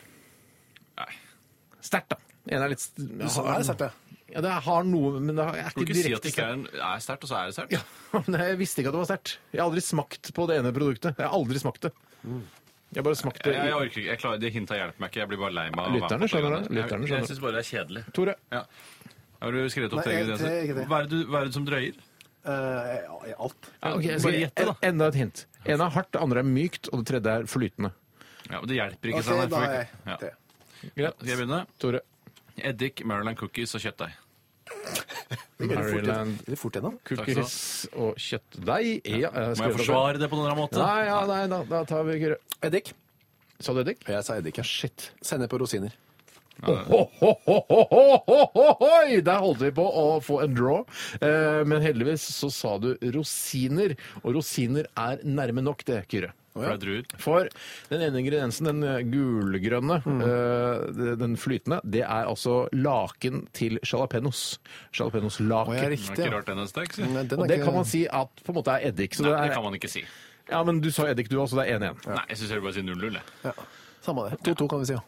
Speaker 3: Nei.
Speaker 2: Sterkt, da. Den ene er litt st-
Speaker 4: Så er det sterkt, det.
Speaker 2: Ja, det har noe, men det er
Speaker 3: Kan
Speaker 2: ikke
Speaker 3: du ikke si
Speaker 2: direkte
Speaker 3: at det ikke
Speaker 2: sterkt.
Speaker 3: er, en, er sterkt, og så er det sterkt?
Speaker 2: Ja, men jeg visste ikke at det var sterkt. Jeg har aldri smakt på det ene produktet. Jeg har aldri smakt det. Jeg har bare smakt
Speaker 3: Jeg,
Speaker 2: det
Speaker 3: jeg
Speaker 2: i
Speaker 3: orker ikke. Jeg klarer, det hintet hjelper meg ikke. Jeg blir bare lei meg. av å
Speaker 2: Lytterne
Speaker 3: være med
Speaker 2: skjønner
Speaker 3: på
Speaker 2: det.
Speaker 3: programmet.
Speaker 2: Lytterne
Speaker 3: Jeg,
Speaker 2: skjønner.
Speaker 3: jeg syns bare det er kjedelig.
Speaker 2: Tore,
Speaker 3: Ja. Har du skrevet opp
Speaker 4: Nei,
Speaker 3: tre
Speaker 4: jeg- tre, ikke
Speaker 3: ingredienser?
Speaker 4: det.
Speaker 3: Hva er det du- hva er det som drøyer?
Speaker 4: Eh, ja, alt.
Speaker 2: ja, ok, jeg
Speaker 3: Bare
Speaker 2: skal,
Speaker 3: gjette, da.
Speaker 2: enda et hint. Ene er hardt, det andre er mykt, og det tredje er flytende.
Speaker 3: Ja, men Det hjelper ikke.
Speaker 4: Ok,
Speaker 3: sånn her,
Speaker 4: da
Speaker 3: for
Speaker 4: er
Speaker 3: vi-
Speaker 4: jeg
Speaker 3: Ja.
Speaker 4: det.
Speaker 2: Greit.
Speaker 3: Skal jeg begynne?
Speaker 2: Tore.
Speaker 3: Eddik, Maryland cookies og kjøttdeig.
Speaker 4: Det går litt fort
Speaker 2: Maryland.
Speaker 4: gjennom. Det går fort gjennom.
Speaker 2: Cookies og kjøttdeig. Ja, jeg
Speaker 3: Må jeg
Speaker 2: skrev det
Speaker 3: forsvare det på noen annen måte?
Speaker 2: Nei, ja, nei, da, da tar vi Kyrre.
Speaker 4: Eddik.
Speaker 2: Sa du eddik?
Speaker 4: Jeg sa eddik, ja.
Speaker 2: Shit.
Speaker 4: Sennep og rosiner.
Speaker 2: Ho, ho, ho, ho, ho, ho, ho, hoi! Der holdt vi på å få en draw, eh, men heldigvis så sa du rosiner, og rosiner er nærme nok det, Kyrre.
Speaker 3: fra druer.
Speaker 2: For den ene ingrediensen, den eh, gulgrønne,
Speaker 4: Mm.
Speaker 2: eh, det- den flytende, det er altså laken til jalapeños.
Speaker 4: Å, ja,
Speaker 2: Jalapeños-laken.
Speaker 3: Det
Speaker 4: riktig.
Speaker 3: var ikke
Speaker 4: ja.
Speaker 3: rart, det neste eks.
Speaker 4: Nei,
Speaker 3: Nei,
Speaker 4: den er
Speaker 2: Og Mm, det
Speaker 4: ikke-
Speaker 2: kan man si at på en måte er eddik. Så det
Speaker 3: det
Speaker 2: er,
Speaker 3: kan man ikke si.
Speaker 2: ja, men du sa eddik du også, det er 1-1.
Speaker 3: Nei, jeg syns jeg vil bare si 0-0, jeg.
Speaker 4: ja. Samme det. 2-2 kan vi si, ja.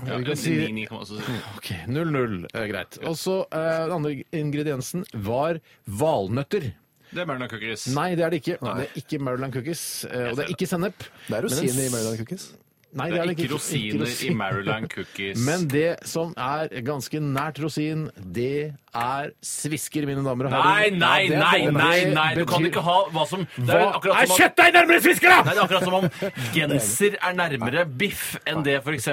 Speaker 3: Ja,
Speaker 2: vi kan
Speaker 3: eller
Speaker 2: si- Mm.
Speaker 3: 9-9 kan man også si.
Speaker 2: Ok, 0-0, eh, greit. Og så eh, den andre ingrediensen var valnøtter.
Speaker 3: Det er Marilyn Cookies.
Speaker 2: Nei, det er det ikke. Det er ikke Maryland cookies, eh, og det er ikke sennep.
Speaker 4: Det er
Speaker 2: Men en
Speaker 4: rosiner i
Speaker 2: s-
Speaker 4: Maryland Cookies.
Speaker 2: Nei,
Speaker 3: Det er ikke
Speaker 2: ikke
Speaker 3: rosiner i
Speaker 2: rosiner.
Speaker 3: Maryland Cookies.
Speaker 2: Men det som er ganske nært rosin, det er svisker, mine damer og
Speaker 3: Nei,
Speaker 2: herrer.
Speaker 3: nei,
Speaker 2: Ja, det er
Speaker 3: nei,
Speaker 2: sånn.
Speaker 3: nei,
Speaker 2: Det
Speaker 3: nei! Du kan
Speaker 2: betyr-
Speaker 3: ikke ha hva som Det er
Speaker 2: Hva?
Speaker 3: akkurat
Speaker 2: Nei,
Speaker 3: som om-
Speaker 2: kjøtt deg nærmere svisker, da!
Speaker 3: Nei, det er akkurat som om genser er nærmere biff enn det f.eks.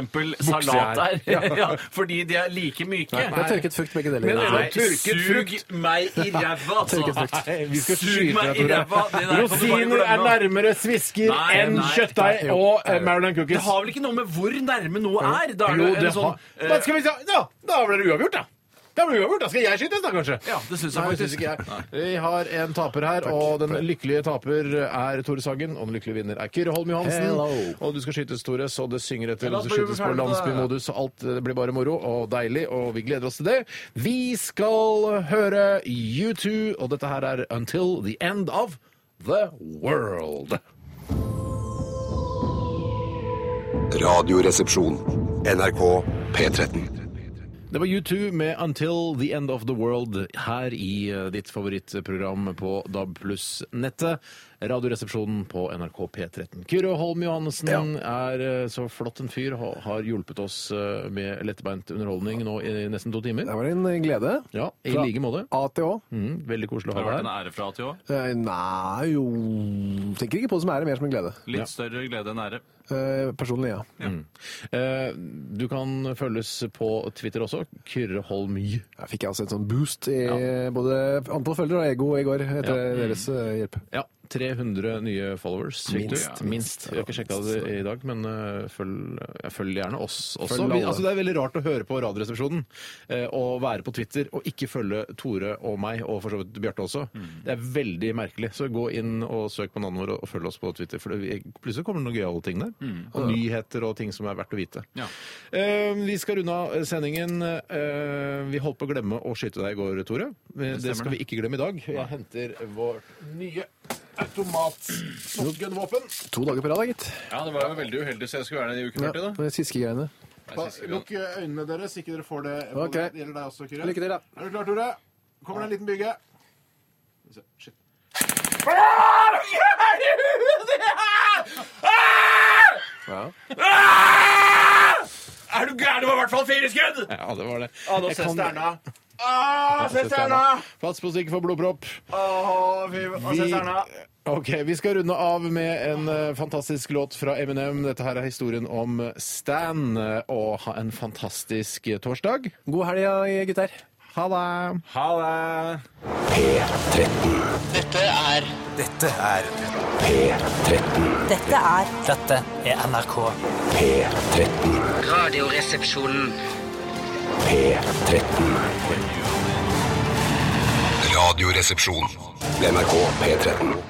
Speaker 3: salat
Speaker 2: er.
Speaker 3: er. Ja, fordi de er like
Speaker 4: Det
Speaker 3: myke.
Speaker 4: er tørket frukt begge deler.
Speaker 2: Men-
Speaker 3: Nei,
Speaker 2: Tørket
Speaker 3: sug meg i ræva,
Speaker 4: Tørket frukt.
Speaker 3: altså!
Speaker 2: Nei, vi skal
Speaker 3: Sug
Speaker 2: skyte
Speaker 3: meg
Speaker 2: deg,
Speaker 3: i ræva!
Speaker 2: Tore.
Speaker 3: Det der kan du bare
Speaker 2: Rosiner er
Speaker 3: glemme.
Speaker 2: nærmere svisker
Speaker 3: Nei,
Speaker 2: enn
Speaker 3: nei.
Speaker 2: kjøttdeig
Speaker 4: Nei, jo.
Speaker 2: og eh, Maryland
Speaker 3: Det
Speaker 2: cookies.
Speaker 3: har vel ikke noe med hvor nærme noe er? Da er
Speaker 2: Jo,
Speaker 3: det
Speaker 2: det
Speaker 3: en sånn
Speaker 2: har-
Speaker 3: eh,
Speaker 2: Men skal vi si Ja, da ble det uavgjort, da. Da blir det uavgjort, da skal jeg skytes, da, kanskje.
Speaker 3: Ja, det syns jeg
Speaker 2: Nei, det
Speaker 3: faktisk.
Speaker 2: synes ikke jeg. Vi har en taper her, og den lykkelige taper er Tore Sagen. Og den lykkelige vinner er Kyrre Holm Johansen.
Speaker 4: Hello.
Speaker 2: Og du skal skytes, Tore, så det synger etter.
Speaker 3: Ja,
Speaker 2: Og
Speaker 3: da
Speaker 2: det
Speaker 3: blir vi
Speaker 2: skytes på
Speaker 3: ferdig med det.
Speaker 2: landsbymodus, og alt eh, blir bare moro og deilig, og vi gleder oss til det. Vi skal høre U2, og dette her er Until the End of the World.
Speaker 5: Radioresepsjon. NRK P13.
Speaker 2: Det var U2 med 'Until the End of the World' her i eh, ditt favorittprogram på DAB pluss-nettet. Radioresepsjonen på NRK P13. Kyrre Holm Johannessen er eh, så flott en fyr. ha- Har hjulpet oss eh, med lettbeint underholdning nå i nesten to timer.
Speaker 4: Det var en eh, glede.
Speaker 2: Ja, I
Speaker 4: Fra
Speaker 2: like måte.
Speaker 4: A til Å.
Speaker 2: Mm, veldig koselig å
Speaker 3: Det
Speaker 2: ha
Speaker 3: har vært
Speaker 2: deg
Speaker 3: en
Speaker 2: her.
Speaker 3: ære fra til òg.
Speaker 4: Eh, Nei, jo Tenker ikke på det som ære, mer som en glede.
Speaker 3: Litt større glede enn ære.
Speaker 4: Eh, Personlig, ja.
Speaker 2: Eh, Du kan følges på Twitter også. Kyrre Holm J.
Speaker 4: Der fikk jeg altså en sånn boost i både antall følgere og ego i går etter deres eh, hjelp.
Speaker 2: Ja, 300 nye followers. fikk du.
Speaker 4: Minst,
Speaker 2: Ja, minst. Jeg har ikke sjekka det i dag, men eh, følg, ja, følg gjerne oss også.
Speaker 4: Følg alle.
Speaker 2: Vi, altså, det er veldig rart å høre på Radioresepsjonen eh, og være på Twitter og ikke følge Tore og meg, og for så vidt Bjarte også.
Speaker 4: Mm.
Speaker 2: Det er veldig merkelig. Så gå inn og søk på navnet vårt og følg oss på Twitter, for det, vi- plutselig kommer det noen gøyale ting der. Og nyheter og ting som er verdt å vite.
Speaker 3: Mm. Ja.
Speaker 2: Eh, vi skal runde av sendingen. Eh, vi holdt på å glemme å skyte deg i går, Tore. Eh, Det,
Speaker 3: stemmer
Speaker 2: skal vi ikke glemme i dag. Jeg henter vårt nye automat-shotgun-våpen.
Speaker 4: To dager på rad, da, gitt.
Speaker 3: Ja, det var jo veldig uheldig, så jeg skulle være der i uke
Speaker 4: Ja, det er Fiskegreiene.
Speaker 2: Lukk eh, øynene deres, ikke dere får det.
Speaker 4: Ok.
Speaker 2: Det gjelder deg også, Kyrre.
Speaker 4: Lykke til, da.
Speaker 2: Er du klar, Tore? Kommer det en liten bygge. Shit.
Speaker 3: Er du gæren? Det var i hvert fall fire skudd!
Speaker 2: Ja, det var det.
Speaker 3: Ja, nå
Speaker 2: Jeg
Speaker 3: ses
Speaker 2: kan-
Speaker 3: stjerna.
Speaker 2: Se stjerna! Pass på så ikke får blodpropp. Vi, ok, vi skal runde av med en eh, fantastisk låt fra Eminem. Dette her er historien om Stan. eh, Og ha en fantastisk eh, torsdag.
Speaker 4: God helg, ja, gutter.
Speaker 2: Ha det!
Speaker 3: Ha det!
Speaker 8: Dette er
Speaker 9: Dette er
Speaker 10: Dette er
Speaker 9: Dette er NRK.
Speaker 8: Radioresepsjonen.
Speaker 5: Radioresepsjon. NRK P13.